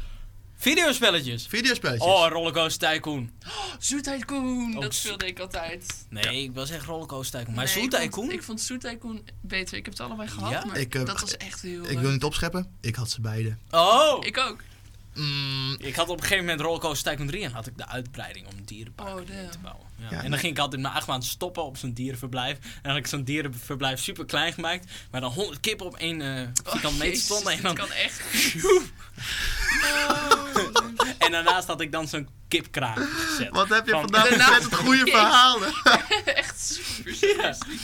[SPEAKER 2] Videospelletjes.
[SPEAKER 1] Videospelletjes.
[SPEAKER 2] Oh, Rollercoaster Tycoon.
[SPEAKER 3] Zoet Tycoon,
[SPEAKER 2] Oh, Zoet-
[SPEAKER 3] dat speelde ik altijd.
[SPEAKER 2] Nee, ik was echt Rollercoaster Tycoon. Maar
[SPEAKER 3] Nee,
[SPEAKER 2] Zoet
[SPEAKER 3] ik vond-
[SPEAKER 2] Tycoon?
[SPEAKER 3] Ik vond Zoet Tycoon beter. Ik heb het allebei gehad,
[SPEAKER 2] Ja?
[SPEAKER 3] maar
[SPEAKER 1] Ik, eh,
[SPEAKER 3] dat was echt heel
[SPEAKER 1] ik
[SPEAKER 3] leuk.
[SPEAKER 1] wil niet opscheppen, ik had ze beide.
[SPEAKER 2] Oh! Ik,
[SPEAKER 3] Ik ook.
[SPEAKER 1] Mm,
[SPEAKER 2] had op een gegeven moment Rollercoaster Tycoon 3 en had ik de uitbreiding om
[SPEAKER 3] Oh,
[SPEAKER 2] dierenpark
[SPEAKER 3] damn.
[SPEAKER 2] te bouwen. Ja.
[SPEAKER 1] Ja,
[SPEAKER 2] en dan
[SPEAKER 1] nee.
[SPEAKER 2] ging ik altijd mijn achtbaan stoppen op zo'n dierenverblijf. En dan had ik zo'n dierenverblijf super klein gemaakt. Maar dan 100 kippen op één eh
[SPEAKER 3] Ik
[SPEAKER 2] vierkant meter stonden. En,
[SPEAKER 3] Dat
[SPEAKER 2] dan,
[SPEAKER 3] Oh, kan echt.
[SPEAKER 2] en daarnaast had ik dan zo'n kipkraam gezet.
[SPEAKER 1] wat heb je
[SPEAKER 2] Van-
[SPEAKER 1] vandaag
[SPEAKER 3] Daarna-
[SPEAKER 1] met het goede
[SPEAKER 3] Jezus.
[SPEAKER 1] verhalen?
[SPEAKER 3] echt super.
[SPEAKER 2] Ja.
[SPEAKER 3] super.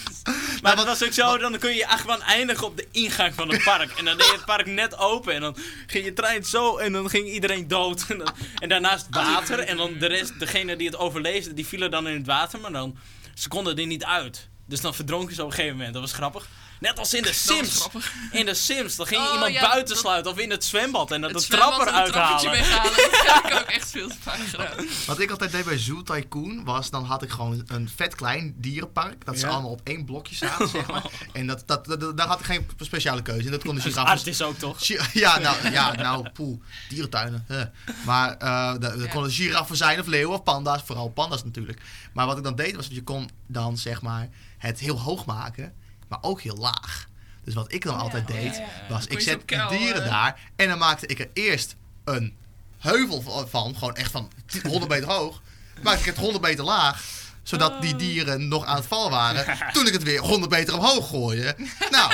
[SPEAKER 2] Maar Maar het was ook zo, dan kun je je achtbaan eindigen op de ingang van het park. En dan deed je het park net open en dan ging je trein zo en dan ging iedereen dood. En, dan- en daarnaast water en dan de rest, degene die het overleefde, die vielen dan in het water. Maar dan, ze konden er niet uit. Dus dan verdronken ze op een gegeven moment. Dat was grappig. Net als in de
[SPEAKER 3] Dat was
[SPEAKER 2] Sims.
[SPEAKER 3] grappig.
[SPEAKER 2] In de Sims, dan ging je
[SPEAKER 3] Oh,
[SPEAKER 2] iemand
[SPEAKER 3] ja,
[SPEAKER 2] buiten
[SPEAKER 3] dat-
[SPEAKER 2] sluiten of in het zwembad en dat
[SPEAKER 3] Het
[SPEAKER 2] de
[SPEAKER 3] zwembad
[SPEAKER 2] trapper
[SPEAKER 3] en het trappetje
[SPEAKER 2] uithalen.
[SPEAKER 3] weghalen, dat heb ik ook echt veel te vaak gedaan.
[SPEAKER 1] Wat ik altijd deed bij Zoo Tycoon was, dan had ik gewoon een vet klein dierenpark. Dat ze
[SPEAKER 2] Ja.
[SPEAKER 1] allemaal op één blokje zaten, zeg maar. En dat, dat, dat- daar had ik geen speciale keuze. En dat kon de giraffen...
[SPEAKER 2] Art Dus is ook toch?
[SPEAKER 1] Gi- Ja, nou, ja, nou, poeh, dierentuinen. hè. Maar eh dat, dat
[SPEAKER 3] Ja.
[SPEAKER 1] konden giraffen zijn of leeuwen of panda's, vooral panda's natuurlijk. Maar wat ik dan deed was, je kon dan zeg maar het heel hoog maken, maar ook heel laag. Dus wat ik dan altijd
[SPEAKER 3] oh ja,
[SPEAKER 1] deed,
[SPEAKER 3] ja,
[SPEAKER 1] was
[SPEAKER 3] Kon
[SPEAKER 1] ik
[SPEAKER 3] je
[SPEAKER 1] zet
[SPEAKER 3] zo kuil,
[SPEAKER 1] die dieren
[SPEAKER 3] eh.
[SPEAKER 1] daar en dan maakte ik er eerst een heuvel van- van, gewoon echt van 10 100 meter hoog, maakte ik het 100 meter laag zodat
[SPEAKER 3] Oh.
[SPEAKER 1] die dieren nog aan het val waren. Toen ik het weer 100 meter omhoog gooide. Nou,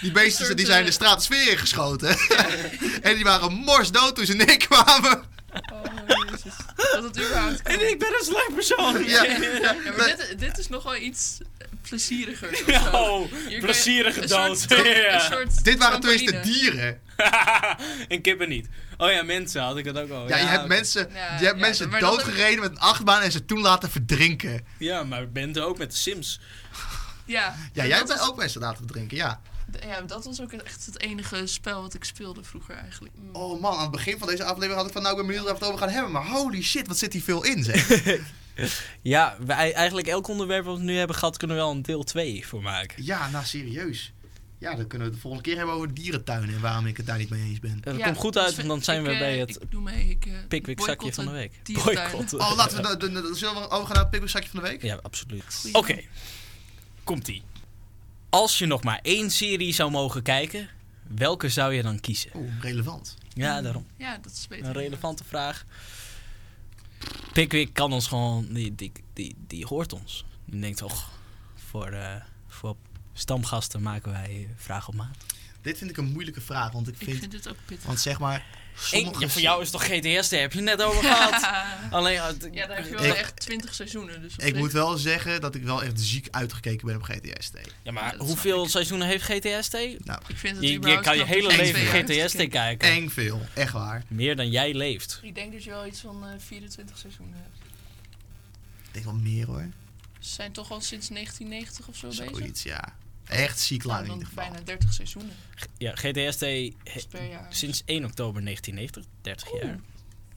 [SPEAKER 1] die beesten
[SPEAKER 3] soort,
[SPEAKER 1] die zijn
[SPEAKER 3] eh,
[SPEAKER 1] de stratosfeer ingeschoten. en die waren morsdood toen ze neerkwamen.
[SPEAKER 3] Oh, jezus. Dat het überhaupt kan.
[SPEAKER 2] En ik ben een slecht persoon.
[SPEAKER 1] Ja.
[SPEAKER 3] Ja, maar dit, dit is nog wel iets plezieriger. of zo.
[SPEAKER 2] Oh,
[SPEAKER 3] Hier kun je
[SPEAKER 2] plezierige
[SPEAKER 3] een
[SPEAKER 2] dood.
[SPEAKER 3] soort- een soort
[SPEAKER 1] Dit waren tenminste
[SPEAKER 3] trampoline.
[SPEAKER 1] dieren.
[SPEAKER 2] en kippen niet. Oh ja, mensen had ik dat ook al.
[SPEAKER 1] Ja, je hebt
[SPEAKER 2] oké.
[SPEAKER 1] mensen,
[SPEAKER 3] Ja,
[SPEAKER 1] je hebt
[SPEAKER 3] ja,
[SPEAKER 1] mensen
[SPEAKER 3] maar dat-
[SPEAKER 1] doodgereden met een achtbaan en ze toen laten verdrinken.
[SPEAKER 2] Ja, maar bent ook met de Sims.
[SPEAKER 3] Ja,
[SPEAKER 1] Ja, jij
[SPEAKER 3] en dat
[SPEAKER 1] hebt
[SPEAKER 3] was-
[SPEAKER 1] ook mensen laten verdrinken, ja.
[SPEAKER 3] Ja, dat was ook echt het enige spel wat ik speelde vroeger eigenlijk. Mm.
[SPEAKER 1] Oh man, aan het begin van deze aflevering had ik van nou, ik ben benieuwd waar we het over gaan hebben. Maar holy shit, wat zit hier veel in zeg.
[SPEAKER 2] Ja, wij, eigenlijk elk onderwerp wat we nu hebben gehad, kunnen we wel een deel 2 voor maken.
[SPEAKER 1] ja, nou serieus. Ja, dan kunnen we het de volgende keer hebben over dierentuinen en waarom ik het daar niet mee eens ben.
[SPEAKER 2] Eh, Dat
[SPEAKER 3] Ja,
[SPEAKER 2] komt goed
[SPEAKER 3] dus
[SPEAKER 2] uit, want dan
[SPEAKER 3] ik,
[SPEAKER 2] zijn we
[SPEAKER 3] eh,
[SPEAKER 2] bij het
[SPEAKER 3] Ik doe mee, ik... eh,
[SPEAKER 2] pickwick zakje van de week.
[SPEAKER 3] dierentuinen.
[SPEAKER 1] Oh, laten we, dan- dan- dan- zullen we overgaan naar het pikkelzakje van de week?
[SPEAKER 2] Ja, absoluut. Oké,
[SPEAKER 3] Goeie.
[SPEAKER 2] komt-ie. Als je nog maar één serie zou mogen kijken, welke zou je dan kiezen?
[SPEAKER 1] Oeh, Oh, relevant.
[SPEAKER 2] Ja, daarom.
[SPEAKER 3] Ja, dat is beter.
[SPEAKER 2] Een relevante vraag. Pickwick kan ons gewoon, die, die, die, die hoort ons. Die denkt toch, voor, eh, voor stamgasten maken wij eh, vragen op maat.
[SPEAKER 1] Dit vind ik een moeilijke vraag, want ik
[SPEAKER 3] Ik
[SPEAKER 1] vind...
[SPEAKER 3] vind dit ook pittig.
[SPEAKER 1] Want zeg maar, sommige...
[SPEAKER 2] ja, voor jou is toch GTS, daar heb je het net over gehad. Alleen, eh, d-
[SPEAKER 3] Ja, daar heb je wel
[SPEAKER 1] Ik-
[SPEAKER 3] echt twintig seizoenen. Dus op
[SPEAKER 1] Ik
[SPEAKER 3] zich-
[SPEAKER 1] moet wel zeggen dat ik wel echt ziek uitgekeken ben op GTST.
[SPEAKER 2] ja,
[SPEAKER 3] Ja,
[SPEAKER 2] maar
[SPEAKER 3] dat
[SPEAKER 2] hoeveel seizoenen heeft GTST?
[SPEAKER 3] ik vind het
[SPEAKER 2] Je, je
[SPEAKER 3] überhaupt
[SPEAKER 2] kan je
[SPEAKER 3] knap
[SPEAKER 2] hele
[SPEAKER 3] dat
[SPEAKER 1] twee
[SPEAKER 2] leven
[SPEAKER 3] twee jaar hebt
[SPEAKER 2] GTST
[SPEAKER 3] gekeken.
[SPEAKER 2] kijken.
[SPEAKER 1] Nou, Eng veel, echt waar.
[SPEAKER 2] Meer dan jij leeft.
[SPEAKER 3] Ik denk dat je wel iets van eh, 24 seizoenen hebt.
[SPEAKER 1] Ik denk wel meer hoor.
[SPEAKER 3] Ze zijn toch al sinds 1990 of zo, bezig?
[SPEAKER 1] Zoiets, ja. Echt ziek lang
[SPEAKER 3] Nou,
[SPEAKER 1] Ah, in ieder
[SPEAKER 3] dan
[SPEAKER 1] geval.
[SPEAKER 3] bijna 30 seizoenen
[SPEAKER 2] Ja, GTST he-
[SPEAKER 3] dus per jaar.
[SPEAKER 2] sinds 1 oktober 1990, 30 jaar.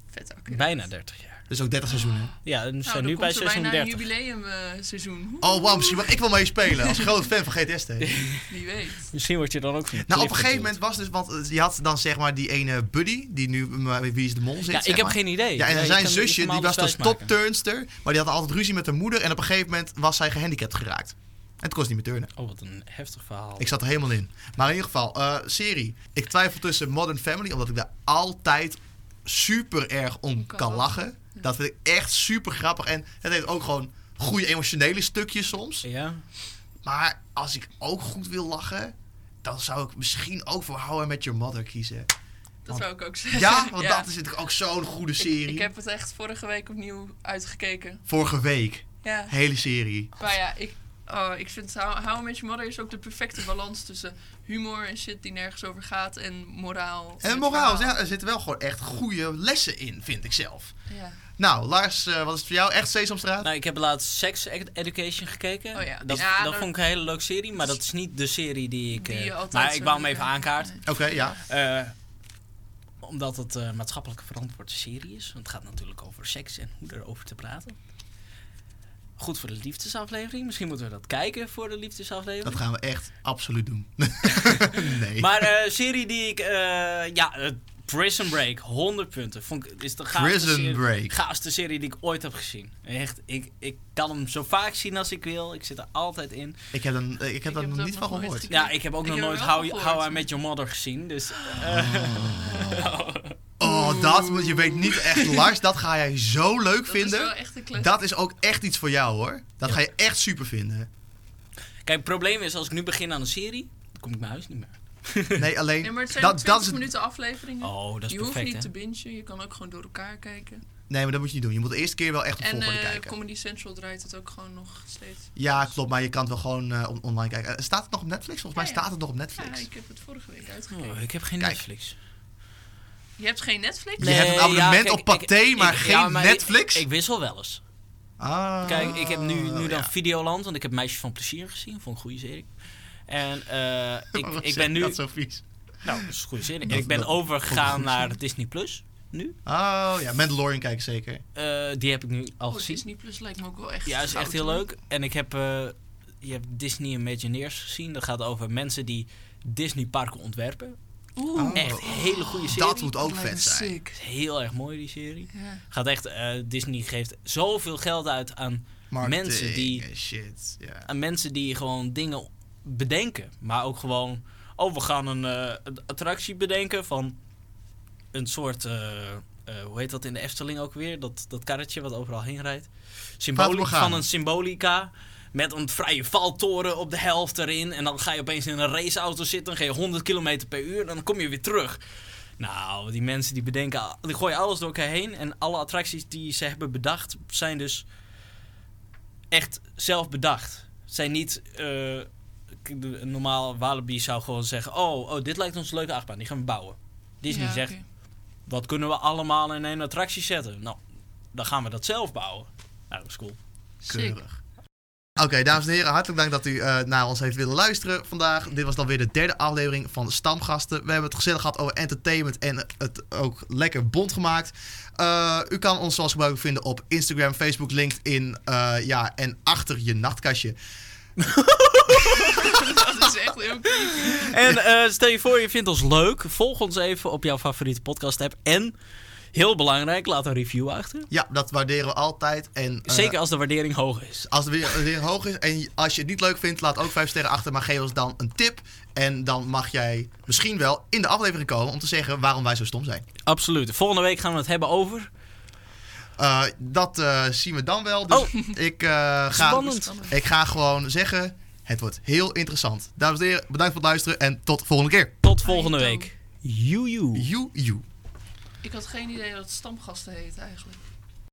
[SPEAKER 3] Vet accuraat.
[SPEAKER 2] Bijna 30 jaar.
[SPEAKER 1] Dus ook 30 seizoenen.
[SPEAKER 2] Ja, en we
[SPEAKER 3] Nou,
[SPEAKER 2] zijn
[SPEAKER 3] dan
[SPEAKER 2] nu bij
[SPEAKER 3] komt er
[SPEAKER 2] seizoen
[SPEAKER 3] bijna een
[SPEAKER 2] 30.
[SPEAKER 3] jubileum eh, seizoen.
[SPEAKER 1] Oh wow, misschien mag ik wel meespelen als groot fan van GTST.
[SPEAKER 3] Wie weet.
[SPEAKER 2] Misschien word je dan ook van de
[SPEAKER 1] Nou, op
[SPEAKER 2] cliff
[SPEAKER 1] een gegeven
[SPEAKER 2] geduwd.
[SPEAKER 1] moment was dus, want eh, je had dan zeg maar die ene buddy, die nu eh, Wie is de Mol zit.
[SPEAKER 2] Ja,
[SPEAKER 1] zeg
[SPEAKER 2] ik heb
[SPEAKER 1] maar.
[SPEAKER 2] geen idee.
[SPEAKER 1] Ja, en
[SPEAKER 2] je
[SPEAKER 1] zijn
[SPEAKER 2] kan- je
[SPEAKER 1] zusje,
[SPEAKER 2] kan
[SPEAKER 1] die
[SPEAKER 2] alles
[SPEAKER 1] was dus
[SPEAKER 2] wijsmaken.
[SPEAKER 1] topturnster, maar die had altijd ruzie met haar moeder en op een gegeven moment was zij gehandicapt geraakt. En toen kon ze niet meer turnen.
[SPEAKER 2] Oh, wat een heftig verhaal.
[SPEAKER 1] Ik zat er helemaal in. Maar in ieder geval, eh, serie. Ik twijfel tussen Modern Family, omdat ik daar altijd super erg om
[SPEAKER 3] kan
[SPEAKER 1] kan
[SPEAKER 3] lachen.
[SPEAKER 1] lachen. Dat vind ik echt super grappig. En het heeft ook gewoon goede emotionele stukjes soms.
[SPEAKER 2] Ja?
[SPEAKER 1] Maar als ik ook goed wil lachen, dan zou ik misschien ook voor How I Met Your Mother kiezen.
[SPEAKER 3] Dat
[SPEAKER 1] Want-
[SPEAKER 3] zou ik ook zeggen.
[SPEAKER 1] Ja, want dat is natuurlijk ook zo'n goede serie.
[SPEAKER 3] Ik, ik heb het echt vorige week opnieuw uitgekeken.
[SPEAKER 1] Vorige week,
[SPEAKER 3] Ja.
[SPEAKER 1] hele serie.
[SPEAKER 3] Maar ja, ik, oh, ik vind How, How I Met Your Mother is ook de perfecte balans tussen humor en shit die nergens over gaat en moraal.
[SPEAKER 1] En
[SPEAKER 3] Het
[SPEAKER 1] moraal,
[SPEAKER 3] verhaal.
[SPEAKER 1] ja, er zitten wel gewoon echt goede lessen in, vind ik zelf.
[SPEAKER 3] Ja.
[SPEAKER 1] Nou, Lars, eh, wat is het voor jou? Echt Sesamstraat?
[SPEAKER 2] Nou, ik heb laatst Sex Ed- Education gekeken.
[SPEAKER 3] Oh ja,
[SPEAKER 2] Dat,
[SPEAKER 3] ja,
[SPEAKER 2] dat
[SPEAKER 3] dat-
[SPEAKER 2] vond ik een hele leuke serie, maar dat is niet de serie die ik...
[SPEAKER 3] Die
[SPEAKER 2] eh,
[SPEAKER 3] je altijd
[SPEAKER 2] maar ik
[SPEAKER 3] zou
[SPEAKER 2] wou hem
[SPEAKER 3] willen
[SPEAKER 2] even
[SPEAKER 3] kijken.
[SPEAKER 2] aankaarten.
[SPEAKER 1] Oké, ja.
[SPEAKER 2] Eh, omdat het eh maatschappelijk verantwoorde serie is. Want het gaat natuurlijk over seks en hoe erover te praten. Goed voor de liefdesaflevering. Misschien moeten we dat kijken voor de liefdesaflevering.
[SPEAKER 1] Dat gaan we echt absoluut doen. nee.
[SPEAKER 2] Maar eh serie die ik... eh, ja, eh, Prison Break. 100 punten. Vond ik, is de gaafste
[SPEAKER 1] Prison
[SPEAKER 2] serie,
[SPEAKER 1] Break.
[SPEAKER 2] gaafste serie die ik ooit heb gezien. Echt, ik, ik kan hem zo vaak zien als ik wil. Ik zit er altijd in.
[SPEAKER 1] ik heb dan, eh, ik heb
[SPEAKER 3] Ik
[SPEAKER 1] dan
[SPEAKER 3] heb
[SPEAKER 1] nog
[SPEAKER 3] dat
[SPEAKER 1] niet van
[SPEAKER 3] nog nooit
[SPEAKER 1] gehoord.
[SPEAKER 3] gezien.
[SPEAKER 2] Ja, ik heb ook
[SPEAKER 3] Ik
[SPEAKER 2] nog
[SPEAKER 3] heb
[SPEAKER 2] nooit
[SPEAKER 3] hem wel
[SPEAKER 2] How, I-
[SPEAKER 3] gehoord.
[SPEAKER 2] How I Met Your Mother gezien. Dus... eh,
[SPEAKER 1] Oh, dat, want je weet niet echt, Lars, dat ga jij zo leuk
[SPEAKER 3] Dat is wel
[SPEAKER 1] vinden.
[SPEAKER 3] echt een classic.
[SPEAKER 1] dat is ook echt iets voor jou hoor. Dat ga je echt super vinden.
[SPEAKER 2] Kijk, het probleem is, als ik nu begin aan een serie, dan kom ik mijn huis niet meer.
[SPEAKER 1] Nee, alleen.
[SPEAKER 3] Nee, maar het zijn
[SPEAKER 1] dat, dat is
[SPEAKER 3] 20
[SPEAKER 1] het-
[SPEAKER 3] minuten afleveringen.
[SPEAKER 2] Oh, dat is
[SPEAKER 3] je hoeft
[SPEAKER 2] perfect,
[SPEAKER 3] niet
[SPEAKER 2] hè?
[SPEAKER 3] te bingen, je kan ook gewoon door elkaar kijken.
[SPEAKER 1] Nee, maar dat moet je niet doen. Je moet de eerste keer wel echt op
[SPEAKER 3] En
[SPEAKER 1] volgorde
[SPEAKER 3] eh,
[SPEAKER 1] kijken.
[SPEAKER 3] Comedy Central draait het ook gewoon nog steeds.
[SPEAKER 1] Ja, klopt. Maar je kan het wel gewoon eh, on- online kijken. Eh, staat het nog op Netflix? Volgens
[SPEAKER 3] Ja,
[SPEAKER 1] mij
[SPEAKER 3] ja.
[SPEAKER 1] staat het nog op
[SPEAKER 3] Ja,
[SPEAKER 1] Netflix.
[SPEAKER 3] ik heb het vorige week uitgekeken.
[SPEAKER 2] Oh, ik heb geen
[SPEAKER 1] Kijk.
[SPEAKER 2] Netflix.
[SPEAKER 3] Je hebt geen Netflix?
[SPEAKER 1] Nee. hebt een abonnement op Pathé, maar geen
[SPEAKER 2] ik-
[SPEAKER 1] Netflix?
[SPEAKER 2] Ik, wissel wel eens.
[SPEAKER 1] Ah,
[SPEAKER 2] Kijk, ik heb nu, nu dan
[SPEAKER 1] ja.
[SPEAKER 2] Videoland, want ik heb Meisje van Plezier gezien. Vond een goede serie. En eh, ik,
[SPEAKER 1] Waarom
[SPEAKER 2] ik
[SPEAKER 1] zeg je
[SPEAKER 2] ben nu...
[SPEAKER 1] Oh, Dat zo vies.
[SPEAKER 2] Nou, dat is een goede serie.
[SPEAKER 1] Dat-
[SPEAKER 2] ik ben
[SPEAKER 1] dat-
[SPEAKER 2] overgegaan naar Disney+. Plus nu.
[SPEAKER 1] Oh ja, Mandalorian kijk ik zeker.
[SPEAKER 2] Eh, die heb ik nu al
[SPEAKER 3] Oh,
[SPEAKER 2] gezien.
[SPEAKER 3] Disney Plus lijkt me ook wel echt
[SPEAKER 2] Ja, is echt
[SPEAKER 3] goud,
[SPEAKER 2] heel
[SPEAKER 3] hoor.
[SPEAKER 2] leuk. En ik heb eh, je hebt Disney Imagineers gezien. Dat gaat over mensen die Disney parken ontwerpen.
[SPEAKER 3] Oeh,
[SPEAKER 1] Oh,
[SPEAKER 2] Echt hele goede serie.
[SPEAKER 1] Dat moet ook
[SPEAKER 3] lijkt me
[SPEAKER 1] vet zijn.
[SPEAKER 3] sick.
[SPEAKER 2] Is Heel erg mooi die serie.
[SPEAKER 3] Ja.
[SPEAKER 2] Gaat echt, eh, Disney geeft zoveel geld uit aan,
[SPEAKER 1] Marketing
[SPEAKER 2] Mensen die-
[SPEAKER 1] en shit. Ja.
[SPEAKER 2] aan mensen die gewoon dingen bedenken. Maar ook gewoon, oh we gaan een eh, een attractie bedenken van een soort, eh, eh, hoe heet dat in de Efteling ook weer? Dat, dat karretje wat overal heen rijdt. Symbolica,
[SPEAKER 1] Fata Morgana.
[SPEAKER 2] van een symbolica. Met een vrije valtoren op de helft erin. En dan ga je opeens in een raceauto zitten. Dan ga je 100 km per uur. En dan kom je weer terug. Nou, die mensen die bedenken. Die gooien alles door elkaar heen. En alle attracties die ze hebben bedacht. zijn dus echt zelf bedacht. Zijn niet. eh, k- de- normaal Walibi zou gewoon zeggen: oh, oh, dit lijkt ons een leuke achtbaan. Die gaan we bouwen. Disney
[SPEAKER 3] Ja,
[SPEAKER 2] zegt:
[SPEAKER 3] oké.
[SPEAKER 2] wat kunnen we allemaal in één attractie zetten? Nou, dan gaan we dat zelf bouwen. Nou, dat is cool.
[SPEAKER 3] Sick.
[SPEAKER 1] Keurig. Oké, dames en heren, hartelijk dank dat u eh, naar ons heeft willen luisteren vandaag. Dit was dan weer de derde aflevering van Stamgasten. We hebben het gezellig gehad over entertainment en het ook lekker bond gemaakt. Eh, u kan ons zoals gebruikelijk vinden op Instagram, Facebook, LinkedIn eh, ja, en achter je nachtkastje.
[SPEAKER 3] Dat is echt heel cool.
[SPEAKER 2] En eh, stel je voor, je vindt ons leuk. Volg ons even op jouw favoriete podcast app. En heel belangrijk, laat een review achter.
[SPEAKER 1] Ja, dat waarderen we altijd. En, eh,
[SPEAKER 2] Zeker als de waardering hoog is.
[SPEAKER 1] Als het weer, weer hoog is en als je het niet leuk vindt, laat ook 5 sterren achter. Maar geef ons dan een tip. En dan mag jij misschien wel in de aflevering komen om te zeggen waarom wij zo stom zijn.
[SPEAKER 2] Absoluut. Volgende week gaan we het hebben over.
[SPEAKER 1] Eh, dat eh, zien we dan wel. Dus
[SPEAKER 2] Oh.
[SPEAKER 1] ik, eh, ga,
[SPEAKER 2] Spannend.
[SPEAKER 1] ik ga gewoon zeggen: het wordt heel interessant. Dames en heren, bedankt voor het luisteren en tot de volgende keer.
[SPEAKER 2] Tot volgende
[SPEAKER 3] Arigato.
[SPEAKER 2] week. Joejoe.
[SPEAKER 1] Joe, joe.
[SPEAKER 3] Ik had geen idee dat het stamgasten heet eigenlijk.